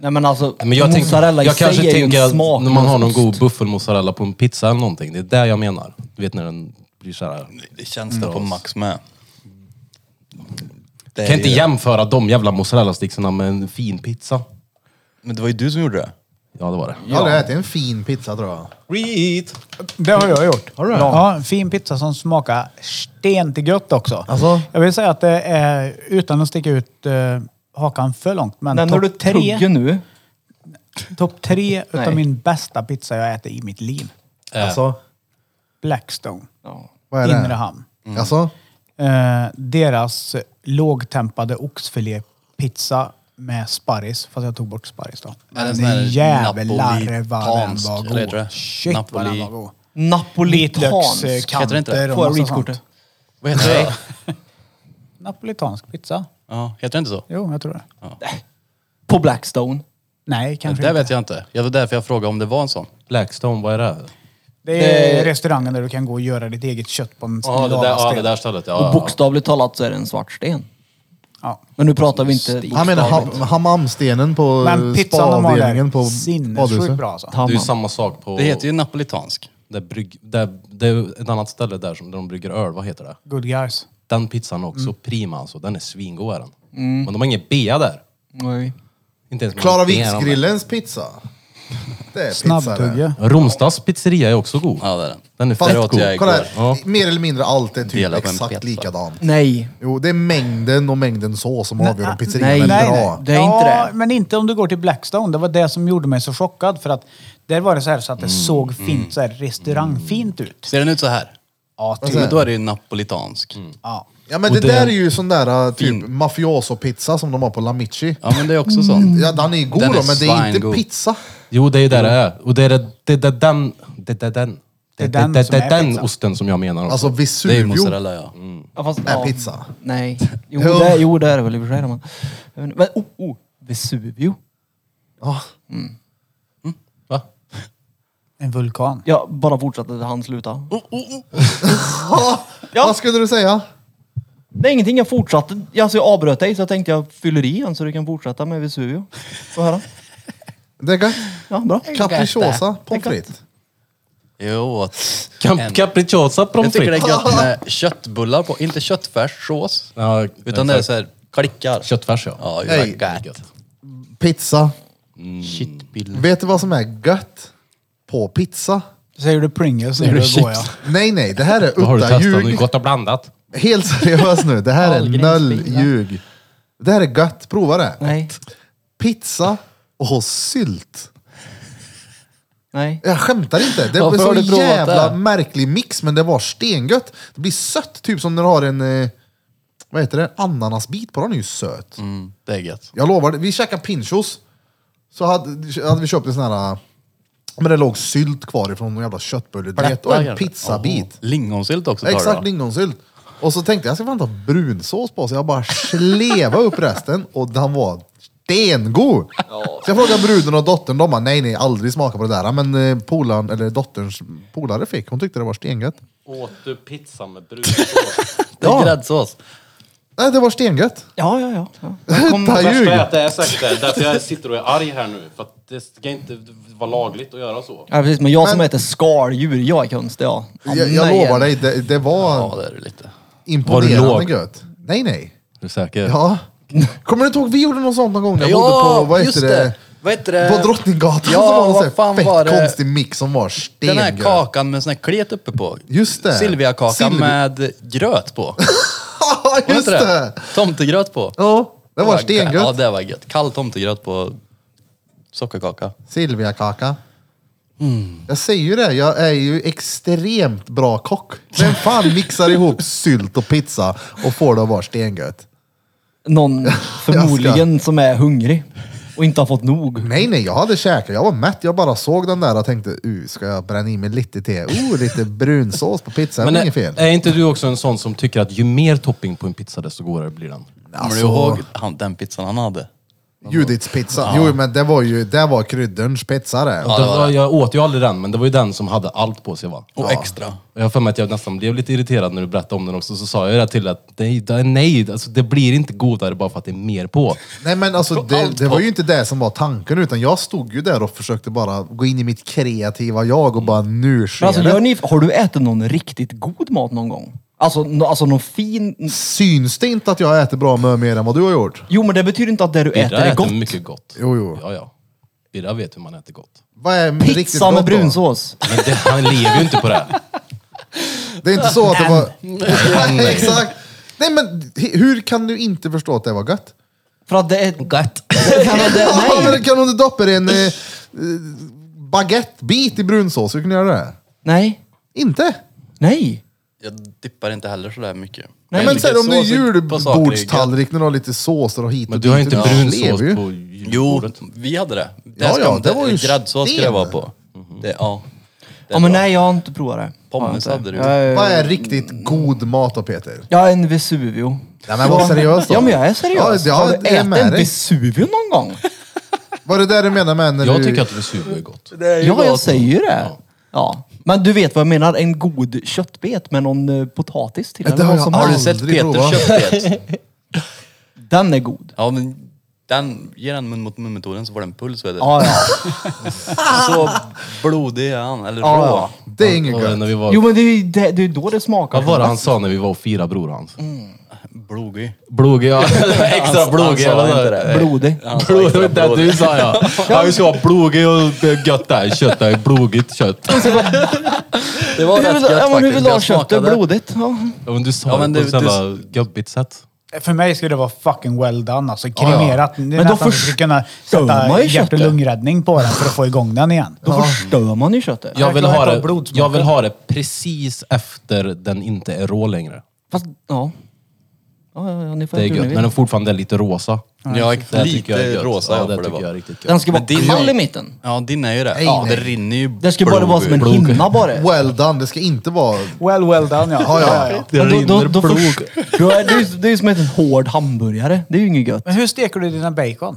S5: Nej men alltså,
S3: Men jag tänk,
S5: mozzarella i
S3: jag
S5: sig
S3: kanske
S5: är ju en
S3: tänker att
S5: smaklös
S3: när man har någon
S5: ost.
S3: god buffelmozzarella på en pizza eller någonting. Det är det jag menar. Du vet när den blir så här.
S6: Det känns det på Max med. Mm. Det är
S3: Kan inte
S6: ju-
S3: jämföra de jävla mozzarella-sticksarna med en fin pizza.
S6: Men det var ju du som gjorde det.
S3: Ja, det var det.
S1: Jag har aldrig ätit en fin pizza tror jag.
S3: Reet!
S4: Det har jag gjort.
S1: Har du det?
S4: Ja, en fin pizza som smakar stenigt gött också.
S1: Alltså?
S4: Jag vill säga att det är, utan att sticka ut eh, hakan för långt, men
S5: Den har du
S4: topp tre,
S5: tuggat nu.
S4: top tre utav
S5: Nej.
S4: min bästa pizza jag ätit i mitt liv.
S1: Alltså,
S4: Blackstone,
S5: Ja.
S1: vad är det?
S4: Inre hamn.
S3: Mm.
S1: Alltså,
S4: Eh, deras lågtempade oxfilépizza med sparris, fast jag tog bort sparris då.
S6: det en
S4: Men
S6: sån här
S4: jävlar vad den
S6: napolitansk,
S4: var
S6: eller heter det?
S4: god. Shit vad den
S6: Napoli-
S4: var god.
S5: Napolitansk.
S6: Heter det inte det?
S4: Vitlökskanter
S5: Får
S4: och
S5: jag
S4: massa sånt.
S5: reach-kortet?
S6: Vad heter det?
S4: Napolitansk pizza.
S6: Ja, heter det inte så?
S4: Jo, jag tror det.
S5: På Blackstone.
S4: Nej,
S6: Det
S4: kanske
S6: där
S4: inte.
S6: vet jag inte. Det var därför jag frågade om det var en sån.
S3: Blackstone, vad är det?
S4: Det
S5: Eh,
S4: är restaurangen där du kan gå och göra ditt eget kött på en
S3: Ja, det, där- ja, det där stället. Ja,
S5: Och
S3: ja, ja.
S5: bokstavligt talat så är det en svart sten.
S4: Ja.
S5: Men nu pratar vi inte...
S1: Han menar ha, hammamstenen på
S4: Men pizzan de har
S1: spaavdelningen på
S4: där,
S1: badhuset.
S4: sinnessjukt bra alltså.
S3: Det är
S5: Hammar.
S3: ju samma sak på...
S6: Det heter ju napolitansk.
S3: Där brygg, där, det är ju ett annat ställe där, som, där de brygger öl, vad heter det?
S4: Good guys.
S3: Den pizzan är också prima alltså, den är svingod är den. Men de har ingen bea där.
S5: Nej.
S3: Inte ens med
S1: Klara
S3: en bea de har.
S1: Viksgrillens pizza. Det är pizza det.
S4: Snabbtugga.
S3: Romstas pizzeria är också god.
S6: Ja, det är den.
S3: Den är
S1: Fast,
S6: Där åt
S3: fett god.
S6: jag
S1: kolla
S6: igår.
S1: här. Mer eller mindre allt är typ
S6: Dela på en
S1: exakt
S6: pizza.
S1: likadant.
S5: Nej.
S1: Jo, det är mängden och mängden sås som avgör om pizzerian
S5: nej,
S1: är
S5: nej,
S1: bra.
S5: Det är inte
S4: ja,
S5: det.
S4: men inte om du går till Blackstone. Det var det som gjorde mig så chockad. För att där var det så här så att det såg fint, så här restaurangfint ut.
S6: Ser den ut så här?
S4: Ja,
S1: Vad
S4: typ.
S1: säger Mm.
S6: Men då är det ju napolitansk.
S4: Ja.
S1: Ja men det,
S3: Och det-
S1: där är ju sån där äh, typ
S6: Fin.
S1: mafioso-pizza som de har på Lamichi.
S6: Ja, men det är också sån.
S1: Mm, Ja, den är ju god
S6: Den är
S1: då, men det är inte
S6: svingod.
S1: pizza.
S3: Jo, det är ju där det är. Och det är det, det, det, den... Det, det, den.
S4: Det är den
S3: det,
S4: som är
S3: den
S4: pizza.
S3: osten som jag menar.
S1: Alltså
S3: Alltså,
S6: Det är ju
S1: Vesuvio
S6: mozzarella, ja.
S5: Ja, fast,
S1: är
S5: ja.
S1: Äh, pizza.
S5: Nej. Jo,
S1: Jo.
S5: det, jo, det är det väl i och för sig. då, Men, men oh, oh, Vesuvio.
S1: Ja.
S3: Va?
S4: En vulkan.
S5: Jag bara fortsatte där han slutade.
S1: Oh.
S5: Ja.
S1: Vad skulle du säga?
S5: Det är ingenting, jag fortsatte. Alltså jag avbröt dig så jag tänkte jag fyller i en så du kan fortsätta med Vesuvio. Få höra.
S1: Det är gött.
S5: Ja, bra.
S1: Capricciosa pommes frites.
S6: Jo,
S3: Cap- Capricciosa
S6: jag
S3: pommes
S6: tycker det
S3: frites.
S6: är gött med köttbullar på. Inte köttfärssås.
S3: Ja,
S6: Utan det är så här klickar.
S3: Köttfärs ja.
S6: Ja, det
S1: Nej.
S6: är gött. Mm.
S1: Pizza.
S6: Shitbill.
S1: Vet du vad som är gött? På pizza?
S4: Säger du Pringles nu,
S3: Säger
S4: då
S3: du
S4: går jag.
S3: chips?
S1: Nej, nej, det här är
S3: Vad har du
S1: utta
S3: testat nu?
S1: ljug.
S3: Gott och blandat.
S1: Helt seriöst nu, det här är
S5: Ahlgrens
S1: noll
S5: pizza.
S1: ljug. Det här är gött, prova det.
S5: Nej,
S1: Pizza och sylt.
S5: nej.
S1: Jag skämtar inte. Det var
S6: Varför har
S1: så
S6: du provat
S1: jävla
S6: det?
S1: märklig mix, men det var stengött. Det blir sött, typ som när du har en, eh, vad heter det, ananasbit på den är ju söt.
S6: Mm, det är gött.
S1: Jag lovar, vi käkade pinchos. Så hade, hade vi köpt en sån här, eh, men det låg sylt kvar ifrån någon jävla köttbulledret och en
S6: kanske.
S1: pizzabit.
S6: Jaha. Lingonsylt också tar
S1: Exakt,
S6: du då?
S1: lingonsylt. Och så tänkte jag, jag ska fan ta brunsås på, så jag bara slevade upp resten och den var stengod. Så jag frågade bruden och dottern, de bara, nej nej, aldrig smaka på det där. Men eh, polaren, eller dotterns polare fick, hon tyckte det var stengött.
S3: Åt du pizza med brunsås?
S6: Det är gräddsås.
S1: Nej, det var stengött.
S5: Ja, ja, ja. ja.
S1: Ta ljug.
S3: att det är säkert det. Därför jag sitter och är arg här nu. För att det ska inte vara lagligt att göra så.
S5: Ja, precis. Men jag som äter skaldjur, jag är konstig. Ja. Ja,
S1: Jag, jag
S5: nej.
S1: lovar dig, det, det var
S6: Ja, det är det lite.
S1: imponerande
S3: låg?
S1: gött. Nej nej.
S6: Du är säker?
S1: Ja. Kommer du inte ihåg, vi gjorde något sånt någon gång när jag bodde
S6: Ja,
S1: på, vad heter
S6: just
S1: det?
S6: det. Vad heter det?
S1: På Drottninggatan
S6: Ja,
S1: så var det
S6: vad
S1: någon sån här
S6: fan
S1: fett
S6: var det?
S1: konstig mix som var
S6: Den
S1: stengött.
S6: här kakan med sån här klet uppe på.
S1: Just det.
S6: Silviakaka
S1: Silvi-
S6: med gröt på.
S1: Ja,
S6: Var
S1: just
S6: inte
S1: det!
S6: Tomtegröt på.
S1: Ja, det var
S6: Ja,
S1: stengött.
S6: det var gött. Kall tomtegröt på sockerkaka.
S1: Silviakaka. Jag säger ju det, jag är ju extremt bra kock. Vem fan mixar ihop sylt och pizza och får det att vara stengött?
S5: Någon förmodligen som är hungrig och inte har fått nog.
S1: Nej, nej, jag hade käkat. Jag var mätt. Jag bara såg den där och tänkte, uh, ska jag bränna i mig lite till? Oh, lite brunsås på pizza, det
S3: Men
S1: är inget
S3: är,
S1: fel.
S3: är inte du också en sån som tycker att ju mer topping på en pizza desto godare blir den?
S6: Kommer
S1: Alltså.
S6: du ihåg han, den pizzan han hade?
S1: Judiths pizza. Jo, men det var ju, det var kryddorns pizza det.
S3: det var, jag åt ju aldrig den, men det var ju den som hade allt på sig va?
S6: Och extra.
S3: Jag har för mig att jag nästan blev lite irriterad när du berättade om den också, så sa jag ju det till att nej, det- nej alltså, det blir inte godare bara för att det är mer på.
S1: Nej men alltså det,
S3: allt
S1: det var ju inte det som var tanken utan jag stod ju där och försökte bara gå in i mitt kreativa jag och bara nu sker
S5: Men alltså,
S1: det.
S5: gör ni, har du ätit någon riktigt god mat någon gång? Alltså, nå- alltså någon fin...
S1: Syns det inte att jag äter bra med mer än vad du har gjort?
S5: Jo, men det betyder inte att det du äter
S3: Birra
S5: är
S3: äter
S5: gott.
S3: mycket gott.
S1: Jo, jo.
S3: Ja, ja. Birra vet hur man äter gott.
S1: Vad är riktigt
S5: Pizza
S1: gott
S5: med
S1: då?
S5: brunsås.
S3: Men det, han lever ju inte på det.
S1: Det är inte så att det var... Nej, Exakt! Nej men he- hur kan du inte förstå att det var gött?
S5: För att det är... Gött. det,
S1: Ja,
S5: nej.
S1: men kan du inte doppa en eh, eh, baguettebit i brunsås? Hur kan du göra det?
S5: nej.
S1: Inte?
S5: Nej.
S6: Jag dippar inte heller sådär mycket.
S1: Nej,
S6: Jag
S1: men
S6: tycker
S1: sen om du
S6: sås är- på saker är gött.
S1: julbordstallrik när du har lite såser och hit och
S3: Men du har ju
S1: dit,
S3: inte
S1: det lever
S3: brunsås
S1: ju.
S3: på
S6: Jo,
S3: julbordet.
S6: vi hade det. det
S1: Ja,
S6: ska-
S1: ja, det var ju
S6: Gräddsås skulle det
S1: sten.
S6: vara på. Det, ja. Det är
S5: Ja, men
S6: bra.
S5: nej, jag har inte provat det.
S6: Pommes
S5: Har jag
S6: hade
S5: inte.
S6: du.
S5: Jag är-
S1: Vad är riktigt god mat då Peter?
S5: Jag är en Vesuvio.
S1: Nej men var seriös då.
S5: Ja, men jag är seriös.
S1: Ja,
S5: har
S1: ja,
S5: du
S1: jag är
S5: ätit
S1: med
S5: en
S1: dig.
S5: Vesuvio någon gång?
S1: Var det där du menar med när
S3: Jag
S1: du...
S3: tycker att Vesuvio är gott.
S5: Ja, jag säger ju det. Ja. Men du vet vad jag menar? En god köttbet med någon eh, potatis till.
S1: Det
S5: eller
S1: har
S5: vad
S1: jag
S5: som
S1: aldrig-
S6: Har du
S5: helst.
S6: sett Peter
S1: provat.
S6: köttbet?
S5: Den är god.
S6: Ja men den, ger den mun mot mun-metoden så får den puls vet du.
S3: Ah.
S5: Ja, ja.
S6: Så blodig är han, eller
S3: Ah,
S5: Ja,
S6: rå.
S5: ja.
S1: Det är inget
S3: Och
S1: gött.
S3: när vi var,
S5: Jo men det är ju det, det är ju då det smakar.
S3: vad var det han sa när vi var och firade bror hans?
S6: Blodig.
S3: Blogig, ja. Extra
S6: han
S3: blogig.
S6: sa
S3: eller
S6: inte
S3: vad?
S6: det.
S5: Blodig.
S6: Han sa
S3: Blod,
S6: extra
S3: det du sa ja. Ja, vi ska vara blogig och det är gött där. Kött där, blogigt kött.
S6: Det var
S5: Hur
S6: rätt
S5: vill,
S6: gött
S5: ja, men hur
S6: faktiskt.
S5: vill du ha
S6: Jag
S5: köttet?
S6: smakade.
S5: Blodigt? Ja.
S3: Ja, men du sa
S6: Ja, men
S3: det på
S6: det-
S3: ett jävla gubbigt sätt.
S4: För mig skulle det vara fucking well done. Alltså kremerat. Det är
S5: Men då
S4: nästan att du skulle
S5: förstör
S4: kunna
S5: man
S4: sätta
S5: ju
S4: hjärt och
S5: köttet.
S4: lungräddning på den för att få igång den igen.
S5: Då förstör man ju köttet.
S3: Jag vill,
S4: klarar
S3: ha
S4: inte av
S3: det,
S4: blodsmaken.
S3: jag vill ha det precis efter den inte är rå längre.
S5: Fast, ja. Ja, ja, ja, ni får
S3: Det är
S5: göra hur ni
S3: gött,
S5: vill.
S3: men den fortfarande är lite rosa.
S6: Ja,
S3: Det tycker jag är
S6: lite
S3: gött.
S6: rosa
S3: ja,
S6: ja,
S3: det
S6: får det
S3: tycker jag är
S6: vara.
S3: riktigt gött.
S5: Den ska vara
S6: din
S5: kall
S6: är-
S5: i mitten.
S6: Ja, din är ju det.
S1: Ja.
S6: Det rinner ju
S5: Det ska bara vara som en
S6: blod ur.
S5: hinna bara.
S1: Well done, det ska inte vara...
S4: Well, well done ja.
S1: Ja, ja, ja.
S5: Men då, då, då först, då är det, ju- det är ju som en hård hamburgare. Det är ju inget gött.
S4: Men hur steker du dina bacon?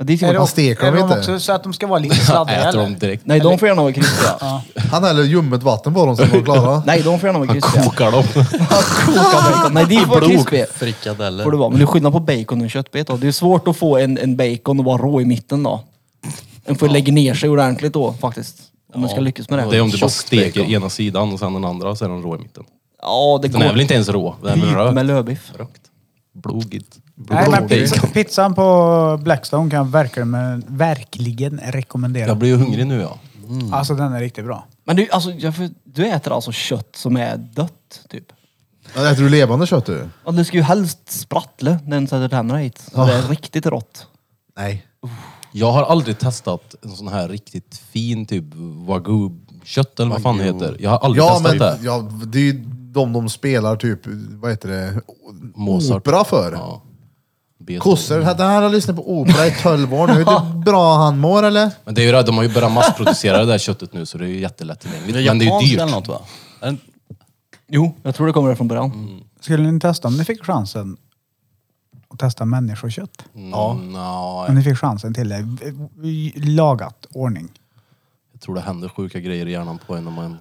S5: Det är
S4: Är
S5: ju
S4: det,
S1: Man steker
S4: är
S1: dem
S4: de
S1: inte.
S4: också så att de ska vara lite sladdriga
S3: Äter dem
S4: eller?
S3: direkt.
S5: Nej, de får gärna vara krispiga.
S1: Han häller ljummet vatten på dem så de var klara.
S5: Nej, de får gärna vara krispiga.
S3: Kokar dem.
S5: Koka bacon. Nej, det får krispiga.
S6: Frikadeller.
S5: Får det vara. Men det är skillnad på bacon och en köttbit då. Det är svårt att få en, en bacon att vara rå i mitten då. Den får lägga ner sig ordentligt då faktiskt. Om man ska lyckas med det.
S3: Det är om du bara steker
S6: bacon.
S3: ena sidan och sen den andra och sen den rå i mitten.
S5: Ja, det
S3: Den
S5: går.
S3: är väl inte ens rå? Den är väl
S5: Typ
S3: rökt?
S5: med lövbiff.
S3: Blogigt.
S4: Nej, men
S3: Blogigt.
S4: pizza, pizzan på Blackstone kan jag verkligen, verkligen rekommendera.
S3: Jag blir ju hungrig nu ja.
S5: Mm.
S4: Alltså den är riktigt bra.
S5: Men du, alltså, jag, får- du äter alltså kött som är dött typ?
S1: Ja, Äter du levande kött du?
S5: Ja, det ska ju helst sprattla när den sätter tänderna hit. Så det är riktigt rått.
S1: Nej.
S3: Jag har aldrig testat en sån här riktigt fin typ wagyu-kött eller vad fan det heter. Jag har aldrig
S1: Ja,
S3: testat
S1: men
S3: det.
S1: ja, det är ju de de spelar typ, vad heter det,
S3: Mozart.
S1: opera för.
S3: Ja. Beethoven.
S1: Kossor, det här har jag lyssnat på opera i 12 år nu. Det är bra han mår eller?
S3: Men det är ju det, de har ju börjat massproducera det där köttet nu så det är ju jättelättillgängligt. Men det är
S6: japanskt
S3: ju
S6: eller
S3: dyrt.
S6: något va? Är det- Mm.
S5: Jo, jag tror det kommer från början.
S4: Skulle ni testa om ni fick chansen att testa människokött?
S3: Ja. Nej,
S4: Om ni fick chansen till det. i Lagat ordning.
S3: jag tror det händer sjuka grejer i hjärnan på en när man...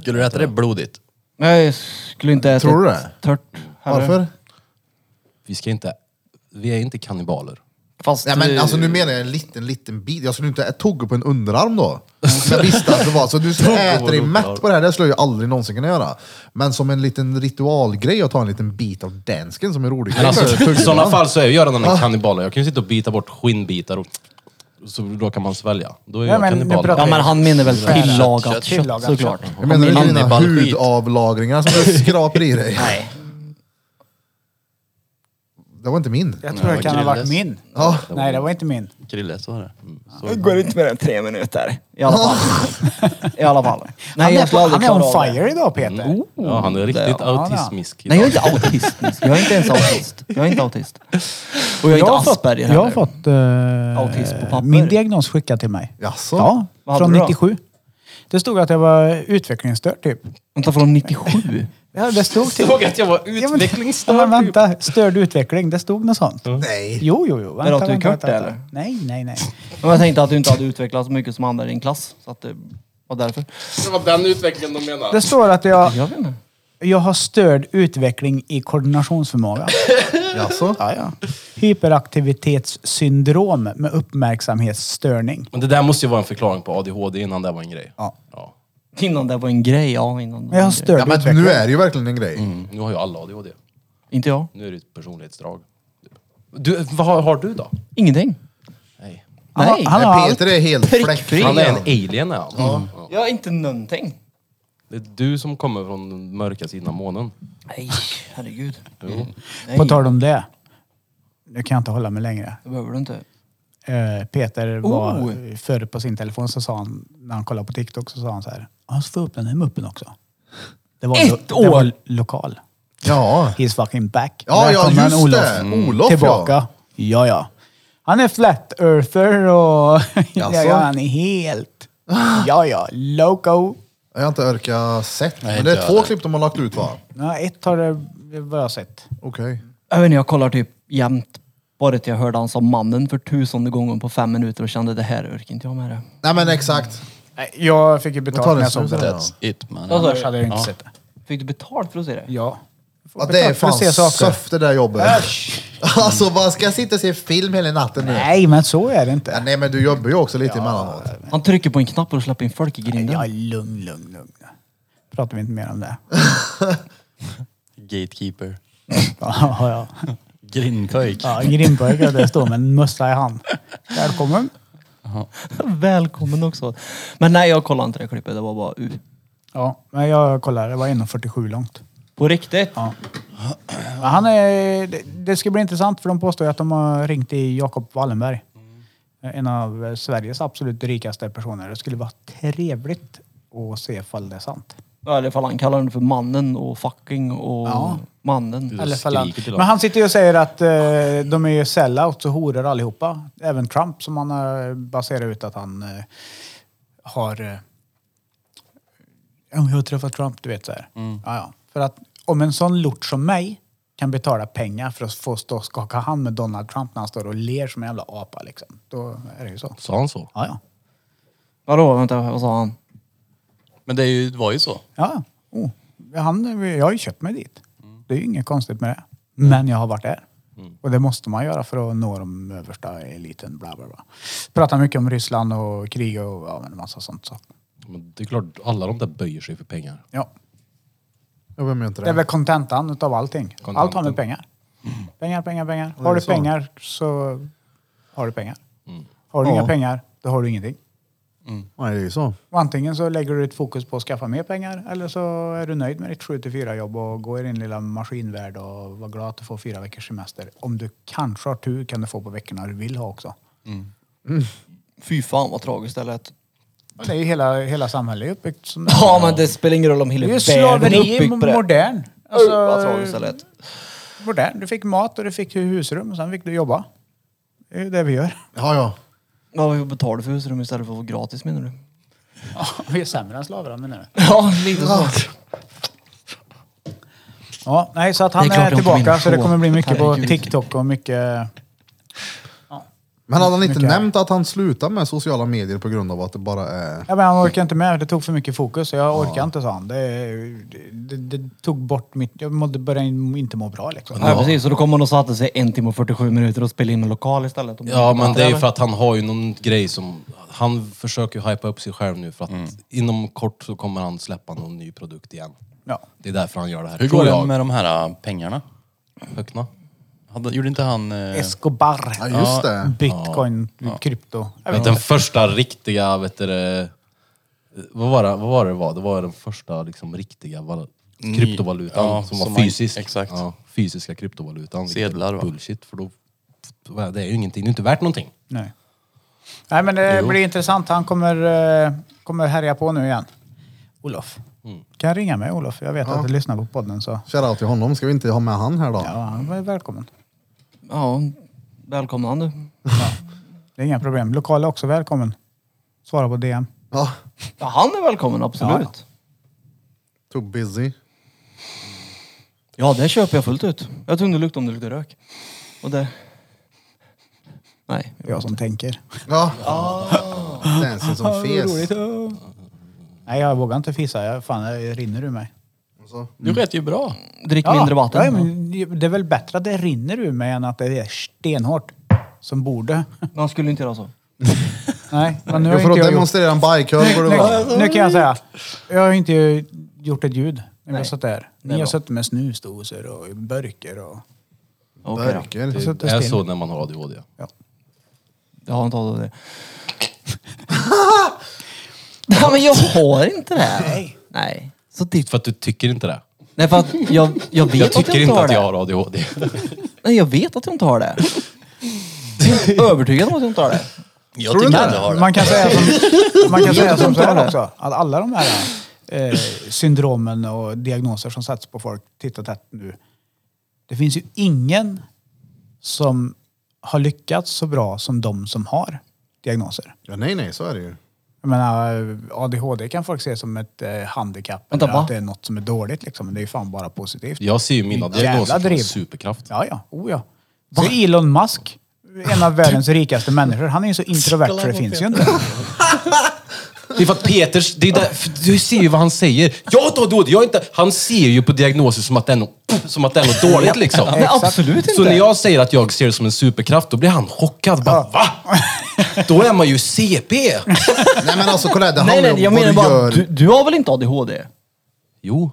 S6: Skulle du äta det blodigt?
S5: Nej, jag skulle inte äta
S1: Tror du
S5: ett
S1: det?
S5: tört. heller.
S1: Varför?
S3: Vi ska inte... Vi är inte kannibaler.
S5: Fast,
S1: Nej men
S5: eh,
S1: alltså nu menar jag en liten, liten bit. Jag skulle inte ä- tugga på en underarm då. Om jag visste att det var så. Du ska äta dig mätt på det här, det skulle jag ju aldrig någonsin kunna göra. Men som en liten ritualgrej att ta en liten bit av dansken som är rolig
S3: Men
S1: grej.
S3: alltså, i
S1: Tugga
S3: sådana
S1: den.
S3: fall så är ju redan en kannibal. Jag kan ju sitta och bita bort skinnbitar och så då kan man svälja. Då är
S4: Ja,
S3: jag
S4: men nu
S3: kannibal.
S4: pratar
S5: Ja men han menar väl
S4: Kött,
S5: tillagat kött,
S6: kött,
S4: tillagat
S5: såklart.
S4: kött.
S1: Jag menar inte dina
S6: Hannibal-skit.
S1: hudavlagringar som du skrapar i dig.
S5: Nej.
S1: Det var inte min.
S4: Jag tror det kan ha varit min.
S1: Ja.
S4: Nej, det var inte min.
S6: Krille, så är det. Mm. Så.
S5: går inte mer än tre minuter. I alla fall. I alla fall. Nej,
S4: han är,
S5: jag
S4: på,
S5: skulle aldrig
S4: han är
S5: klara av
S4: on
S5: det. Mm.
S4: fire idag Peter.
S3: Ja, han är
S5: Ja,
S3: riktigt
S5: ja.
S3: autismisk.
S5: Nej jag är inte autistisk. Jag är inte ens autist. Jag är inte autist. Och jag är
S4: Jag har
S5: inte
S4: fått,
S5: Asperger
S4: jag har
S5: heller.
S4: fått eh,
S5: Autism på papper.
S4: min diagnos skickad till mig.
S1: Jaså?
S4: Ja,
S5: Vad hade
S4: från
S5: du då?
S4: 97. Det stod att jag var utvecklingsstörd typ.
S5: Vänta från 97?
S4: Ja, det stod till.
S3: att jag var
S4: Ja, men- Ja, men vänta, störd utveckling. Det stod något sånt.
S1: Nej.
S4: Jo, jo, jo. Vänta,
S5: Är det att du är
S4: vänta,
S5: kort,
S4: vänta.
S5: eller?
S4: Nej, nej, nej.
S5: Men jag tänkte att du inte hade utvecklats så mycket som andra i din klass. Så att det var därför.
S3: Det var den utvecklingen de menar.
S4: Det står att jag,
S5: Jag vet inte.
S4: jag har störd utveckling i koordinationsförmåga.
S1: Jaså?
S4: Ja, ja. Hyperaktivitetssyndrom med uppmärksamhetsstörning.
S3: Men det där måste ju vara en förklaring på ADHD innan det var en grej.
S4: Ja.
S5: Innan det var en grej, ja. Innan det var
S4: Men jag har
S5: en grej.
S4: störd
S1: Ja, men
S4: utveckling.
S1: nu är det ju verkligen en grej.
S6: Mm.
S3: Mm. Nu har ju alla ADHD.
S5: Inte jag.
S3: Nu är det ett personlighetsdrag. Du, vad har, har du då?
S5: Ingenting.
S3: Nej.
S4: Han har-
S5: Nej.
S4: han har
S1: Men
S4: allt.
S1: Peter är helt fläckfri.
S3: Han är en alien är han. Ja. Mm.
S5: Jag har inte någonting.
S3: Det är du som kommer från den mörka sidan av månen.
S5: Nej, herregud. Nej,
S4: På tal om det. Nu kan jag inte hålla mig längre.
S5: det behöver du inte.
S4: Eh, Peter var
S5: Oh.
S4: förr på sin telefon så sa han, när han kollade på TikTok så sa han så här. Han ska få upp den här muppen också. Det var
S5: Ett
S4: Det var
S5: år!
S4: lokal.
S1: Ja.
S4: He's fucking back.
S1: Ja, ja,
S4: Välkommen,
S1: just det. Olof,
S4: Tillbaka.
S1: ja.
S4: Ja. ja, Han är flat-earther och... ja,
S1: Jaså?
S4: ja, han är helt... Ja, ja. Loco.
S1: Jag har inte orkat sett. Men
S6: inte
S1: det är
S6: jag
S1: två
S6: heller.
S1: klipp de har lagt ut va?
S4: Ja, ett har det, det vad jag har sett.
S1: Okej.
S5: Jag vet inte, jag kollar typ jämt. Bara till jag hörde han som mannen för tusende gången på fem minuter och kände det här orkar inte jag med det.
S1: Nej men exakt.
S4: Nej, Jag fick ju
S1: Jag tar
S4: betalt
S1: den
S4: när jag såg
S1: snus
S4: det.
S1: här.
S6: That's it man.
S5: Ja.
S4: Annars hade jag inte sett det.
S5: Fick du betalt för att se det?
S4: Ja.
S1: Ja, det är
S4: betalt för
S1: fan
S4: att se saker.
S1: söft det där jobbet. alltså, vad ska jag sitta och se film hela natten nu?
S4: Nej, men så är det
S1: Ja,
S4: inte.
S1: nej, men du jobbar ju också lite emellanåt.
S5: Han trycker på en knapp och släpper in folk i grinden.
S4: Ja, lugn, lugn, lugn. Pratar vi inte mer om det.
S6: Gatekeeper.
S4: Ja, ja.
S6: Grindpöjk.
S4: ja Grindpojk, ja, det står med en mössa i hand. Välkommen.
S5: Välkommen också. Men nej, jag kollade inte det klippet. Det var bara uh.
S4: Ja, men jag kollar, det var 1,47 långt.
S5: På riktigt?
S4: Ja. Men Han är, det- det ska bli intressant för de påstår ju att de har ringt till Jakob Wallenberg. En av eh, Sveriges absolut rikaste personer. Det skulle vara trevligt att se ifall det är sant.
S5: Ja, eller fall han kallar den för mannen och fucking och mannen.
S4: Eller ifall han,
S3: skriker till dem.
S4: men han sitter ju och säger att eh, de är ju sellouts och horor allihopa. Även Trump som han har baserat ut att han eh, har... Eh, "Ja, jag har träffat Trump, du vet så här.
S3: Mm.
S4: Ja, ja. För att om en sån lort som mig kan betala pengar för att få stå och skaka hand med Donald Trump när han står och ler som en jävla apa liksom. Då är det ju så.
S3: Sa han så?
S4: Ja, ja.
S5: Vadå, vänta, vad sa han?
S6: Men det är ju, det var ju så.
S4: ja. Oh. Han, jag har ju köpt mig dit.
S1: Mm.
S4: Det är ju inget konstigt med det. Men jag har varit där. Och det måste man göra för att nå de översta eliten. Bla, bla, bla. Pratar mycket om Ryssland och krig och ja, men en massa sånt. Så.
S3: Men det är klart, alla de där böjer sig för pengar.
S4: Ja.
S1: Jag vem gör inte
S4: Det är
S1: det?
S4: väl kontentan utav allting. Allt har
S3: Kontentan.
S4: med pengar. Pengar, pengar, pengar.
S1: Mm. det är
S4: Har du
S1: så. Mm.
S4: pengar så har du pengar. Har du
S1: Ja.
S4: inga pengar, då har du ingenting.
S1: Nej, det är ju så.
S4: Och antingen så lägger du ditt fokus på att skaffa mer pengar eller så är du nöjd med ditt 7-4 jobb och går i din lilla maskinvärld och var glad att du får fyra veckors semester. Om du kanske har tur kan du få på veckorna du vill ha också.
S5: Fy fan vad tragiskt det lät.
S4: Och det är ju hela, hela samhället är uppbyggt som
S5: Ja, men det spelar ingen roll om
S4: det
S5: hela
S4: är ju
S5: världen är
S4: slaveri
S5: uppbyggd på det.
S4: modern.
S5: Alltså, vad tragiskt det
S4: Alltså,
S5: lät.
S4: modern. Du fick mat och du fick husrum och sen fick du jobba. Det är ju det vi gör.
S1: Ja, ja.
S5: Ja, vi betalar för husrum istället för att få gratis menar du?
S4: vi är sämre än slavarna menar du?
S5: Ja, lite
S6: Ah.
S5: så.
S4: Ja, nej, så att han
S5: Det är klart
S4: är,
S5: de inte
S4: tillbaka
S5: vill
S4: så det
S5: så.
S4: kommer bli mycket på
S5: Herregud.
S4: TikTok och mycket...
S1: Men hade han inte
S4: Mycket.
S1: nämnt att han slutade med sociala medier på grund av att det bara är...
S4: Ja, men han orkar inte med, det tog för mycket fokus. Jag orkar inte, sa han. Det, det, det, det tog bort mitt... Jag mådde, började inte må bra liksom.
S5: Ja, precis. Så då kommer man och satte sig en timme och 47 minuter och spelade in en lokal istället. Om
S3: Ja, men det är ju för
S5: Eller?
S3: att han har ju någon grej som... Han försöker ju hypa upp sig själv nu för att
S6: Mm.
S3: inom kort så kommer han släppa någon ny produkt igen.
S4: Ja.
S3: Det är därför han gör det här.
S6: Hur
S3: tror
S6: går det
S3: jag.
S6: med de här äh, pengarna?
S3: Höckna?
S6: Hade, gjorde inte han... Eh,
S4: Escobar.
S1: Ja, just det.
S4: Bitcoin, krypto. Jag vet
S3: Den
S4: inte.
S3: första riktiga, vet du det, vad var det, vad var det det var? Det var den första liksom riktiga val-
S6: Ny-
S3: kryptovalutan
S6: ja,
S3: som var
S6: som man-
S3: fysisk.
S6: exakt.
S3: Ja, fysiska kryptovalutan. vilket är
S6: Sedlar, va?
S3: Bullshit, för då, det är ju ingenting, det är inte värt någonting.
S4: Nej. nej, men det blir intressant. Han kommer, eh, kommer härja på nu igen. Olof.
S1: Mm.
S4: Kan jag ringa mig Olof? Jag vet att du lyssnar på podden så...
S1: Shoutout till honom. Ska vi inte ha med han här då?
S4: Ja, han är välkommen.
S5: Ja, välkomna du.
S4: Det är inga problem. Lokal är också välkommen. Svara på DM.
S1: Ja.
S5: Ja, han är välkommen, absolut.
S1: Too busy.
S5: Ja, det köper jag fullt ut. Jag tog inte lukt om det luktade rök. Och det... Nej.
S4: Det är jag som tänker.
S1: Ja.
S5: Ah.
S1: Dansen som fes.
S4: Nej, jag vågar inte fisa. Jag, fan, jag rinner ur mig.
S1: Alltså.
S6: du sket ju bra.
S5: Mm. Drick mindre vatten.
S4: Ja, men det är väl bättre att det rinner ur mig än att det är stenhårt. Som borde.
S5: Man skulle inte göra så.
S4: Nej, men nu
S1: Jo,
S4: har
S1: för
S4: inte
S1: att
S4: jag gjort...
S1: demonstrera en bajkorv går det bra.
S4: Nu, nu kan jag säga. Jag har inte gjort ett ljud när vi har suttit här.
S5: är
S4: Ni har
S5: bra.
S4: suttit med snusdosor och burkar och...
S5: Okej då.
S1: Verkar.
S4: och suttit
S3: Det är
S4: still.
S3: så när man har ADHD.
S4: Ja.
S5: Jag har inte av det. ja, men jag har inte det. Nej. Nej. Så ditt...
S3: För att du tycker inte det.
S5: Nej, för att jag, jag vet
S3: Jag
S5: att
S3: tycker
S5: jag
S3: inte
S5: inte har
S3: att
S5: det.
S3: jag har ADHD.
S5: Nej, jag vet att jag inte har det. Jag är övertygad om att jag inte har det.
S6: Jag tycker inte jag har det.
S4: Man kan säga som, man kan säga som så
S5: inte
S4: här
S5: det.
S4: också. Att alla de här eh, syndromen och diagnoser som sätts på folk titt och tätt nu. Det finns ju ingen som har lyckats så bra som de som har diagnoser.
S1: Ja, nej, nej, så är det ju.
S4: Jag menar, ADHD kan folk se som ett eh, handikapp.
S5: Vänta,
S4: eller
S5: va?
S4: att det är något som är dåligt liksom. Men det är ju fan bara positivt.
S3: Jag ser ju mina
S4: Jävla
S3: diagnoser som
S4: driv.
S3: en superkraft.
S4: Ja, ja. Oh, ja. Så Elon Musk, en av världens rikaste människor, han är ju så introvert så det finns ju inte.
S3: Det är för att Peters... Det är där, för du ser ju vad han säger. Jag har ADHD, jag är inte... Han ser ju på diagnoser som att det är något, som att det är något dåligt liksom.
S5: Nej, absolut inte.
S3: Så när jag säger att jag ser det som en superkraft, då blir han chockad. Bara, Va? Då är man ju CP!
S1: Nej men alltså kolla här, det
S5: nej,
S1: handlar ju
S5: nej, jag
S1: om vad
S5: menar
S1: du
S5: bara,
S1: gör.
S5: du, du har väl inte ADHD?
S3: Jo,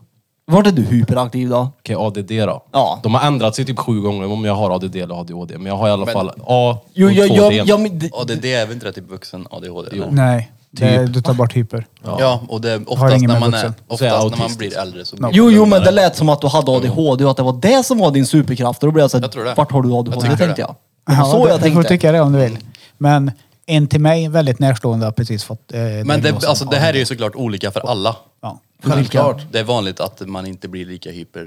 S5: Vart är du hyperaktiv då?
S3: okej ADD då.
S5: Ja.
S3: De har ändrat sig typ sju gånger om jag har ADD eller ADHD. Men jag har i alla fall A och
S5: Jo, jag, jag,
S3: 2D.
S5: jag, men det-
S6: ADD är väl inte det typ vuxen ADHD? eller?
S4: Nej, det,
S6: Typ.
S4: du tar bort hyper.
S6: Ja, och det är
S4: Har
S6: oftast
S4: ingen med
S6: när man,
S4: vuxen.
S6: är,
S3: Så är jag
S6: oftast när man
S3: autistisk.
S6: blir äldre så blir
S5: jo, jo, men det
S6: lugnare.
S5: lät som att du hade ADHD och att det var det som var din superkraft. Och då blev jag såhär,
S6: Jag tror det.
S5: vart har du ADHD?
S6: Jag tycker
S5: tänkte
S6: det.
S5: jag. Det var så
S4: du,
S5: jag
S4: du får
S5: tänkte.
S4: tycka det om du vill. Men en till mig väldigt närstående har precis fått eh,
S6: Men det,
S4: diagnosen
S6: alltså, det här är
S4: ADHD.
S6: ju såklart olika för alla.
S4: Ja.
S1: Självklart.
S6: Det är vanligt att man inte blir lika hyper.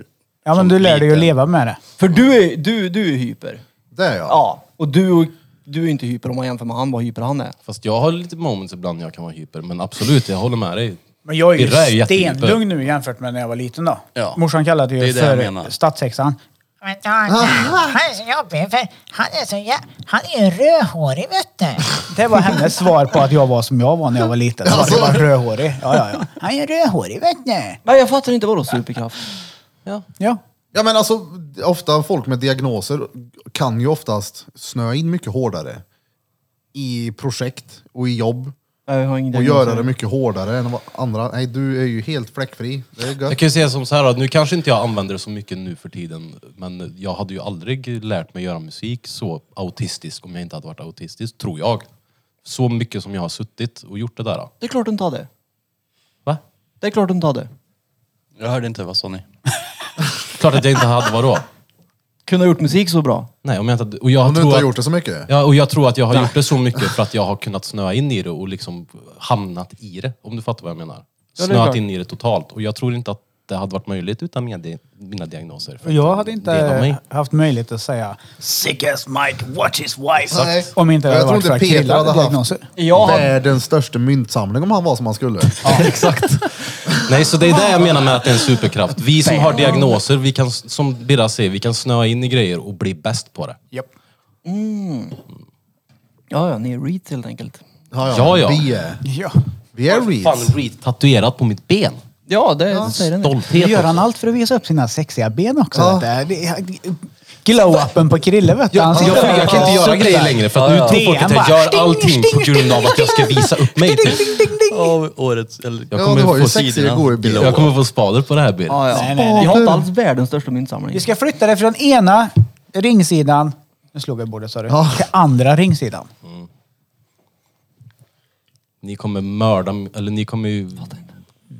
S4: ja, men
S6: som
S4: du lär dig ju att
S6: liten.
S4: leva med det.
S5: För du är, du, du är hyper.
S1: Det är jag.
S5: Ja, och du, du är inte hyper om man jämför med han, vad hyper han är.
S3: Fast jag har lite moments ibland jag kan vara hyper. Men absolut, jag håller med dig.
S4: Men jag är ju
S3: Birra är jättehyper.
S4: stenlugn nu jämfört med när jag var liten då.
S6: Ja.
S4: Morsan kallade
S6: Det
S4: ju
S6: är det jag menar.
S4: för Ah. statshäxan.
S8: Men han, han är så jobbig för han är så jä... Han är ju rödhårig vet du.
S4: Det var hennes svar på att jag var som jag var när jag var liten. Jag var bara rödhårig. Ja, ja, ja. Han är rödhårig vet ni.
S5: Nej, jag fattar inte vadå superkraft?
S4: Ja.
S1: Ja men alltså, ofta folk med diagnoser kan ju oftast snöa in mycket hårdare i projekt och i jobb
S5: Jag har ingen
S1: och
S5: diagnos.
S1: göra det mycket hårdare än vad andra. Nej, du är ju helt fläckfri. Det är
S3: Jag
S1: gött.
S3: kan ju säga som så här, att nu kanske inte jag använder det så mycket nu för tiden, men jag hade ju aldrig lärt mig göra musik så autistisk om jag inte hade varit autistisk, tror jag. Så mycket som jag har suttit och gjort det där.
S5: Det är klart du inte hade.
S3: Va?
S5: Det är klart du inte hade.
S6: Jag hörde inte vad sa ni?
S3: Klart att jag inte hade, vadå?
S5: Kunde ha gjort musik så bra.
S3: Nej, om jag inte hade... Och jag,
S1: Om du
S3: tror
S1: inte har
S3: att,
S1: gjort det så mycket.
S3: ja, och jag tror att jag har gjort det så mycket för att jag har kunnat snöa in i det och liksom hamnat i det, om du fattar vad jag menar.
S5: det är
S3: Snöat
S5: klart.
S3: in i det totalt. Och jag tror inte att det hade varit möjligt utan mina, di- mina diagnoser.
S4: Och jag hade
S3: Del av
S4: inte
S3: mig.
S4: haft möjlighet att säga “sick as Mike, watch his wife”
S1: Nej.
S4: om inte det
S1: jag
S4: hade
S1: tror
S4: varit
S1: inte
S4: för att
S1: Peter
S4: Krilla
S1: hade
S4: hade
S1: haft
S4: diagnoser.
S5: Jag hade-
S1: världens största myntsamling om han var som han skulle.
S3: Nej, så det är det jag menar med att det är en superkraft. Vi som har diagnoser, vi kan, som Birra säger, vi kan snöa in i grejer och bli bäst på det.
S5: Ja, ja, ni är reet helt enkelt.
S1: Ja,
S3: Ja, ja.
S1: Vi är,
S4: Ja.
S1: vi är
S3: Fan,
S1: reeds.
S3: reet tatuerat på mitt ben.
S5: Ja, det, det säger den.
S4: Det
S3: Stolthet
S4: gör han
S3: också.
S4: allt för att visa upp sina sexiga ben också.
S1: Ja.
S4: vet du. Det är- Glow-uppen på Krille vet du. Han
S3: Jag,
S4: sitter
S3: jag,
S4: där
S3: jag kan inte
S4: och
S3: göra
S4: suktar.
S3: grejer längre för att nu tror folk att jag gör allting på grund av att jag ska visa upp mig. Typ.
S6: Ja, årets... Eller,
S3: Jag
S1: Ja,
S3: kommer
S1: du har ju
S3: få
S1: sexiga
S3: sidorna.
S1: goa bilder.
S3: Jag kommer få spader på det här Birra.
S5: Ja, ja.
S4: Nej, nej, nej.
S5: Jag har inte alls världens största myntsamling.
S4: Vi ska flytta det från ena ringsidan, nu slog jag i bordet sa du,
S1: Ja.
S4: till andra ringsidan.
S3: Ni kommer mörda, m- eller ni kommer ju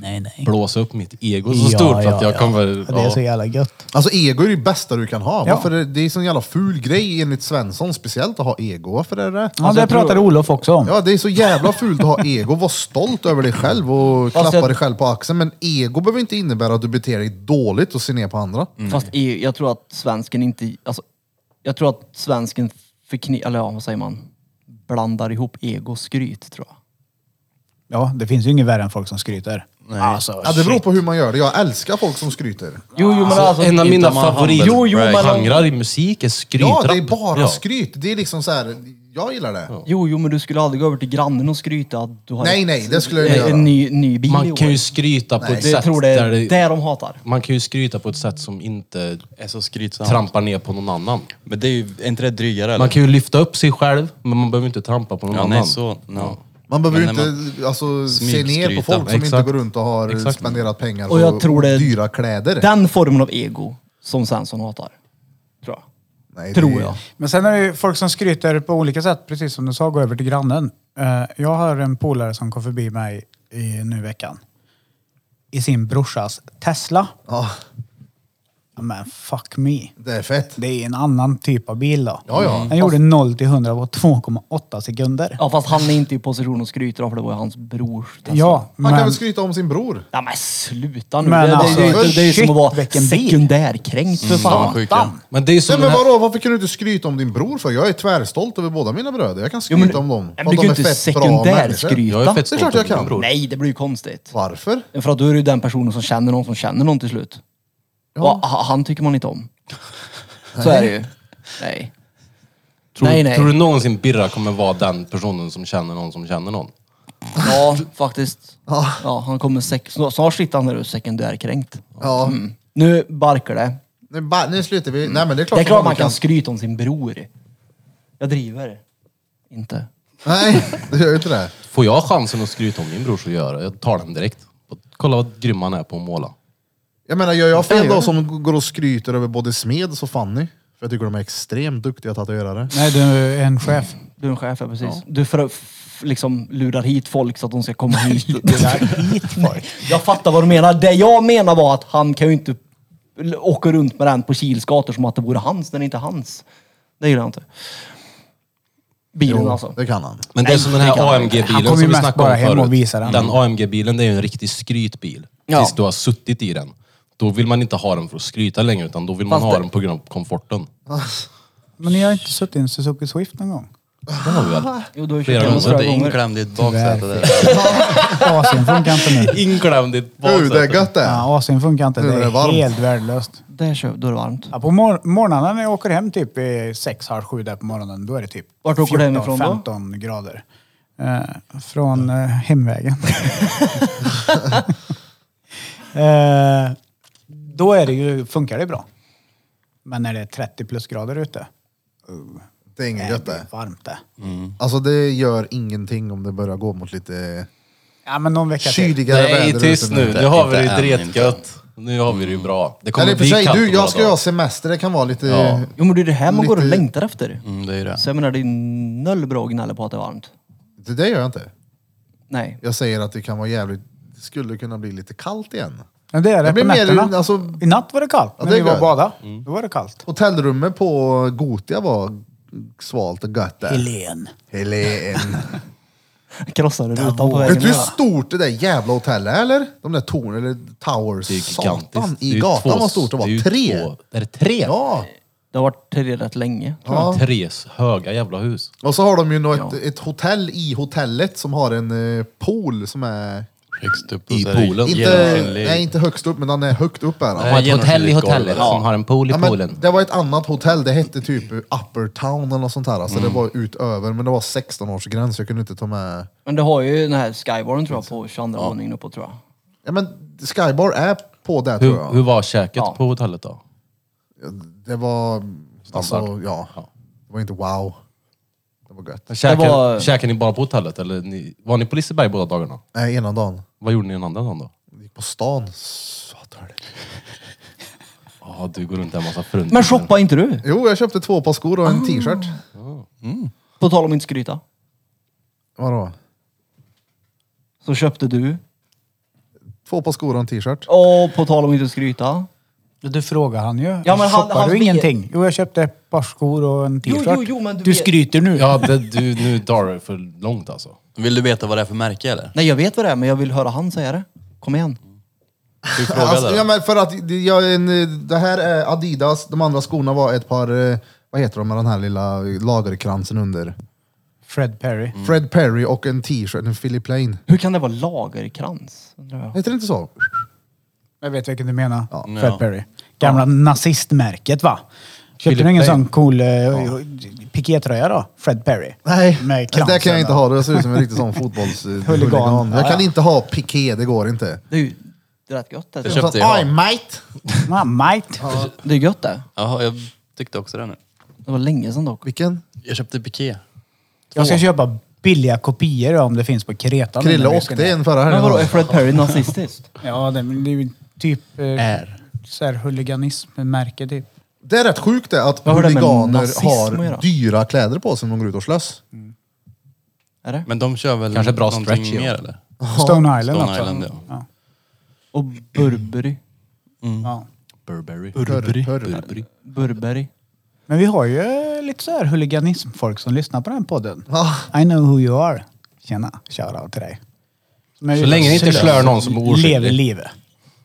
S4: Nej, nej.
S3: blåsa upp mitt ego så stort att jag kommer...
S4: Det är så
S3: ja.
S4: jävla gött.
S1: Alltså ego är det bästa du kan ha.
S4: Ja.
S1: Varför är, det är en sån jävla ful grej enligt Svensson, speciellt att ha ego. Varför är det
S4: Ja, det pratade Olof också om.
S1: Ja, det är så jävla fult att ha ego. Var stolt över dig själv och klappa
S5: jag-
S1: dig själv på axeln. Men ego behöver inte innebära att du beter dig dåligt och ser ner på andra.
S5: Mm. Fast EU, jag tror att svensken inte... Alltså, jag tror att svensken förknippar... Eller ja, vad säger man? Blandar ihop ego och skryt, tror jag.
S4: Ja, det finns ju inget värre än folk som skryter. Nej. Alltså,
S1: Ja, det beror på hur man gör det. Jag älskar folk som skryter.
S5: Jo, jo, men alltså...
S3: En av mina
S6: Inte man
S5: Jo, jo, men-
S3: favoritgenrer i musik är skrytrapp.
S1: Ja, det är bara
S3: Ja.
S1: skryt. Det är liksom så här, jag gillar det.
S5: Jo, jo, men du skulle aldrig gå över till grannen och skryta att du har
S1: Nej,
S5: ett-
S1: nej, det skulle jag
S5: en-
S1: göra.
S5: En ny, ny bil i
S3: Man
S5: år.
S3: kan ju skryta på ett
S5: det, jag
S3: sätt
S5: tror det
S3: där
S5: är
S3: det,
S5: det är de hatar.
S3: Man kan ju skryta på ett sätt som inte
S6: är så skrytsam.
S3: trampar ner på någon annan.
S6: Men det är ju, är inte det drygare eller?
S3: Man kan ju lyfta upp sig själv, men man behöver inte trampa på någon
S6: ja,
S3: annan.
S6: nej, så, no.
S1: Man behöver ju
S6: Men när
S1: inte alltså, se ner på
S6: Smygskryta.
S1: folk som
S3: Exakt.
S1: inte går runt och har
S3: Exakt.
S1: spenderat pengar
S5: Och jag tror det-
S1: dyra kläder.
S5: Den formen av ego som Svensson hatar. Tror jag.
S1: Nej,
S5: Tror jag.
S4: Men sen är det ju folk som skryter på olika sätt, precis som du sa, gå över till grannen. Eh, Jag har en polare som kom förbi mig i, nu i veckan i sin brorsas Tesla.
S1: Ja,
S4: Men fuck me.
S1: det är fett.
S4: Det är en annan typ av bil då.
S1: Ja, ja.
S4: Han gjorde 0 till 100 på 2,8 sekunder.
S5: Ja, fast han är inte i position att skryta för det var ju hans brors Tesla.
S4: Ja,
S1: Han kan
S4: men,
S1: väl skryta om sin bror?
S5: Ja, men sluta nu.
S4: Men
S5: det, det-
S4: alltså,
S5: det, det, det, det är ju
S4: shit,
S5: som att vara
S4: vilken bil.
S5: sekundärkränkt
S1: Mm.
S5: för fan.
S6: sjuk, ja.
S3: Men det är ju som
S1: Nej, men
S3: den här...
S1: vadå, varför kan du inte skryta om din bror för? Jag är tvärstolt över båda mina bröder. Jag kan
S5: Jo,
S1: skryta
S5: men-
S1: om dem.
S5: Men
S1: För att
S5: du kan
S1: de
S5: ju
S1: är
S5: inte
S1: fett bra människor.
S5: sekundärskryta.
S3: Jag är fett
S1: Det är
S3: stolt
S1: klart jag
S3: över min
S1: kan.
S3: bror.
S5: Nej, det blir ju konstigt.
S1: Varför?
S5: För att då är det ju den personen som känner någon som känner någon till slut. Och ha- han tycker man inte om. Så är det ju. Nej.
S3: Tror,
S5: Nej, nej.
S3: tror du någonsin Birra kommer vara den personen som känner någon som känner någon?
S5: Ja, faktiskt.
S1: Ja.
S5: Ja, han kommer sek- snart- snart sitter han där och sekundärkränkt.
S1: Ja.
S5: Mm. Nu barkar det.
S1: Nu, ba, nu slutar vi. Nej men det är klart,
S5: Det är
S1: som
S5: klart
S1: fan
S5: man kan skryta om sin bror. Jag driver. Inte.
S1: Nej, du gör ju inte det.
S3: Får jag chansen att skryta om min bror så gör jag det. Jag tar den direkt. Kolla vad grym han är på att måla.
S1: Jag menar, gör jag fel då som går och skryter över både Smeds och Fanny? För jag tycker de är extremt duktiga tatuerare.
S4: Nej, du är en chef.
S5: Du är en chef, ja precis. Du för, f- liksom lurar hit folk så att de ska komma hit. jag fattar vad du menar. Det jag menar var att han kan ju inte l- åka runt med den på Kils gator som att det vore hans när det inte är hans. Det gillar jag inte. Bilen alltså.
S1: Det kan han.
S3: Men det är som den
S5: kan
S3: här
S5: han inte.
S4: Han
S3: AMG-bilen
S4: kommer
S3: som
S4: ju
S3: vi
S4: mest
S3: snackade
S4: bara
S3: om
S4: hem och
S3: förut.
S4: visa den.
S3: Den AMG-bilen det är ju en riktig skrytbil.
S5: Ja.
S3: Tills du har suttit i den. Då vill man inte ha den för att skryta längre utan då vill man
S5: Fast
S3: ha
S5: det-
S3: den på grund av komforten.
S4: Men ni har inte suttit i en Suzuki Swift någon gång?
S3: Det har vi väl?
S5: Jo, du har ju
S3: Flera
S5: kört
S3: gånger.
S5: den några
S6: Suttit
S5: gånger.
S6: inklämd i ett baksäte där.
S4: Asien funkar inte nu.
S3: Inklämd i ett
S1: Du, det är
S3: baksäte.
S1: gött det.
S4: Ja, Asien funkar inte.
S1: Nu är
S4: Det
S1: det
S4: är
S1: varmt.
S4: helt värdelöst.
S5: Där kör, då är det varmt.
S4: Ja, på mor- morgnarna när jag åker hem typ i sex, halv sju där på morgonen, då är det typ
S5: Vart åker du hemifrån då?
S4: 15 grader. Eh, från eh, hemvägen. eh, då är det ju, funkar det bra. Men när det är 30 plus grader ute,
S1: Det är
S4: är
S1: inget gött
S4: det
S1: det.
S4: varmt det.
S3: Mm.
S1: Alltså det gör ingenting om det börjar gå mot lite
S4: Ja, men någon vecka till.
S1: kyligare
S3: Nej,
S1: väder.
S3: tyst
S1: ute
S3: nu. Nu har vi det
S6: Inte än,
S3: ju
S6: inte
S3: dretgött. Nu har vi det ju bra. Det kommer
S1: Eller i och för
S3: bli
S1: sig,
S3: kallt
S1: du,
S3: om några
S1: jag ska ju
S3: dagar.
S1: ha semester. Det kan vara lite...
S3: Ja.
S5: Jo men det är det här man går och
S1: Lite-
S5: längtar efter.
S6: Mm, det är ju det.
S5: Så jag menar det är noll bra att gnälla på att det är varmt.
S1: Det där gör jag inte.
S5: Nej.
S1: Jag säger att det kan vara jävligt... Det skulle kunna bli lite kallt igen.
S4: Ja, det är det,
S1: Det blir
S4: på
S1: mer-
S4: nätterna.
S1: alltså-
S4: I natt var det kallt,
S1: Ja,
S4: när
S1: det
S4: vi
S1: är
S4: var och
S1: gött. Mm.
S4: badade. Då var det kallt.
S1: Hotellrummet på Gotia var svalt och gött där.
S4: Helen.
S1: Helen.
S5: Krossade rutan på
S1: Vet
S5: vägen
S1: du hur
S5: ner.
S1: stort det där jävla hotellet är eller? De där tornen, eller towers,
S3: Det är ju
S1: satan
S3: gigantiskt. Det är
S1: i
S3: ju
S1: gatan
S3: två-
S1: var stort. Det
S3: är ju
S1: var tre.
S3: två- Är det tre?
S1: Ja.
S5: Det har varit tre rätt länge.
S1: ja.
S3: Tres höga jävla hus.
S1: Och så har de ju något, ett hotell i hotellet som har en eh, pool som är...
S6: Högst upp
S3: I
S6: och så är det
S3: poolen.
S1: Inte,
S6: genomskinlig.
S1: nej, inte högst upp, men den är högt upp är den.
S6: Nej. ett hotell i hotellet som
S3: har en pool
S1: Ja, men det var ett annat hotell, det hette typ Upper Town eller något sånt här. Alltså
S3: Mm.
S1: det var utöver, men det var 16-årsgräns, jag kunde inte ta med...
S5: Men det har ju den här Skyborn tror jag på 22 våningen uppåt tror jag.
S1: Ja men Skybar är på det tror
S3: Hur,
S1: jag.
S3: hur var käket
S5: Ja.
S3: på hotellet då?
S1: Det var... Alltså,
S3: Standard.
S1: ja. Det var inte wow. Det var gött.
S3: Käkade,
S5: var-
S3: käkade ni bara på hotellet eller ni, var ni på Liseberg båda dagarna?
S1: Nej, ena dagen.
S3: Vad gjorde ni den andra dagen då?
S1: Gick på stan. Satan.
S3: Ja, du går runt där en massa fruntimmer.
S5: Men shoppa inte du?
S1: Jo, jag köpte två par skor och en t-shirt.
S5: På tal om inte skryta.
S1: Vadå?
S5: Så köpte du.
S1: Två par skor och en t-shirt.
S5: Och på tal om inte skryta.
S4: Du frågar han ju.
S5: Ja, men han-
S4: Shoppar
S5: han
S4: du
S5: vet-
S4: ingenting? Jo, jag köpte ett par skor och en
S5: Jo,
S4: t-shirt.
S5: jo, jo, men du
S4: du
S5: vet-
S4: skryter nu.
S3: Ja, det, du, nu drar du för långt alltså.
S6: Vill du veta vad det är för märke eller?
S5: Nej jag vet vad det är men jag vill höra han säga det. Kom igen.
S6: Du frågade
S1: Alltså, ja,
S6: det.
S1: men för att det- jag, är en, det här är Adidas, de andra skorna var ett par, eh, vad heter de med den här lilla lagerkransen under?
S4: Fred Perry.
S6: Mm.
S1: Fred Perry och en t-shirt, en Philip Plain.
S5: Hur kan det vara lagerkrans? undrar jag.
S1: Heter det inte så?
S4: Jag vet vilken du menar. Fred
S6: Ja.
S4: Perry. Gamla nazistmärket va? Köpte du ingen sån cool uh, pikétröja då? Fred Perry?
S1: Nej,
S4: Med
S1: det där kan
S4: kransen
S1: jag inte
S4: och-
S1: ha. Det ser ut som en riktig sån fotbollshuligan.
S4: Huligan.
S1: Jag
S4: Ja,
S1: kan
S4: ja.
S1: inte ha piké, det går inte.
S5: Det är ju det är rätt gött det.
S6: Jag köpte ju
S1: Oj,
S6: han.
S1: mate!
S4: Ja, might.
S5: Det är gött det.
S6: Jaha, jag tyckte också det nu.
S5: Det var länge sedan dock.
S1: Vilken?
S6: Jag köpte piké.
S4: Jag ska köpa billiga kopior om det finns på Kreta. nu
S1: Krille
S4: när vi ska
S1: åkte
S4: ner.
S1: en förra
S5: Men vadå är
S1: helgen.
S5: Fred Perry nazistisk?
S4: Ja, det, men det är ju typ... Uh, är. Så här huliganism-märke typ.
S1: Det är rätt sjukt det att
S5: Vad har det med
S1: huliganer
S5: nazism att göra?
S1: har dyra kläder på sig när de går ut och slåss.
S5: Är det?
S6: Men de kör väl
S3: Kanske bra
S6: någonting
S3: stretch, ja.
S6: mer eller?
S4: Stone Island
S6: Stone
S4: också.
S6: Island, ja.
S4: ja.
S5: Och Burberry.
S4: Ja.
S6: Burberry.
S1: Burberry.
S6: Burberry.
S5: Burberry.
S4: Men vi har ju eh, lite så här huliganism-folk som lyssnar på den här podden.
S1: Ja.
S4: I know who you are. Tjena, shoutout till dig. Som är
S3: Så länge ni inte
S4: utan-
S3: slör någon som är oskyldig.
S4: Lever livet.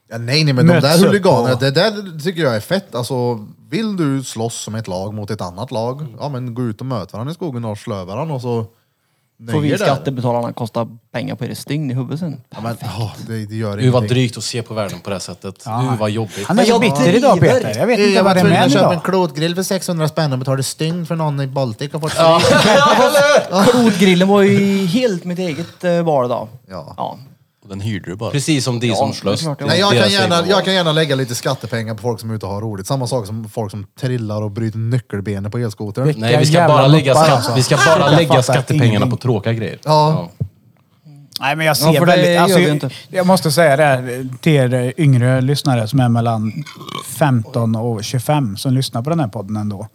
S1: Ja, nej, nej, men de
S4: Möts
S1: där
S4: upp
S1: huliganerna,
S4: och-
S1: det där tycker jag är fett. Alltså, vill du slåss som ett lag mot ett annat lag, ja men gå ut och möt varandra i skogen och slö varandra och så
S5: Får vi
S1: Nöjer det?
S5: skattebetalarna kosta pengar på er stygn i huvudet sen?
S1: Ja, men, åh, det, det gör
S3: Du var
S1: ingenting.
S3: drygt att se på världen på det här sättet. Du var jobbigt.
S4: Han är så
S5: jag
S4: bitter idag
S5: driver.
S4: Peter. Jag vet inte
S1: Jag var
S4: vad det är med
S1: tvungen
S4: han
S1: att köpa en
S4: idag.
S1: klotgrill för 600 spänn och betalade stygn för någon i Baltic och fått ja.
S5: Klotgrillen var ju helt mitt eget eh, val idag.
S1: Ja.
S6: Och den hyrde du bara.
S3: Precis som de som slös.
S5: det är klart det var.
S1: Nej, jag, kan
S3: Deras
S1: gärna,
S3: egna
S1: jag kan gärna lägga lite skattepengar på folk som är ute och har roligt. Samma sak som folk som trillar och bryter nyckelbenet på elskotern.
S3: Nej, vi ska
S4: Jävla
S3: bara lägga,
S4: loppar,
S3: skatt,
S4: alltså.
S3: vi ska bara lägga
S4: fattar
S3: skattepengarna på
S4: ingenting.
S3: tråkiga grejer.
S1: Ja.
S4: Nej, men jag
S5: Ja,
S4: ser
S5: för det
S4: väldigt...
S5: gör
S4: Alltså,
S5: vi inte.
S4: Jag måste säga det här till er yngre lyssnare som är mellan 15 och 25 som lyssnar på den här podden ändå.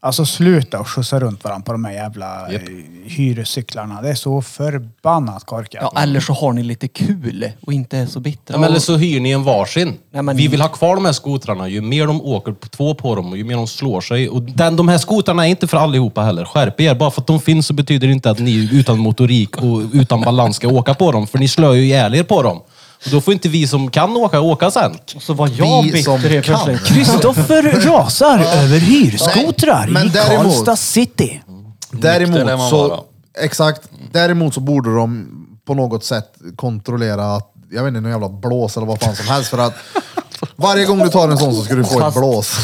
S4: Alltså sluta och skjutsa runt varandra på de här jävla yep. hyrescyklarna. Det är så förbannat korkat.
S5: Ja, eller så har ni lite kul och inte är så bittra.
S3: Ja, men eller så hyr ni en varsin.
S5: Nej, men-
S3: Vi vill ha kvar de här skotrarna. Ju mer de åker på- två på dem och ju mer de slår sig. Och den, de här skotrarna är inte för allihopa heller. Skärp er. Bara för att de finns så betyder det inte att ni utan motorik och utan balans ska åka på dem. För ni slår ju ihjäl er på dem. Och då får inte vi som kan åka, åka sen.
S5: så var jag
S1: Vi som
S5: bitter helt
S1: kan.
S5: plötsligt.
S4: Kristoffer rasar över hyrskotrar
S1: Nej, men
S4: i
S1: däremot-
S4: Karlstad city.
S6: Nykter lär man
S1: Däremot
S6: vara.
S1: så, exakt, däremot så borde de på något sätt kontrollera att, jag vet inte, någon jävla blås eller vad fan som helst för att varje gång du tar en sån så ska du få ett
S5: Fast-
S1: blås.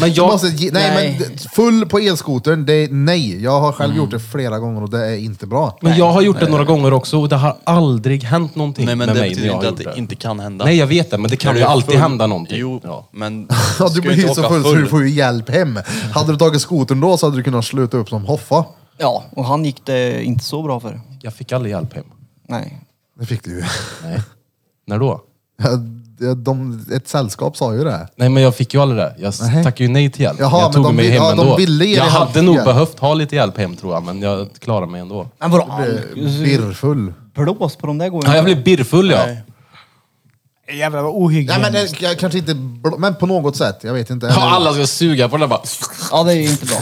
S3: Men
S1: Du
S3: jag,
S1: måste, ge- nej,
S5: Nej.
S1: men full på elskotern, det är nej. Jag har själv gjort det flera gånger och det är inte bra.
S3: men jag har gjort det några gånger också och det har aldrig hänt någonting
S6: Nej men
S3: med
S6: det
S3: mig när
S6: betyder
S3: jag har
S6: inte att
S3: gjort
S6: det
S3: det.
S6: inte kan hända.
S3: Nej, jag vet det. Men det kan
S6: När
S3: ju
S6: du är
S3: alltid
S6: full-
S3: hända någonting.
S6: Jo,
S3: Ja.
S6: men...
S1: Ja,
S6: ska
S1: du blir
S6: inte
S1: så
S6: åka
S1: full, så du får ju hjälp hem. Hade du tagit skotern då så hade du kunnat sluta upp som Hoffa.
S5: Ja, och han gick det inte så bra för.
S3: Jag fick aldrig hjälp hem.
S5: Nej.
S1: Det fick du ju.
S3: Nej. När då?
S1: Ja, det- De, ett sällskap sa ju det.
S3: Nej men jag fick ju aldrig det. Jag s-
S1: Nej.
S3: tackade ju nej till hjälp.
S1: Jaha,
S3: jag
S1: men
S3: tog
S1: de
S3: mig
S1: vill-
S3: hem
S1: ja, de
S3: ändå.
S1: ville ge
S3: jag
S1: dig
S3: hade
S1: hjälp.
S3: nog behövt ha lite hjälp hem tror jag, men jag klarade mig ändå.
S5: Men vadå?
S1: Birrfull.
S5: Blås på de där går ju
S3: Ja, jag
S5: inte.
S3: blev birrfull ja.
S4: Jävlar vad
S1: Nej, men det,
S4: ohygieniskt.
S1: jag, kanske inte, bl- men på något sätt. Jag vet inte.
S3: Ja, Alla ska suga på det där bara.
S5: Ja, det är ju inte bra.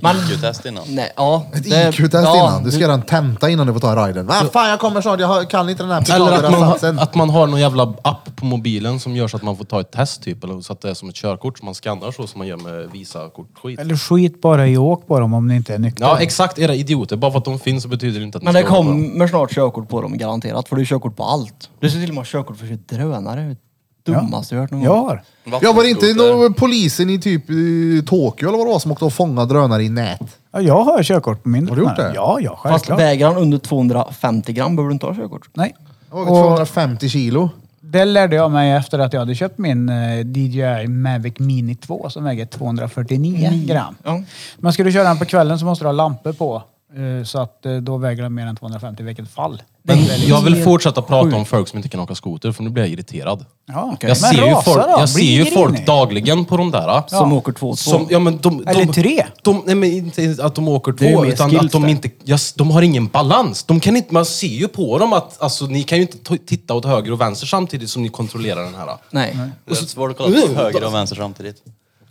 S5: Men,
S6: Test innan.
S5: nej, ja.
S1: Ett
S5: det-
S1: IQ-test innan. Du ska göra en tenta innan du får ta riden. Ah, fan, jag kommer snart. Jag har- kan inte den här
S3: Eller att man,
S1: Pythagoras-satsen.
S3: har- att man har någon jävla app på mobilen som gör så att man får ta ett test typ. Eller så att det är som ett körkort som man skannar så som man gör med Visa-kortskit.
S4: Eller skit bara i åk på dem om ni inte är nyktra.
S3: Ja exakt, era idioter. Bara för att de finns så betyder det inte att ni
S5: Men det
S3: ska åka dem.
S5: kommer snart körkort på dem garanterat. För du har körkort på allt. Du ser till och med ha körkort för sitt drönare. Det dummaste jag hört någon
S4: Jag
S5: gång.
S4: har.
S1: Jag var inte någon polisen i typ i Tokyo eller vad det var som åkte och fångade drönare i nät.
S4: Ja, jag har körkort på min
S1: Har du gjort
S4: drönare.
S1: det?
S4: Ja, ja,
S5: Fast
S4: självklart.
S5: väger han under 250 gram behöver du inte ha körkort.
S4: Nej.
S1: Jag väger 250 kilo.
S4: Det lärde jag mig efter att jag hade köpt min eh, DJI Mavic Mini 2 som väger 249 gram.
S5: Ja.
S4: Men ska du köra den på kvällen så måste du ha lampor på. eh, Så att eh, då väger den mer än 250 i vilket fall.
S3: Men jag vill fortsätta prata om folk som inte kan åka skoter för nu blir jag irriterad.
S4: Ja.
S3: Jag
S4: Men
S3: ser ju
S4: rasa
S3: folk,
S4: då,
S3: jag
S4: bli
S3: ser ju
S4: grinig.
S3: folk dagligen på de där.
S5: Som åker två och två.
S3: Som, ja, men de, de,
S4: Eller tre.
S3: De, nej, men inte att de åker
S5: är ju
S3: två,
S5: mer
S3: utan
S5: skills
S3: att de
S5: där.
S3: inte... ja, s- de har ingen balans. De kan inte, man ser ju på dem att alltså, ni kan ju inte t- titta åt höger och vänster samtidigt som ni kontrollerar den här.
S5: Nej.
S6: Det är rätt svårt att kolla på höger och vänster samtidigt.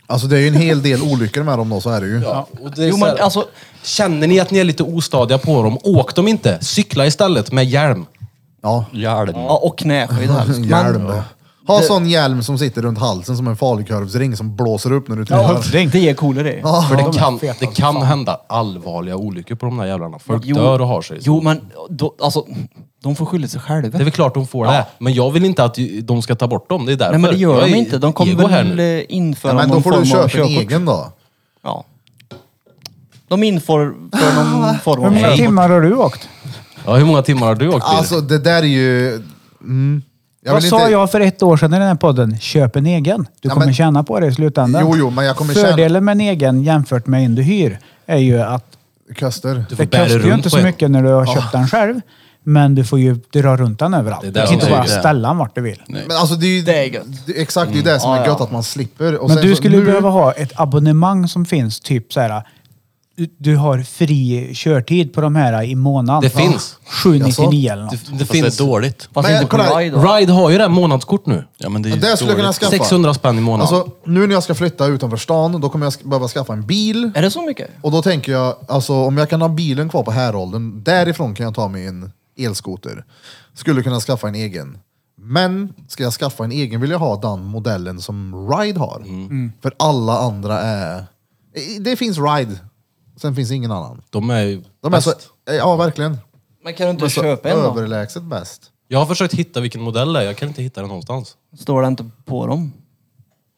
S1: Alltså det är ju en hel del olyckor med dem då, så är det ju.
S3: Ja. Och det är
S5: Jo,
S3: så här,
S5: men alltså-
S3: Känner ni att ni är lite ostadiga på dem, åk dem inte. Cykla istället med hjälm.
S1: Ja.
S6: Hjälm.
S5: Ja, och knäskydd helst.
S1: Hjälm.
S5: Men
S1: Ha sån hjälm som sitter runt halsen som en falukorvsring som blåser upp när du trillar.
S4: Ja, ring.
S5: det är coolare det.
S3: För
S4: de
S3: det
S4: är
S3: kan,
S4: feta
S3: det
S4: som
S3: kan hända allvarliga olyckor på de där jävlarna. Folk dör och har sig.
S5: Jo, men då, alltså, de får skylla sig själva.
S3: Det är väl klart de får det. Men jag vill inte att de ska ta bort dem. Det är därför.
S5: Nej men det gör
S3: jag
S5: de
S3: är
S5: inte. De kommer
S3: ego här
S5: väl
S3: nu.
S5: eh, införa
S1: Ja, men då
S5: någon
S1: får
S5: form
S1: du
S5: av
S1: köpa en
S5: körkort.
S1: egen då.
S5: Ja. De inför för
S1: Ah,
S5: någon form
S4: Hur
S5: av
S4: många
S5: körkort.
S4: timmar har du åkt?
S3: Ja, hur många timmar har du åkt bil?
S1: Alltså det där är ju... Mm. Jag
S4: Vad
S1: vill
S4: sa
S1: inte-
S4: jag för ett år sedan i den här podden? Köp en egen. Du
S1: Ja,
S4: kommer
S1: men-
S4: tjäna på det i slutändan.
S1: Jo, jo, men jag kommer tjäna-
S4: Fördelen med en egen jämfört med en du hyr är ju att
S1: Köster.
S3: Du får
S4: det
S3: bära
S4: kostar ju
S3: runt
S4: inte
S3: på
S4: så
S3: en.
S4: mycket när du har köpt den själv. Men du får ju dra runt den överallt.
S3: Det är
S4: Du
S3: där
S4: kan inte
S3: de
S4: bara
S6: säger det.
S4: ställa den vart du vill.
S1: Men alltså det är ju...
S5: Det är gött.
S1: det- Exakt, det är ju det som
S3: Mm.
S1: är gött att man slipper. Och
S4: Men
S1: sen
S4: du
S1: så-
S4: skulle
S1: nu-
S4: behöva ha ett abonnemang som finns, typ så här. du- Du har fri körtid på de här i månaden.
S3: Det finns.
S4: 799 eller något.
S3: det, det
S6: Fast det
S3: finns...
S6: är dåligt.
S5: Fast
S1: Men
S5: inte på
S1: kolla här.
S5: ride då.
S3: Ride har ju det här månadskort nu.
S6: Ja men det är ju
S1: Det skulle jag kunna
S6: dåligt.
S1: skaffa.
S3: 600 spänn i månaden.
S1: Alltså nu när jag ska flytta utanför stan, då kommer jag sk- behöva skaffa en bil.
S5: Är det så mycket?
S1: Och då tänker jag, alltså om jag kan ha bilen kvar på häråldern, därifrån kan jag ta mig en elskoter. Skulle kunna skaffa en egen. Men ska jag skaffa en egen vill jag ha den modellen
S3: Mm.
S1: som Ride har. För alla andra är... Det finns Ride. Sen finns ingen annan.
S3: De är ju
S1: De är
S3: bäst.
S1: så, ja, verkligen.
S5: Men kan du
S1: De är
S5: inte
S1: så
S5: köpa en då?
S1: överlägset bäst.
S3: Jag har försökt hitta vilken modell det är. Jag kan inte hitta den någonstans.
S5: Står det inte på dem?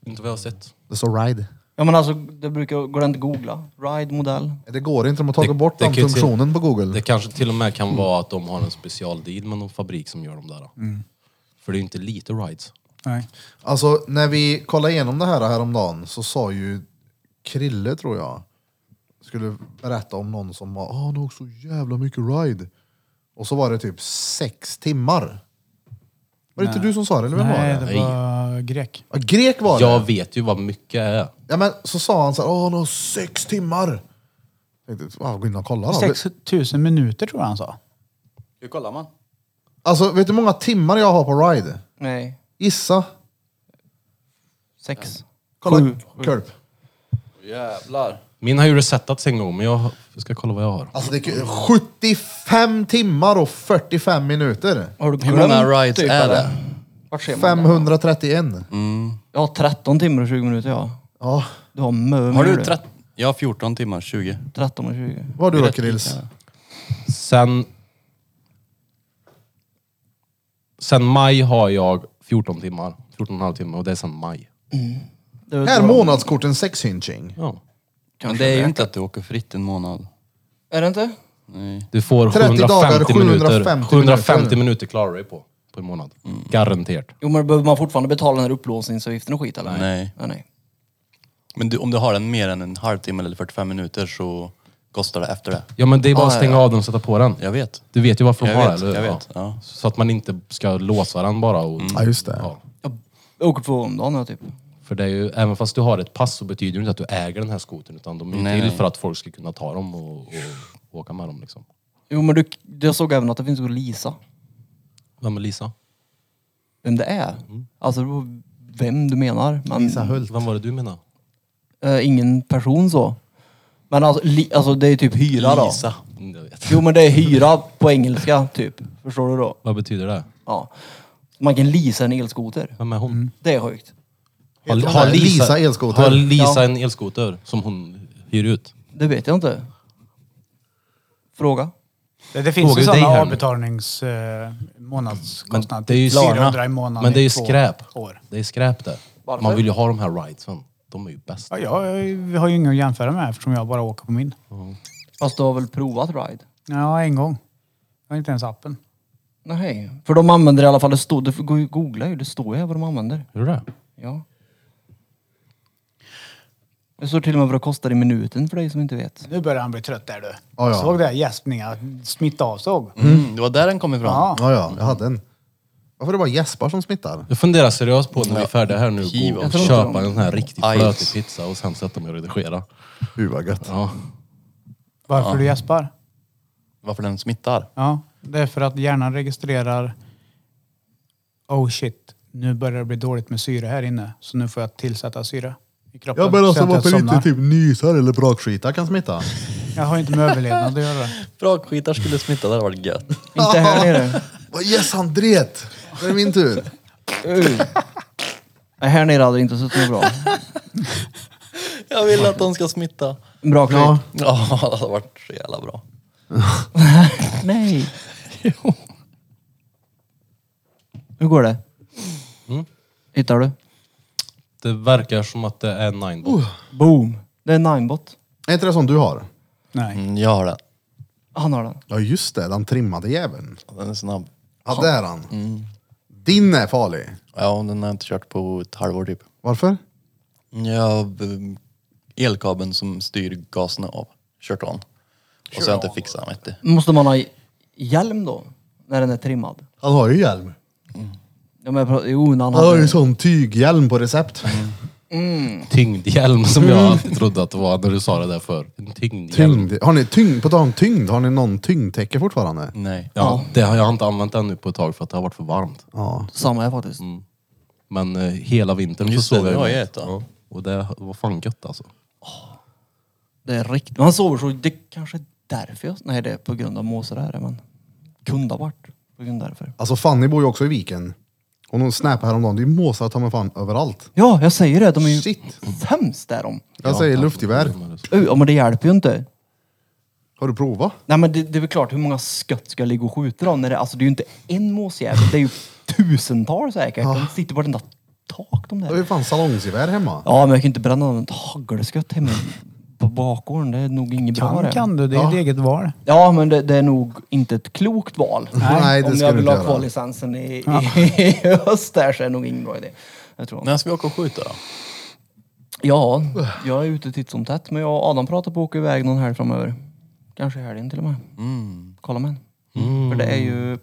S3: Inte vad jag har sett.
S1: Det står ride.
S5: Ja men alltså, det brukar, går det inte att googla? Ride modell?
S1: Det går inte, de har tagit
S3: Det-
S1: bort
S3: det
S1: den
S3: kan ju se-
S1: funktionen på Google.
S3: Det kanske till och med kan vara att de har en specialdeal med någon fabrik som gör de där.
S5: Mm.
S3: För det är ju inte lite rides.
S4: Nej.
S1: Alltså när vi kollade igenom det här häromdagen så sa ju Krille tror jag, skulle berätta om någon som var, ah, han har så jävla mycket ride. Och så var det typ sex timmar. Var det inte du som sa det eller vem var
S4: Nej,
S1: det?
S4: det var grek.
S1: Ja, grek var det.
S3: Jag vet ju vad mycket är.
S1: Ja, men så sa han så här, ah, han har sex timmar. Jag tänkte, ah, gå in och kolla då.
S4: 6000 minuter tror jag han sa.
S6: Hur kollar man?
S1: Alltså vet du hur många timmar jag har på ride?
S5: Nej,
S1: Gissa.
S5: sex.
S1: Kolla, Curb.
S6: Jävlar.
S3: Min har ju resetats en gång, men jag jag ska kolla vad jag har.
S1: Alltså det är kul. 75 timmar och 45 minuter.
S5: Har du
S6: Hur
S5: glömt
S6: många rides
S5: typ,
S6: är
S5: eller?
S6: det? Mm.
S5: Vart ser man det?
S1: 531.
S5: Jag har 13 timmar och 20 minuter jag.
S1: Ja,
S5: Du har mö
S6: Har du
S5: mö,
S6: 13? Jag har 14 timmar, 20.
S5: 13 och 20.
S1: vad har du då Krills?
S3: Sen... Sen maj har jag 14 timmar. 14 och en halv timme och det är sen maj.
S5: Det är
S1: Här
S5: bra.
S1: månadskorten sexhynching.
S3: Ja.
S6: Men det är ju inte att du åker fritt en månad.
S5: Är det inte?
S6: Nej.
S3: Du får
S1: 30
S3: 750
S1: dagar,
S3: minuter.
S1: 750
S3: 750
S1: minuter.
S3: minuter, klarar du dig på. På en månad. Garanterat.
S5: Jo men behöver man fortfarande betala den här upplåsningsavgiften och skit eller?
S6: Nej.
S5: Ja, nej.
S6: Men du, om du har den mer än en halvtimme eller 45 minuter så kostar det efter det.
S3: Ja men det är bara
S5: Ah,
S3: att stänga
S5: ja, ja.
S3: av den och sätta på den.
S6: Jag vet.
S3: Du vet ju varför de
S6: Jag
S3: har
S6: vet,
S3: det, eller hur?
S6: jag vet, ja.
S3: Så att man inte ska låsa den bara. Och,
S1: Mm. Ja, just det.
S3: Ja.
S5: Jag åker två om dagen jag typ.
S3: För det är ju, även fast du har ett pass så betyder det inte att du äger den här skotern utan de är ju
S6: Nej,
S3: till
S6: nej.
S3: för att folk ska kunna ta dem och, och, och åka med dem liksom.
S5: Jo men du, jag såg även att det finns att leasa.
S3: Vem är Lisa?
S5: Vem det är? Alltså det beror på vem du menar. Men,
S3: Vem var det du menade?
S5: Eh, ingen person så. Men alltså, li, alltså det är typ hyra då.
S6: Lisa.
S3: Mm, Jag vet.
S5: Jo men det är hyra på engelska typ. Förstår du då?
S3: Vad betyder det?
S5: Ja. Man kan leasa en elskoter.
S3: Vem är hon?
S5: Det är sjukt.
S1: Mm. Heter hon det? Lisa elskoter?
S3: Har Lisa
S5: Ja.
S3: en elskoter som hon hyr ut?
S5: Det vet jag inte. Fråga.
S4: Det, det finns
S3: Frågar
S4: ju
S3: du dig
S4: sådana
S3: här nu?
S4: avbetalnings... Eh, månadskostnad. typ 400 i månaden
S3: Men det är ju
S4: i två
S3: skräp.
S4: År.
S3: Det är skräp det.
S5: Varför?
S3: Man vill ju ha de här ridesen. De är ju bäst.
S4: Ja, jag, jag har ju ingen att jämföra med eftersom jag bara åker på min.
S5: Fast du har väl provat ride?
S4: Ja, en gång. Jag har inte ens appen.
S5: Nej. För de använder i alla fall, det står, det går ju att googla ju, det står ju här vad de använder.
S3: Hur är det?
S5: Ja. Det står till och med vad det kostar i minuten för dig som inte vet.
S4: Nu börjar han bli trött där du.
S1: Ja, ja.
S4: Såg det? Gäspningar. Smitta avsåg.
S6: Mm. Det var där den kom ifrån.
S4: Ja.
S1: Ja, ja, jag hade en. Varför är det bara gäspar som smittar?
S3: Jag funderar seriöst på när vi är färdiga här nu,
S6: Hiv
S3: gå
S6: också.
S3: och köpa en sån här riktigt
S6: Aj.
S3: flötig pizza och sen sätta mig och redigera.
S1: Gud vad gött.
S3: Ja.
S4: Varför du gäspar?
S6: Varför den smittar?
S4: Ja, det är för att hjärnan registrerar Oh shit, nu börjar det bli dåligt med syre här inne. Så nu får jag tillsätta syre i kroppen.
S1: Ja men
S4: så
S1: alltså
S4: att jag
S1: varför
S4: somnar.
S1: inte typ nysar eller brakskita kan smitta?
S4: Jag har inte med överlevnad att göra.
S6: Brakskitar skulle smitta, det hade varit gött.
S5: Inte här nere.
S1: Vad yes han dret! Det är min tur.
S5: Nej, här nere hade det inte suttit något bra.
S6: Jag vill att de ska smitta.
S5: Bra klipp.
S1: Ja.
S6: Ja, det hade varit så jävla bra.
S5: Nej. Hur går det? Mm. Hittar du?
S3: Det verkar som att det är ninebot.
S5: Boom. Det är Ninebot.
S1: Är inte det som du har?
S4: Nej.
S6: Mm, jag har den.
S5: Han har den.
S1: Ja just det, den trimmade jäveln.
S6: Den är snabb.
S1: Ja det är han. Din är farlig.
S6: Ja, den har jag inte kört på ett halvår typ.
S1: Varför?
S6: Ja, b- elkabeln som styr gasen av. Kört an. Och så har jag inte fixat den vet du.
S5: Måste man ha i- hjälm då? När den är trimmad?
S1: Han har ju hjälm.
S5: Ja, men jag pratar, jo, när han
S1: Han har
S5: hade
S1: ju sån tyghjälm på recept.
S3: Tyngdhjälm som jag alltid trodde att det var när du sa det där för. En tyngdhjälm.
S1: Tyngd. Har ni tyngd? På tal om tyngd, har ni någon tyngdtäcke fortfarande?
S6: Nej.
S3: Ja, det har jag inte använt ännu på ett tag för att det har varit för varmt.
S1: Ja.
S5: Samma här faktiskt.
S3: Men eh, hela vintern
S6: Just
S3: så
S6: det,
S3: sov jag
S6: det var
S3: med.
S6: ju ett då.
S3: Ja, Och det var fan gött alltså.
S5: Det är riktigt. Han sover så. Det kanske är därför jag... Nej, det är på grund av måsar här, men... Kunde ha varit på grund därför.
S1: Alltså Fanny bor ju också i viken. Och hon snappade häromdagen, det är ju måsar ta mig fan överallt.
S5: Ja, jag säger det. De är ju
S1: Shit.
S5: sämst där de.
S1: Jag säger luftgevär.
S5: Uh, ja, men det hjälper ju inte.
S1: Har du provat?
S5: Nej men det, det är väl klart, hur många skott ska jag ligga och skjuta då? När det, alltså det är ju inte en måsjävel, det är ju tusentals säkert. De sitter på vartenda tak de
S1: Jag har ju
S5: där.
S1: fan salongsgevär hemma.
S5: Ja men jag kan ju inte bränna något hagelskott hemma på bakgården. Det är nog inget bra
S4: Kan,
S5: det.
S4: kan du, det är ett eget val.
S5: Ja men det, det är nog inte ett klokt val.
S1: Nej, det
S5: Om
S1: ska
S5: jag
S1: du
S5: vill
S1: inte
S5: ha kvar
S1: göra.
S5: licensen i, i höst där så är det nog ingen bra idé. Jag tror.
S6: När ska vi åka och skjuta då?
S5: Ja, jag är ute titt som tätt. Men jag och Adam pratar på att åka iväg någon helg framöver. Kanske i helgen till och med.
S6: Mm.
S5: Kolla med För det är ju...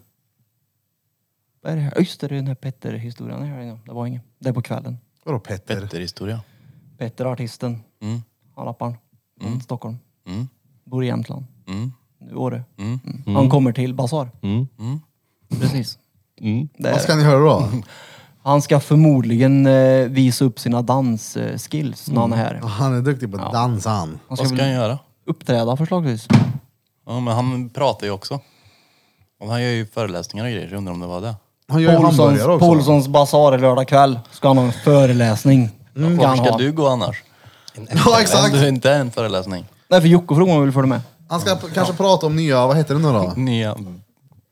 S5: Vad är det här? Just det, det är den här Petter-historien i helgen. Det var ingen. Det är på kvällen.
S1: Vadå Petter?
S6: Vetterhistoria.
S5: Petter, artisten. Mm. Han rapparen. Från Stockholm.
S6: Mm.
S5: Bor i Jämtland.
S6: Mm.
S5: Nu är det. Mm. Han kommer till Basar.
S1: Mm.
S6: Mm.
S5: Precis. Det är
S1: Vad
S5: det.
S1: ska ni höra då?
S5: Han ska förmodligen eh, visa upp sina dansskills när han är här.
S1: Han är duktig på dans han.
S5: Han
S6: Vad
S5: ska
S6: ska
S5: väl
S6: han göra?
S5: uppträda förslagsvis.
S6: Ja, men han pratar ju också. Och han gör ju föreläsningar och grejer, jag undrar om det var det.
S1: Han gör ju
S5: Paulsons,
S1: hamburgare också.
S5: Paulsons basar lördag kväll ska han ha en föreläsning. Mm.
S6: Varför
S5: Han
S6: ska
S5: ha.
S6: du gå annars?
S1: Ja
S6: Om
S1: exakt.
S6: du inte är en föreläsning.
S5: Nej för Jocke frågade om han ville följa med.
S1: Han ska p- kanske prata om nya, vad heter det nu då?
S6: Nya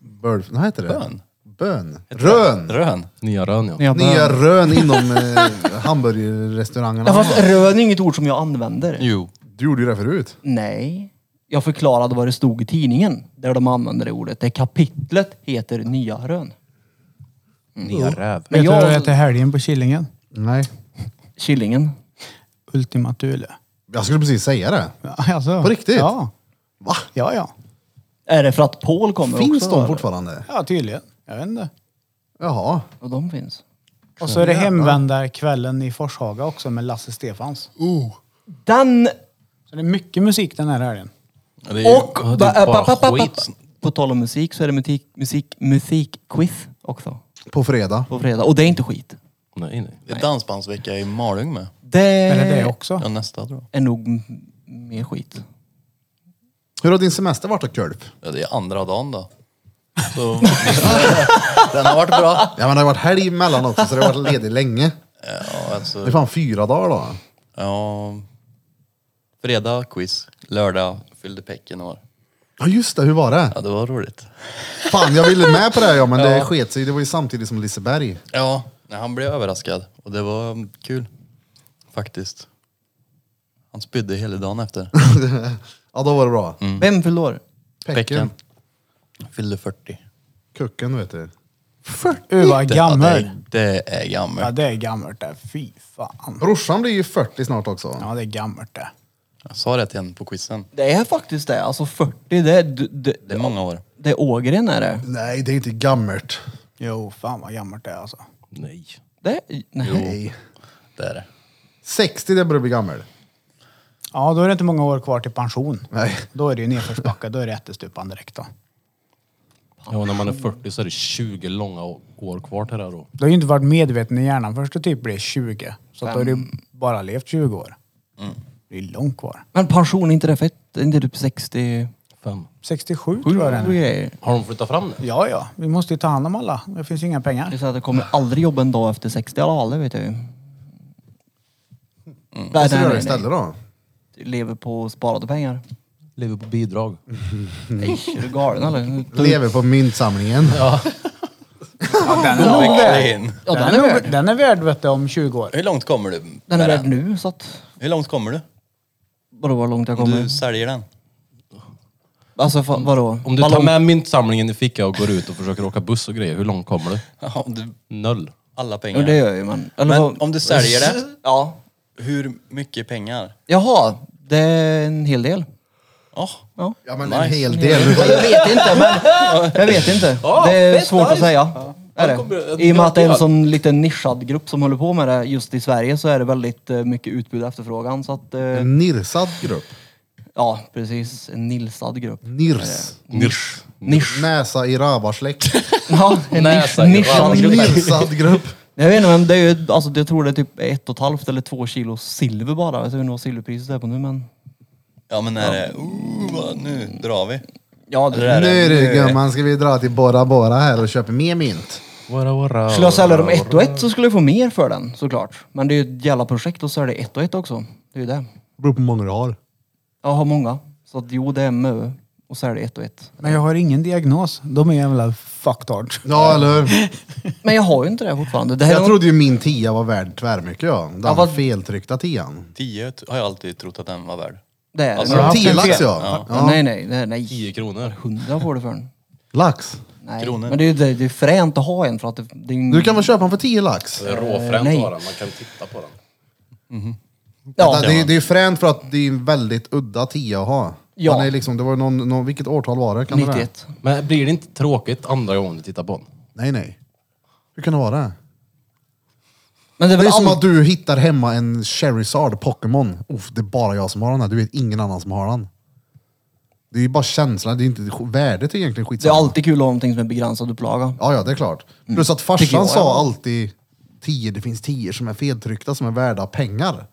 S1: Bird, vad heter det?
S6: Mm. Bön.
S1: Bön. Rön.
S6: rön.
S3: Nya rön ja.
S5: Ja,
S1: Nya rön inom eh, hamburgerrestaurangerna.
S5: fast rön är inget ord som jag använder.
S6: Jo.
S1: Du gjorde ju det förut.
S5: Nej. Jag förklarade vad det stod i tidningen där de använder det ordet. Det kapitlet heter nya rön.
S3: Nya räv.
S5: Men
S4: Vet du vad jag
S5: jag...
S4: äter helgen på Killingen?
S1: Nej.
S5: Killingen.
S4: Ultima Thule.
S1: Jag skulle precis säga det.
S4: Ja, Alltså,
S1: På riktigt?
S4: Ja.
S1: Va?
S4: Ja, ja.
S5: Är det för att Paul kommer
S1: Finns
S5: också?
S1: de
S5: eller?
S1: fortfarande?
S4: Ja, tydligen. Jag vet inte.
S1: Jaha.
S5: Ja, de finns.
S4: Och så är det hemvända kvällen i Forshaga också med Lasse Stefans.
S5: Den
S4: Så det är mycket musik den här helgen.
S6: Det är ju-
S5: och...
S6: Ja, det
S5: ba-
S6: är
S5: äh, pa- pa- pa-
S6: bara skit.
S5: pa- På tal om musik så är det musik, musik, musikquiz också
S1: På fredag.
S5: på fredag. Och det är inte skit.
S3: Nej, nej.
S6: Det är dansbandsvecka i Malung med.
S5: Det
S4: Eller det
S5: är,
S4: också.
S6: Ja, nästa tror jag.
S5: nog m- mer skit.
S1: Hur har din semester varit då Kulp?
S6: Ja, det är andra dagen då. Så, den har varit bra.
S1: Ja men det har varit helg emellan också så det har varit ledig länge.
S6: Ja,
S1: Det är
S6: alltså,
S1: fan fyra dagar då.
S6: ja, fredag quiz, lördag fyllde Pecken år.
S1: Ja just det, hur var det?
S6: Ja, det var roligt.
S1: Fan jag ville med på det här, ja men det sket sig. Det var ju samtidigt som Liseberg.
S6: Ja, nej, han blev överraskad och det var kul. Faktiskt. Han spydde hela dagen efter.
S1: Ja då var det bra.
S6: Mm.
S5: Vem fyllde år?
S1: Pecken.
S6: Fyllde 40.
S1: Kucken vet du.
S4: Uh, vad gammalt.
S6: Ja, det är, det är
S4: Ja,
S6: gammalt.
S4: det är gammalt det. Fy fan.
S1: Brorsan blir ju 40 snart också.
S4: Ja, det är gammalt det.
S6: Jag sa det till henne på quizen.
S5: Det är faktiskt det. Alltså 40, det är, det, det,
S6: Det är många år.
S5: det är Ågren är det.
S1: Nej det är inte gammalt.
S4: Jo, fan vad gammalt det är alltså.
S3: nej.
S5: det nej.
S1: Nej.
S6: Det är det.
S1: 60 det börjar bli gammal.
S4: Ja, då är det inte många år kvar till pension.
S1: Nej.
S4: Då är det ju nedförsbacke, då är det ättestupan direkt då.
S3: Ja, när man är 40 så är det 20 långa å- år kvar till det här då.
S4: Du har ju inte varit medveten i hjärnan först du typ blev 20. Så att då har du bara levt 20 år.
S6: Mm.
S4: Det är långt kvar.
S5: Men pension, är inte det fett? Är inte typ 67
S3: Fem.
S4: 67 tror jag den är.
S5: grejer?
S3: Har de flyttat fram det?
S4: Ja, ja. Vi måste ju ta hand om alla. Det finns ju inga
S5: Det
S4: pengar.
S5: är så att jag kommer aldrig jobba en dag efter 60 i alla fall, det vet jag ju. Nej,
S1: Vad ska du
S5: nej,
S1: göra
S5: nej,
S1: istället då?
S5: nej. Lever på sparade pengar.
S3: Lever på bidrag.
S5: Nej, är du galen eller?
S1: Lever på myntsamlingen.
S6: Växla in.
S5: Ja, den
S4: Den
S5: är
S4: nog-
S5: värd.
S4: Den är värd vet du, om 20 år.
S6: Hur långt kommer du?
S5: Den är
S6: med
S5: värd nu, så att...
S6: Hur långt kommer du?
S5: Vadå, vad långt jag
S6: Om
S5: kommer?
S6: du säljer den?
S5: Alltså, fa- vadå?
S3: Om du tar med myntsamlingen i fickan och går ut och försöker åka buss och grejer, hur långt kommer du?
S6: Ja, om du,
S3: Noll.
S6: alla pengar.
S5: Ja, det gör jag ju, men... eller
S6: Men
S5: vad-
S6: om du säljer det?
S5: Ja.
S6: Hur mycket pengar?
S5: Jaha, det är en hel del.
S6: Ja,
S5: Ja.
S1: Ja men
S6: Nice.
S1: en hel del.
S5: Jag vet inte, men jag vet inte. det är svårt att säga. Är det? I och med att det är en sån liten nischad grupp som håller på med det just i Sverige så är det väldigt eh, mycket utbud och efterfrågan. Så att, eh,
S1: En nirsad grupp.
S5: ja, precis. En nilsad grupp.
S1: Nirs.
S3: Nisch.
S5: Nisch.
S1: Näsa i rövarsläck.
S5: Ja, en nisch,
S3: Näsa,
S5: nischad
S1: En
S5: grupp.
S1: nirsad grupp.
S5: Jag vet inte, men det är ju, alltså, jag tror det är typ ett och ett halvt eller två kilo silver bara. Jag vet inte vad silverpriset är på nu, men...
S6: ja men är det... Oh, vad- nu drar vi.
S5: Ja, det
S6: Eller
S1: Nu
S6: är det-
S1: du gumman ska vi dra till Bora Bora här och köpa mer mynt.
S3: Vara, vara,
S5: Skulle jag sälja dem ett och ett så skulle jag få mer för den såklart. Men det är ju ett jävla projekt och så är det ett och ett också. Det är ju det.
S1: Beror på hur många du har.
S5: Jag har många. Så att jo, det är mö. Och så är det ett och ett.
S4: Men jag har ingen diagnos. De är jävla fucktards.
S1: Ja, eller hur?
S5: Men jag har ju inte det fortfarande. Det här
S1: Jag
S5: är
S1: trodde ju min tia var värd tvärmycket ja. Den
S5: Ja, vad-
S1: feltryckta tian.
S6: 10 t- har jag alltid trott att den var värd.
S5: Det är
S6: Alltså,
S5: det.
S1: Ja,
S4: haft en
S1: tio
S4: fel?
S1: lax ja.
S5: Ja. Nej, nej, det är, nej.
S3: 10 kronor.
S5: Hundra får du för den.
S1: Lax.
S5: Nej,
S6: Kronor.
S5: men det är ju det, det är fränt att ha en för att det, det är ju-
S1: Du kan väl köpa den för 10 lax?
S3: Det är råfränt
S5: nej.
S3: att ha den. Man kan titta på den.
S5: ja,
S1: det, är- det är fränt för att det är en väldigt udda tia att ha.
S5: Ja.
S1: Den är liksom, det var ju någon, någon, vilket årtal var det? Kan det vara?
S5: 91.
S3: Men blir det inte tråkigt andra gången du tittar på den?
S1: Nej, nej. Hur kan det vara det?
S5: Men det
S1: Det
S5: är väl
S1: är som
S5: all...
S1: att du hittar hemma en Charizard Pokémon. Uff, det är bara jag som har den här. Du vet ingen annan som har den. Det är ju bara känslan, det är inte värdet är egentligen
S5: Det är
S1: skitsamma.
S5: alltid kul att ha någonting som är begränsad upplaga.
S1: Ja, ja, det är klart. Plus att
S5: Tycker
S1: farsan
S5: jag, ja.
S1: sa alltid tio, det finns tio som är feltryckta som är värda pengar.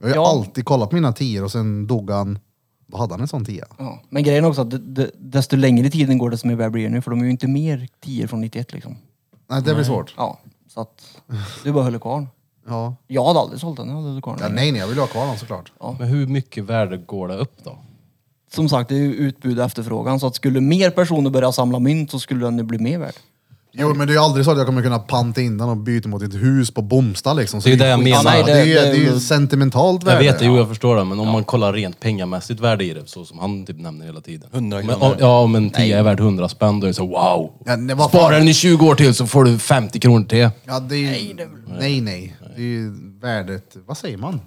S1: Jag har ju
S5: Ja.
S1: alltid kollat på mina tior och sen dog han. Då hade han en sån tia.
S5: Ja. Men grejen är också att det, det, desto längre tiden går desto mer värd blir det nu för de är ju inte mer 10 från 91 liksom.
S1: Nej, det blir svårt.
S5: Ja, så att du bara höll kvar
S1: Ja.
S5: Jag hade aldrig sålt den, jag hade hållit kvar
S1: Ja,
S5: den.
S1: nej, nej, jag vill ju ha kvar den såklart.
S3: Men hur mycket värde går det upp då?
S5: Som sagt, det är ju utbud och efterfrågan så att skulle mer personer börja samla mynt så skulle den ju bli mer värd.
S1: Jo, men det är ju aldrig så att jag kommer kunna panta in den och byta mot ett hus på Bomsta liksom. Så
S3: Det är ju det jag
S1: skitsamma.
S3: menar.
S1: Det är ju,
S5: Ja, nej, det-
S1: det är ju sentimentalt
S3: Jag
S1: värde.
S3: vet det, jo jag förstår det. Men om man kollar rent pengamässigt värde i det, så som han typ nämner hela tiden.
S6: 100
S3: Men
S6: kronor.
S3: om- Ja, om en tia är värd 100 spänn, då är det så wow.
S1: Ja, nej, vad fan.
S3: Sparar den i 20 år till så får du 50 kronor till.
S1: Ja, det är ju, nej, nej. Det är ju värdet, vad säger man?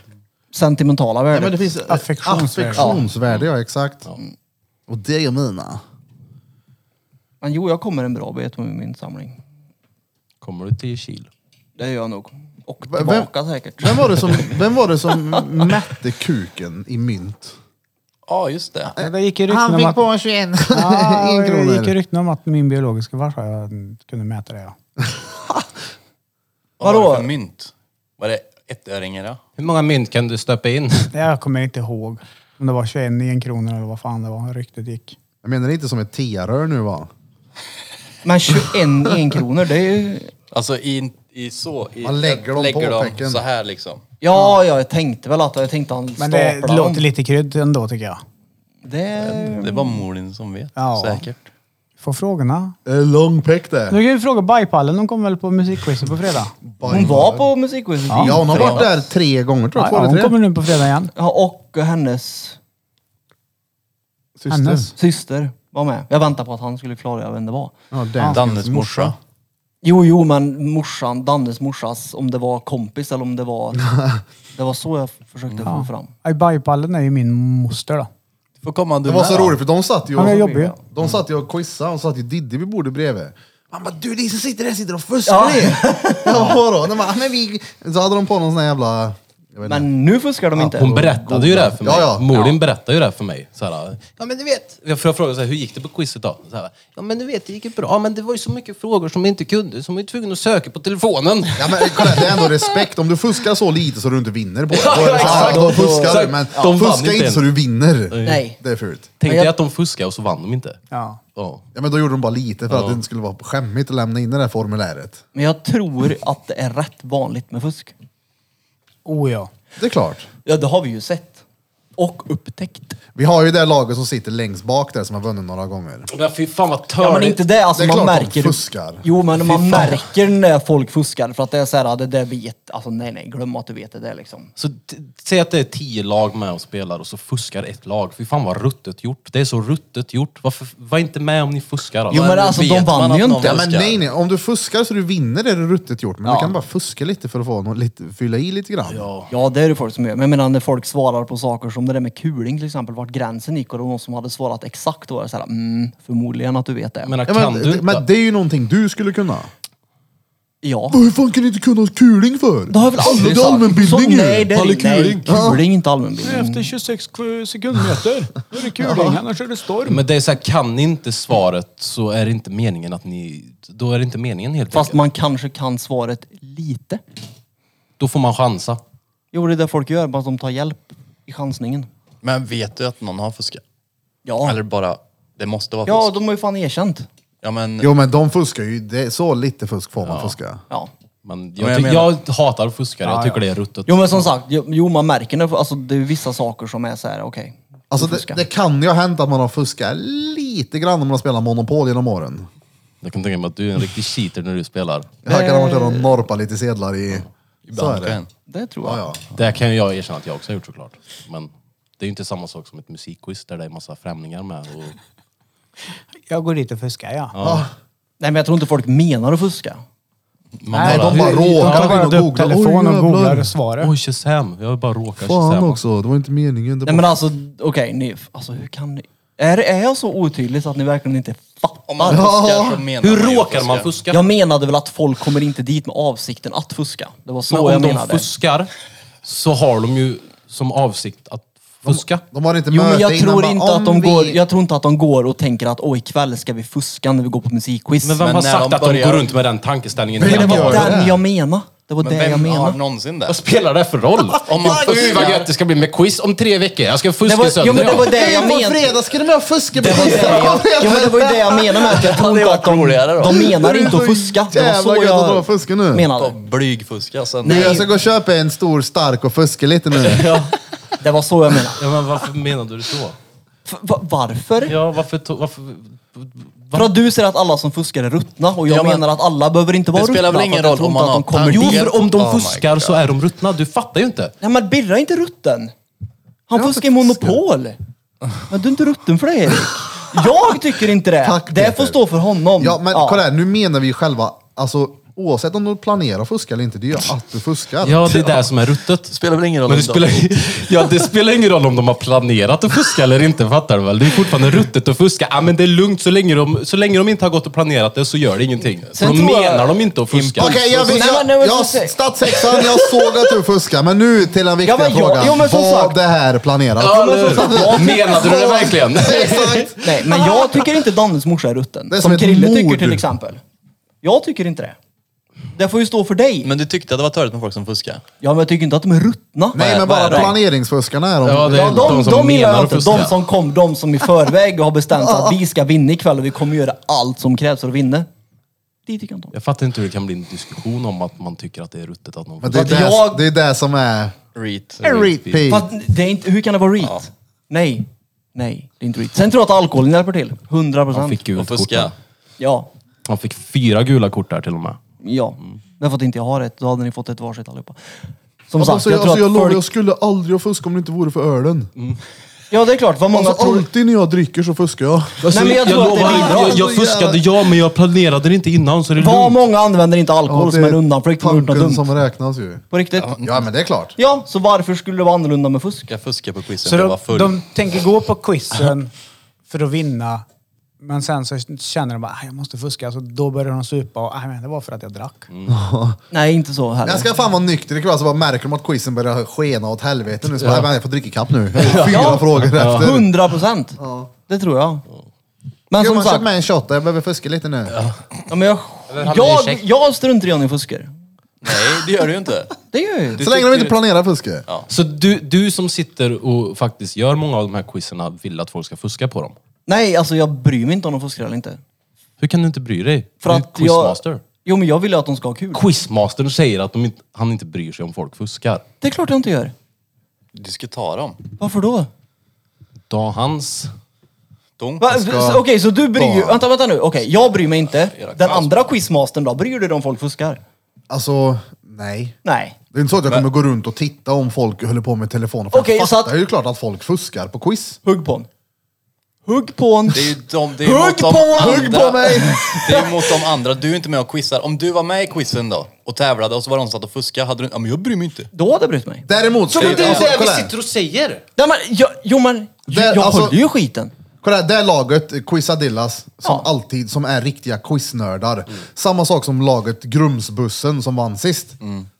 S5: Sentimentala
S1: Ja,
S5: värdet.
S1: men det finns
S4: Affektionsvärde.
S1: affektionsvärde, ja exakt. Och det är ju mina.
S5: Men jo, jag kommer en bra bit med min samling.
S3: Kommer du 10 kilo?
S5: Det gör jag nog. Och
S1: Vem-
S5: tillbaka säkert.
S1: Vem var det som, vem var det som mätte kuken i mynt?
S6: Ja, just det.
S4: Men Det gick ju rykten
S1: Han
S4: om
S1: fick
S4: att...
S1: på en 21.
S4: Ja,
S1: en
S4: det gick ju
S1: kronor.
S4: rykten om att min biologiska farsa jag kunde mäta det ja.
S6: Vad var
S5: Vadå?
S6: det för mynt? Var det ettöringar? ja?
S3: Hur många mynt kan du stöpa in?
S4: Jag kommer inte ihåg om det var 21 i en krona eller vad fan det var ryktet gick.
S1: Jag menar inte som ett tiarör nu va?
S5: Men 21 enkronor, det är ju...
S6: Alltså i, i så... I,
S1: Man lägger dem på pecken.
S6: så här liksom.
S5: Ja, ja, jag tänkte väl att jag tänkte han
S4: Men det
S5: staplar
S4: låter
S5: dem.
S4: lite krydd ändå tycker jag.
S5: Det...
S6: Det var Morin som vet,
S4: Ja.
S6: säkert.
S4: Får frågorna.
S1: Eh, Lång peck
S4: Nu
S1: det.
S4: kan vi fråga Bajpallen, hon kommer väl på musikquizet på fredag?
S5: Hon var på musikquizet.
S1: Ja, hon har varit där tre gånger tror jag. Två
S4: Ja, hon
S1: eller
S4: kommer
S1: tre.
S4: nu på fredag igen.
S5: Ja, och hennes
S1: Syster.
S5: syster var med. Jag väntade på att han skulle klara det, jag vet inte vad.
S1: Ja, Danskens
S6: Dannes morsa.
S5: Jo, jo, men morsan, Dannes morsas, om det var kompis eller om det var... det var så jag försökte få fram.
S4: Ja, Bajpallen är ju min moster då.
S6: Du får komma du
S1: Det var så
S6: med,
S1: roligt för de satt ju
S4: Han är
S1: och,
S4: jobbig.
S1: de satt ju och quizade och satt ju Diddy vid bordet bredvid. Man bara, du ni som sitter där sitter och fuskar ni! Ja, vadå? De bara, "Ah, men vi... Så hade de på någon sån här jävla... Jag vet inte.
S5: Men nu fuskar de inte.
S3: Hon berättade ju det här för mig.
S1: Ja, ja.
S3: Morin berättade ju det här för mig. Så här, ja men du vet. Jag får jag fråga så här, hur gick det på quizet då? Så här, ja men du vet, det gick ju bra. Ja, men det var ju så mycket frågor som jag inte kunde, så man var ju tvungen att söka på telefonen.
S1: Ja, men kolla, det är ändå respekt. Om du fuskar så lite så du inte vinner på det. Då, är det så här,
S3: exakt.
S1: då fuskar du,
S3: Exakt.
S1: men
S3: De vann
S1: fuska
S3: inte
S1: inte
S3: än.
S1: så du vinner.
S5: Nej.
S1: Det är fult.
S3: Tänk
S5: Men jag-
S3: dig att de fuskade och så vann de inte.
S4: Ja.
S3: Ja.
S1: Ja, men då gjorde de bara lite för att det inte skulle vara skämmigt att lämna in det där formuläret.
S5: Men jag tror att det är rätt vanligt med fusk.
S4: Oh ja.
S1: Det är klart.
S5: Ja, det har vi ju sett. Och upptäckt.
S1: Vi har ju det laget som sitter längst bak där som har vunnit några gånger.
S3: Men fy fan vad
S5: Ja, men
S3: törligt.
S5: inte det. Alltså,
S1: Det är
S5: man
S1: klart de
S5: märker...
S1: fuskar.
S5: Jo, men man märker när folk fuskar. För att det är så här, det där vet... Alltså nej, nej, glöm att du vet det där liksom.
S3: Så t- säg att det är tio lag med och spelar och så fuskar ett lag. Fy fan vad ruttet gjort. Det är så ruttet gjort. Varför, var inte med om ni fuskar
S5: Jo,
S3: alltså.
S5: men
S6: men
S5: alltså de
S6: vet man
S5: vann
S6: att
S5: ju
S6: någon
S5: inte.
S1: Ja, men
S6: Fuskar.
S1: nej, nej. Om du fuskar så du vinner är det ruttet gjort. Men
S5: Ja.
S1: du kan bara fuska lite för att få något, lite, fylla i lite grann.
S5: Ja, det är det folk som gör. Men jag menar när folk svarar på saker som det där med kuling till exempel, vart gränsen gick och det var någon som hade svarat exakt då var det såhär, mm, förmodligen att du vet det.
S3: Jag menar,
S1: Ja,
S3: kan
S1: men,
S3: du inte?
S1: men det är ju någonting du skulle kunna.
S5: ja.
S1: Hur fan kan du inte kunna kuling för?
S5: Det har jag väl aldrig
S1: Det är
S5: sagt.
S1: allmänbildning
S5: Så, nej,
S1: ju!
S5: det är
S3: Alla
S5: kuling. Nej, kuling inte allmänbildning.
S4: Efter 26 sekundmeter, då är det kuling, annars är det storm.
S3: Men det är så här, kan ni inte svaret så är det inte meningen att ni... Då är det inte meningen helt
S5: Fast
S3: enkelt.
S5: man kanske kan svaret lite.
S3: Då får man chansa.
S5: Jo, det är det folk gör, bara att de tar hjälp i chansningen.
S6: Men vet du att någon har fuskat?
S5: Ja,
S6: Eller bara, det måste vara
S5: ja
S6: fusk?
S5: de har ju fan erkänt.
S6: Ja, men,
S1: Jo men de fuskar ju, det är så lite fusk får man fuska.
S5: Ja.
S3: Men
S6: Men
S3: jag,
S6: jag
S3: ty-
S6: menar-
S3: jag hatar fuskare. jag tycker det är ruttet.
S5: Jo men som sagt, jo jo, man märker när, alltså det är vissa saker som är så här: okej.
S1: Alltså
S5: fuska.
S1: det, det kan ju ha hänt att man har fuskat lite grann om man har spelat Monopol genom åren.
S3: Jag kan tänka mig att du är en riktig cheater när du spelar.
S1: Här kan man köra och
S5: Eh.
S1: norpa lite sedlar i... Så är
S6: Ibland
S1: det.
S6: kan.
S5: Det tror jag.
S1: Ja, ja.
S3: Det kan ju jag erkänna att jag också har gjort såklart. Men det är ju inte samma sak som ett musikquiz där det är massa främlingar med. Och...
S4: Jag går dit och fuskar, ja.
S1: Ah,
S5: Nej men jag tror inte folk menar att fuska.
S3: Man
S1: Nej, de bara
S4: Jag
S1: råkar gå
S4: bara
S1: in och
S4: tar upp
S1: googlar.
S4: telefonen
S1: Oj,
S4: och googlar
S1: jävlar.
S4: och svarar.
S3: Oj, Shazam! Jag bara råkar
S1: Fan
S3: Shazam.
S1: också, det var inte meningen. Det
S5: Nej
S1: var...
S5: men alltså, okej ni, alltså hur kan ni? Är, är jag så otydlig så att ni verkligen inte
S6: Om man
S5: fattar?
S6: fuskar så menar
S3: Hur
S6: man ju
S3: råkar man
S6: fuska.
S3: fuska?
S5: Jag menade väl att folk kommer inte dit med avsikten att fuska. Det var så
S3: Men
S5: jag
S3: om de
S5: menade.
S3: fuskar så har de ju som avsikt att fuska.
S1: De har inte
S5: Jo men
S1: möte
S5: jag
S1: innan,
S5: tror,
S1: bara,
S5: inte att de
S1: om vi-
S5: går, jag tror inte att de går och tänker att åh ikväll ska vi fuska när vi går på musikquiz.
S3: Men vem
S6: Men
S3: har
S6: när
S3: sagt
S6: de
S3: att de
S6: börjar-
S3: går runt med den tankeställningen
S1: Men
S3: hela
S1: det var-
S3: dagen?
S1: gör
S5: Den
S1: det.
S5: jag menar. Det var det
S6: Men
S5: jag
S6: vem har
S5: menade.
S6: någonsin det?
S3: Vad spelar det för roll?
S6: Om man
S3: Gud vad
S6: fuskar.
S3: gött det ska bli med quiz om tre veckor. Jag ska
S5: Det
S3: fuska
S5: var, jo,
S3: sönder
S5: men det var
S3: jag.
S5: det jag
S1: På
S5: menade.
S1: fredag ska du med och fuska på
S5: Ja men det var ju det jag menade med att jag tror inte att de, de menar inte att fuska. Det var
S1: Jävla
S5: så
S1: gött att dra
S5: jag
S1: och fuska nu.
S5: menade.
S6: Alltså, Blygfuska alltså. sen.
S5: Nej.
S1: Du, jag ska gå och köpa en stor stark och fuska lite nu.
S5: Det var så jag menade.
S3: Ja, men varför menade du så?
S5: F- va- varför?
S3: Ja, varför... to- varför
S5: För att du säger att alla som fuskar är ruttna och jag
S6: Ja, men-
S5: menar att alla behöver inte vara
S6: Det
S5: ruttna.
S6: spelar väl ingen
S5: för att jag
S6: roll
S5: tror
S6: om
S5: inte
S6: man
S5: att de
S6: har
S5: kommer
S3: jo,
S5: dit.
S6: tanke-
S3: för om
S6: Oh
S3: de
S6: my
S3: fuskar
S6: God.
S3: så är de ruttna. Du fattar ju inte.
S5: Nej men Birra är inte rutten. Han fuskar i Monopol. Men du är inte rutten för det Erik. Jag tycker inte det.
S1: Tack, Peter.
S5: det får stå för honom.
S1: Ja, men kolla här, nu menar vi ju själva, alltså oavsett om du planerar att fuska eller inte, det är ju att du fuskar.
S3: Ja, det är det som är ruttet.
S6: Det spelar väl ingen roll
S3: Men det
S6: om de-
S3: spelar, ja, det spelar ingen roll om de har planerat att fuska eller inte, fattar du väl? Det är fortfarande ruttet att fuska. Ja, men det är lugnt, så länge, de, så länge de inte har gått och planerat det så gör det ingenting. För
S5: Sen
S3: de
S5: tror jag-
S3: menar de inte att fuska.
S1: Okej, jag,
S5: Nej, men
S1: jag,
S5: nu är det
S1: jag,
S5: så
S1: jag
S5: säkert.
S1: statshäxan, jag såg att du fuskar, men nu till den viktiga
S5: Ja, men jag-
S1: frågan.
S5: jo, men som
S1: var
S5: sagt-
S1: det här planerat?
S3: Ja, menade du det verkligen?
S1: Exakt!
S5: Nej, men jag tycker inte Dannes morsa är rutten.
S1: Det är
S5: som
S1: som ett
S5: Krille tycker
S1: mord.
S5: till exempel. Jag tycker inte det. Det får ju stå för dig.
S6: Men du tyckte att det var törligt med folk som fuskar?
S5: Ja, men jag tycker inte att de är ruttna.
S1: Nej, men
S6: vad
S1: bara
S6: är det?
S1: planeringsfuskarna är de.
S3: Ja, det är
S5: Ja, de,
S3: de
S5: de,
S3: som
S5: gillar
S3: menar
S5: jag
S3: att
S5: inte. De
S3: fuska.
S5: som kom, de som i förväg har bestämt sig att vi ska vinna ikväll och vi kommer göra allt som krävs för att vinna. Det tycker jag inte om.
S3: Jag fattar inte hur det kan bli en diskussion om att man tycker att det är ruttet att någon
S1: Men det, är
S5: För att
S1: det,
S5: jag-
S1: det är det som är...
S6: Reet.
S1: Repeat.
S5: Fast det är inte, hur kan det vara reat? Nej. Nej, det är inte reat. Sen tror jag att alkoholen hjälper till. 100
S3: Han
S5: procent.
S3: fick gult
S6: Och
S3: kort.
S6: fuska.
S3: där.
S5: Ja.
S3: Han fick fyra gula kort där till och med.
S5: Ja. Men för att inte jag har ett, då hade ni fått ett varsitt allihopa. Som sagt,
S1: Alltså,
S5: jag
S1: jag,
S5: tror
S1: alltså, jag
S5: att
S1: lovar,
S5: folk...
S1: jag skulle aldrig ha fuskat om det inte vore för ölen.
S5: Ja, det är klart. Vad många
S1: Alltså,
S5: tror...
S1: alltid när jag dricker så fuskar jag.
S3: Alltså,
S5: men jag tror att det
S3: lovar,
S5: bidrar.
S3: jag, jag fuskade ja, men jag planerade det inte innan så det är
S5: Vad
S3: lugnt.
S5: många använder inte alkohol
S1: Ja,
S5: som
S1: det
S5: en undanflykt för att ha gjort något
S1: tanken
S5: dumt?
S1: som räknas ju.
S5: På riktigt? Ja.
S1: Ja, men det är klart.
S5: så varför skulle det vara annorlunda med fusk?
S6: Jag fuskar på quizen,
S4: Så
S6: jag var
S4: de,
S6: full.
S4: de tänker gå på quizen för att vinna, men sen så känner de bara "Ah, jag måste fuska, så då börjar de supa och "Ah, men det var för att jag drack.
S6: Mm.
S5: Nej, inte så heller.
S1: Jag ska fan vara nykter ikväll så bara märker de att quizen börjar skena åt helvete nu. Så bara, "Nej, men jag får dricka kapp nu. Fyra
S5: Ja.
S1: frågor efter.
S5: 100 procent. Det tror jag. Men
S1: Ska
S5: som
S1: man
S5: sagt,
S1: köpa med en shot? Jag behöver fuska lite nu.
S5: ja, men jag, jag, jag struntar i om ni fuskar.
S6: Nej, det gör du ju inte.
S5: Det gör jag ju.
S1: Så länge de inte planerar fuska.
S3: Så du, du som sitter och faktiskt gör många av de här quizerna vill att folk ska fuska på dem.
S5: Nej, alltså jag bryr mig inte om de fuskar eller inte.
S3: Hur kan du inte bry dig?
S5: För
S3: du är
S5: att
S3: quizmaster.
S5: jag... Jo, men jag vill ju att de ska ha kul.
S3: Quizmastern säger att de inte, han inte bryr sig om folk fuskar.
S5: Det är klart jag inte gör.
S6: Du ska ta dem.
S5: Varför då?
S3: Då hans...
S6: Dunk.
S5: Va? Okej, så du bryr ju... Vänta, vänta nu. Okej, jag bryr mig inte. Den andra quizmastern då? Bryr du dig om folk fuskar?
S1: Alltså, nej.
S5: Nej.
S1: Det är inte så att jag kommer gå runt och titta om folk håller på med telefonen. För
S5: Okej,
S1: jag
S5: så
S1: fattar
S5: att-
S1: ju klart att folk fuskar på quiz.
S5: Hugg på en. Hugg på en.
S6: Det är ju de, det är
S5: Hugg
S6: mot de
S5: på honom!
S6: andra.
S5: Hugg på mig!
S6: Det är ju mot de andra. Du är inte med och quizar. Om du var med i quizen då och tävlade och så var de som satt och fuskade, hade du Ja men jag bryr mig inte.
S5: Då hade jag brytt mig.
S1: Däremot, ska jag- alltså, kolla här.
S3: och säger!
S5: Nej, men, jag, jo men,
S1: Där,
S5: jag
S1: alltså-
S5: håller ju skiten.
S1: Kolla här, det är laget Quizadillas som
S5: Ja.
S1: alltid som är riktiga quiznördar. Samma sak som laget Grumsbussen som vann sist.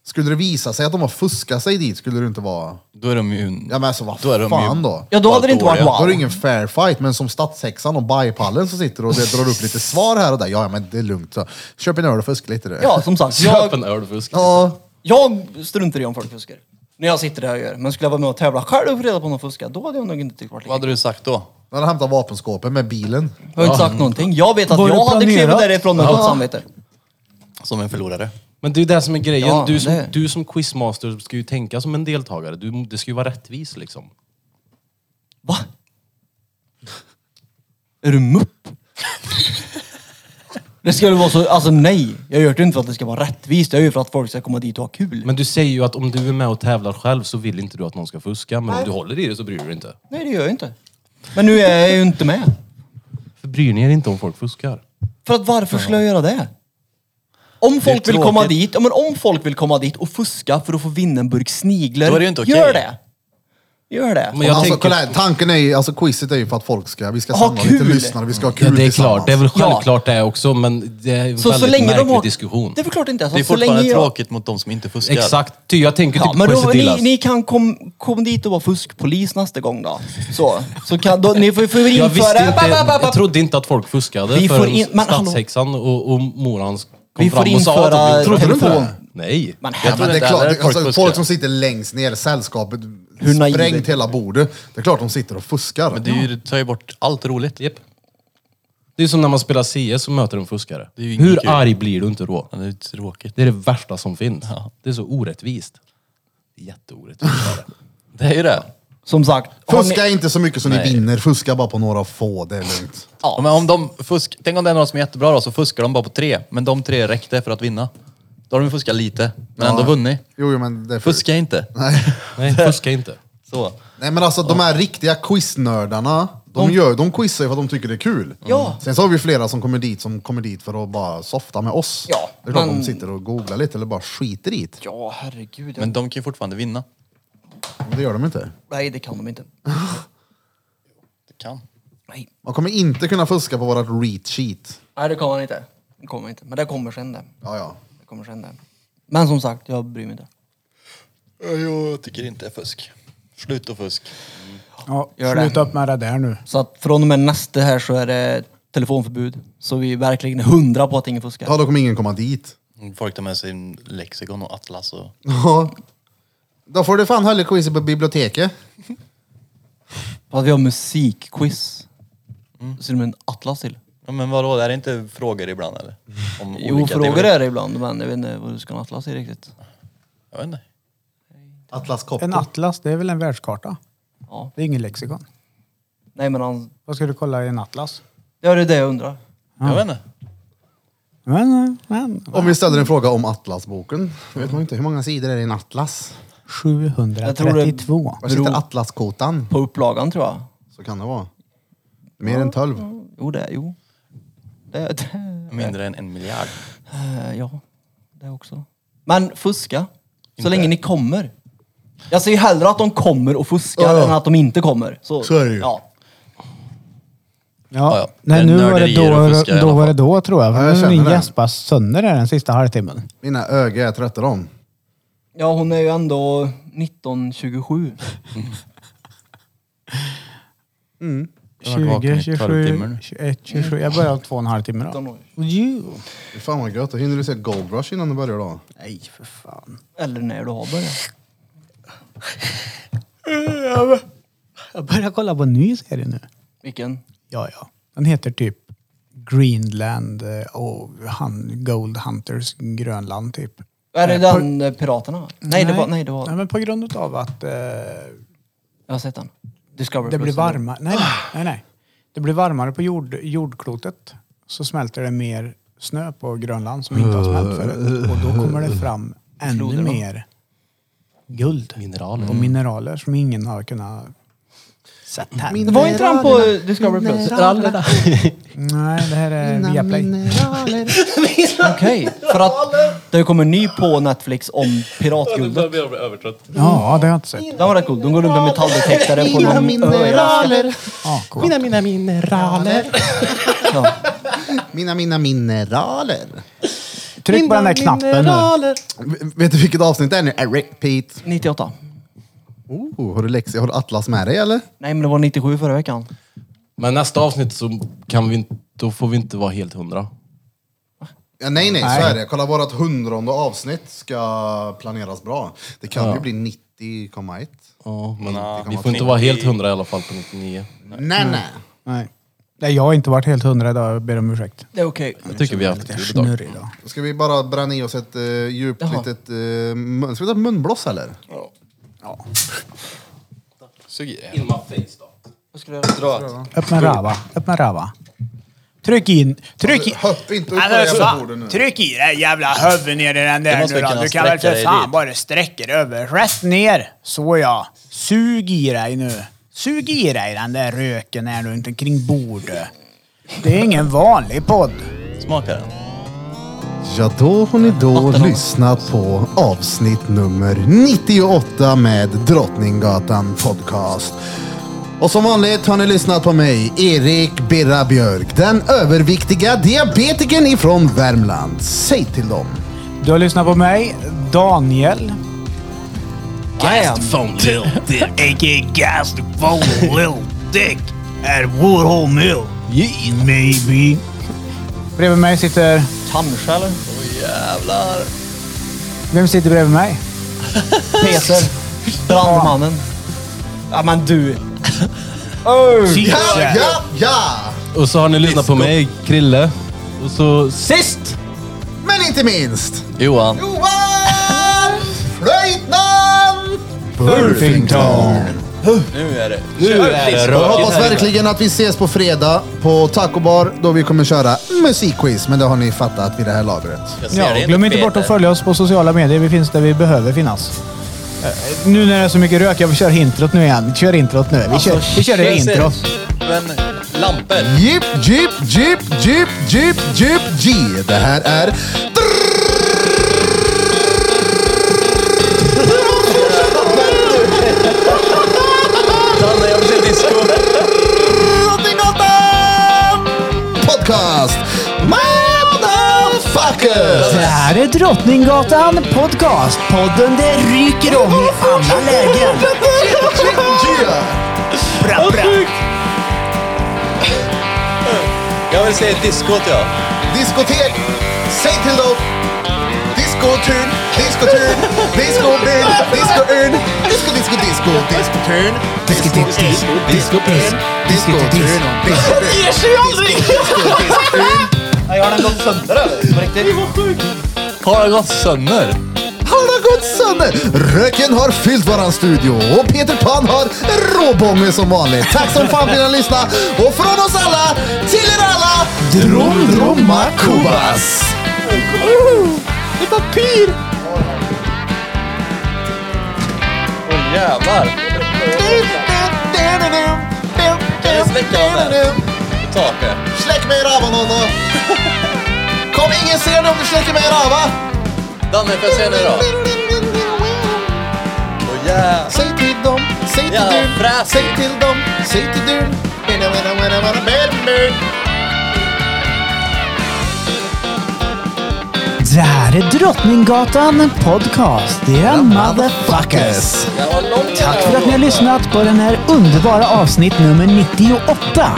S1: Skulle det visa sig att de har fuskat sig dit skulle det inte vara...
S6: Då är de ju...
S1: Ja men alltså vad
S6: Då är de
S1: fan
S6: ju-
S1: då?
S5: Ja, då hade det inte varit
S6: Dåliga.
S1: Då är det
S5: wow.
S1: ingen fair fight, men som stadshäxan och bajpallen som sitter och det drar upp lite svar här och där. Ja, ja, men det är lugnt. Så. Köp en öl och fuska lite. Du.
S5: Ja, som sagt.
S3: Köp
S5: Jag,
S3: en öl fusk.
S1: Ja,
S5: jag struntar i om folk fuskar. När jag sitter där och gör. Men skulle jag vara med och tävla själv och få reda på om de fuskar, då hade jag nog inte tyckt det var lika
S6: Vad hade du sagt då?
S1: när han hämtar vapenskåpet med bilen.
S5: Jag har inte sagt någonting. Jag vet att
S4: Var det
S5: jag hade klivit
S4: planerat?
S5: därifrån med gott samvete.
S6: Som en förlorare.
S3: Men det är ju det som är grejen.
S5: Ja,
S3: du, som,
S5: det-
S3: du som quizmaster ska ju tänka som en deltagare. Du, det ska ju vara rättvist liksom.
S5: Va? Är du mupp? Det skulle vara så, alltså nej. Jag gör det inte för att det ska vara rättvist. Jag gör det för att folk ska komma dit och ha kul.
S3: Men du säger ju att om du är med och tävlar själv så vill inte du att någon ska fuska. Men om du håller i det så bryr du dig inte.
S5: Nej, det gör jag inte. Men nu är jag ju inte med.
S3: För bryr ni er inte om folk fuskar?
S5: För att varför skulle jag göra det? Om folk vill
S6: tråkigt.
S5: komma dit, ja, men om folk vill komma dit och fuska för att få vinna en burk sniglar,
S6: Då är det ju inte okej.
S5: gör det! Gör det!
S3: Men jag
S1: alltså,
S3: tänker-
S1: kolla här, tanken är ju, alltså quizet är ju för att folk ska, vi ska
S5: Ha
S1: samla lite
S5: kul.
S1: lyssnare, vi ska ha kul
S3: Ja, det är
S1: tillsammans.
S3: klart. Det är väl
S5: Ja.
S3: självklart det också, men det är en
S5: så,
S3: väldigt
S5: så länge
S3: märklig
S5: de har...
S3: diskussion.
S5: Det är väl klart inte. Alltså,
S6: Det är
S5: så länge
S6: fortfarande
S5: jag...
S6: tråkigt mot de som inte fuskar.
S3: Exakt. Ty, jag tänker
S5: Ja,
S3: typ
S5: men
S3: på
S5: då, ni,
S3: Esedilas.
S5: ni kan kom, kom dit och vara fuskpolis nästa gång då. Så, så kan, då, ni får, får införa...
S3: Jag visste inte,
S5: ba, ba, ba, ba.
S3: jag trodde inte att folk fuskade
S5: Vi får
S3: förrän
S5: in- men hallå.
S3: stadshäxan och, och moran kom
S5: Vi får
S3: fram och sa
S5: införa
S3: att de
S5: Trodde du på
S1: telefon?
S3: Nej.
S5: Men
S1: Ja,
S5: här,
S1: men det är
S6: inte
S1: klart,
S6: heller
S1: det,
S6: folk
S1: alltså,
S6: fuskar.
S1: folk som sitter längst ner, sällskapet,
S5: Hur naiv är
S1: sprängt
S5: det?
S1: hela bordet. Det är klart de sitter och fuskar.
S6: Men det är ju, det tar ju bort allt roligt.
S3: Japp. Det är som när man spelar CS och möter en fuskare.
S6: är ju inget
S3: Hur
S6: kul.
S3: arg blir du inte då?
S6: Ja, Det är ju tråkigt.
S3: Det är det värsta som finns.
S6: Ja.
S3: Det är så orättvist. Jätteorättvist är det.
S6: Det är ju det.
S5: som sagt. har
S1: Fuska inte så mycket som ni vinner, fuska bara på några få, det är lugnt.
S6: Ja. Men om de fusk... Tänk om det är några som är jättebra då, så fuskar de bara på tre. Men de tre räckte för att vinna. Då har de ju fuskat lite, men ändå vunnit.
S1: Jo, jo men det är fusk.
S6: Fuska inte.
S1: Nej.
S3: Nej, fuska inte.
S6: Så.
S1: Nej men alltså de här riktiga quiznördarna, de, gör, de quizar ju för att de tycker det är kul. Mm.
S5: Ja.
S1: Sen så har vi flera som kommer dit som kommer dit för att bara softa med oss.
S5: Ja,
S1: det är klart
S5: men-
S1: de sitter och googlar lite eller bara skiter i det.
S5: Ja, herregud.
S6: Men de kan ju fortfarande vinna.
S1: Men det gör de inte.
S5: Nej, det kan de inte.
S6: Det kan.
S5: Nej,
S1: Man kommer inte kunna fuska på vårat read sheet.
S5: Nej det kan man inte. Det kommer inte. Men det kommer sen det.
S1: Ja, ja.
S5: Det kommer sen det. Men som sagt, jag bryr mig inte.
S6: Jag tycker inte det är fusk. Slut och fusk.
S4: Ja,
S5: Gör det.
S4: sluta upp med det där nu.
S5: Så att från och med nästa här så är det telefonförbud. Så vi är verkligen hundra på att ingen fuskar.
S1: Ja, då kommer ingen komma dit.
S6: Folk tar med sig en lexikon och atlas och...
S1: Ja. Då får du fan hålla quizet på biblioteket.
S5: För att vi har musikquiz.
S1: Mm.
S5: Så det blir en atlas till.
S6: Ja, men vadå, är det inte frågor ibland eller? Om
S5: Jo,
S6: olika
S5: frågor
S6: teorier?
S5: är det ibland, men jag vet inte vad du ska ha en atlas till riktigt.
S6: Jag vet inte.
S1: Atlas Copco.
S4: En atlas, det är väl en världskarta?
S5: Ja.
S4: Det är ingen lexikon.
S5: Nej, men han...
S4: Vad ska du kolla i en atlas?
S5: Ja, det är det jag undrar.
S6: Jag vet inte.
S4: Men, men.
S1: Om vi ställer en fråga om Atlasboken. Då vet man inte hur många sidor är det i en atlas.
S4: 732.
S1: Var sitter
S5: Bro.
S1: atlaskotan?
S5: På upplagan tror jag.
S1: Så kan det vara. Mer än tolv.
S5: Jo, det är jo. Det, det,
S6: Mindre än en miljard.
S5: Eh, ja, det också. Men fuska. Så länge ni kommer. Jag ser ju hellre att de kommer och fuskar
S1: Ja, ja.
S5: än att de inte kommer. Så,
S1: Så är det ju.
S5: Ja.
S4: Ja,
S6: Ja, ja.
S4: Nej,
S6: Det är
S4: nu var det
S6: nörderier
S4: då,
S6: och fuska i
S4: då
S6: alla
S4: var det
S6: fall.
S4: då tror jag.
S1: Ja, jag
S4: För
S1: känner
S4: min
S1: det.
S4: gäspa sönder här den sista halvtimmen.
S1: Mina ögon är trötta dem.
S5: ja, hon är ju ändå 1927.
S4: 20,
S6: vaken i 12 timmar
S4: 27,
S6: nu.
S4: 21, 27. Jag börjar om två och en halv timme då. Jo.
S1: Fy Fan vad gött, då hinner du se Gold Rush innan du börjar då.
S4: Nej, för fan.
S5: Eller när du har börjat.
S4: Jag börjar kolla på en ny serie nu.
S5: Vilken?
S4: Ja, ja. Den heter typ Greenland eh, och han, Gold Hunters Grönland typ.
S5: Är det
S4: Eh,
S5: den eh, Piraterna? Nej, det var... Nej, det
S4: Nej,
S5: var...
S4: men på grund av att eh,
S5: Jag har sett den. Discovery
S4: det blir
S5: Plus.
S4: varmare. Nej, nej, nej, nej. Det blir varmare på jord, jordklotet. Så smälter det mer snö på Grönland som inte har smält förut. Och då kommer det fram ännu
S5: Floderna.
S4: mer guld
S3: Mineraler.
S4: och mineraler som ingen har kunnat sett här.
S5: Det var inte den på eh, Discovery Plus?
S4: Nej, det här är Viaplay.
S5: Okej, för att det kommer en ny på Netflix om piratguldet.
S4: Ja, det har jag inte sett.
S5: Den var rätt cool. De går runt med metalldetektare på någon ö i Alaska.
S4: Ja, cool.
S3: mina mineraler.
S5: Ja.
S1: Mina, mina mineraler.
S4: Tryck på den där knappen nu.
S1: V- vet du vilket avsnitt det är nu? Eric Pete.
S5: 98.
S1: Oh, har du läxi, har du Atlas med dig eller?
S5: Nej, men det var 97 förra veckan.
S3: Men nästa avsnitt så kan vi inte, då får vi inte vara helt hundra.
S1: Ja, nej, nej,
S4: Nej.
S1: så är det. Kolla, vårt hundrade avsnitt ska planeras bra. Det kan ju bli 90,1.
S3: Ja, men ah,
S6: Nå,
S3: vi får inte vara helt hundra i alla fall på 99.
S1: Nej, nej.
S4: Nej. Nej, jag har inte varit helt hundra idag. Jag ber om ursäkt.
S5: Det är okej.
S3: Jag tycker vi har haft
S4: Lite
S3: det kul idag.
S4: snurrig idag.
S1: Då ska vi bara bränna i oss ett eh, djupt
S5: Jaha.
S1: litet... eh, mun- ska vi ta munblås eller?
S6: Sug i det.
S3: In my face då.
S5: Vad ska du göra?
S6: Dra.
S4: Öppna rava. Öppna rava. Tryck in. Tryck in.
S1: Hopp inte upp på det
S4: Alltså,
S1: jävla
S4: fan,
S1: bordet nu.
S4: tryck i det jävla huvudet ner i den
S6: Det
S4: där
S6: måste
S4: nu
S6: vi
S4: då.
S6: kunna
S4: Du kan väl
S6: sträcka
S4: för
S6: dig
S4: fan
S6: dit.
S4: bara sträcka dig över. Rätt ner. Så ja. Sug i dig nu. Sug i dig den där röken här nu, inte kring bordet. Det är ingen vanlig podd.
S6: Smakar den?
S1: Ja, då har ni då lyssnat på avsnitt nummer 98 med Drottninggatan Podcast. Och som vanligt har ni lyssnat på mig, Erik Birra Björk, den överviktiga diabetikern ifrån Värmland. Säg till dem.
S4: Du har lyssnat på mig, Daniel.
S3: Phone Lil Dick.
S4: A.k.a. Gastaphone Lil Dick at Woodhole Mill. Yeah. Maybe. Bredvid mig sitter...
S5: Kanske eller?
S4: Vem sitter bredvid mig?
S5: Peter. Brandmannen. Ja men du.
S4: Sisse.
S1: ja!
S3: Och så har ni lyssnat på mig, Krille. Och så sist!
S1: Men inte minst,
S6: Johan.
S1: Johan Flöjtnant Burfington.
S6: Nu är det.
S3: Nu är det
S1: Jag
S3: rökigt
S1: hoppas
S3: här inne.
S1: verkligen att vi ses på fredag på Taco Bar då vi kommer köra musikquiz. Men det har ni fattat vid det här lagret.
S6: Jag ser
S4: Ja,
S6: det
S4: och glöm inte bort att
S6: Peter.
S4: följa oss på sociala medier. Vi finns där vi behöver finnas. Eh, Nu när det är så mycket rök, jag kör introt nu igen. Kör introt nu. Vi kör, vi kör det
S6: Jag typ ser-
S4: intro.
S6: Men lampor.
S1: Jip, jip, jip, jip, jip, jip, G. Det här är...
S6: Danne, jag vill se disco.
S1: Drottninggatan Podcast! Motherfuckers!
S4: Det här är Drottninggatan Podcast. Podden det ryker om i alla lägen. Bra, bra.
S6: Jag vill se diskot, ja.
S1: Diskotek! Säg till dem! Discoturn, discoturn, discoburn, discourn, disco, disco, disco, discoturn, disco, disco, discoburn, discoturn, discoburn.
S5: Ger sig aldrig! Nej, har den gått sönder eller? På riktigt?
S6: Har det gått sönder?
S1: Han har gått sönder! Röken har fyllt varan studio och Peter Pan har råbånge som vanligt. Tack som fan för att ni har lyssnat och från oss alla till er alla, Drom Dromma Kubas!
S6: Åh jävlar. Kan vi släcka av den? På taket.
S1: Släck mig i röven Nonno! Kom ingen ser dig om du släcker mig i röven!
S6: Danne, får jag se nu då? Åh jävlar.
S1: Säg till dem, säg till
S6: Ja,
S1: dun,
S6: fräs.
S1: säg till dem, säg till dun. Bada, bada, bada, bada, bada, bada.
S4: Det här är Drottninggatan Podcast. Det är motherfuckers.
S6: Det var långt.
S4: Tack för att ni har lyssnat på den här underbara avsnitt nummer 98.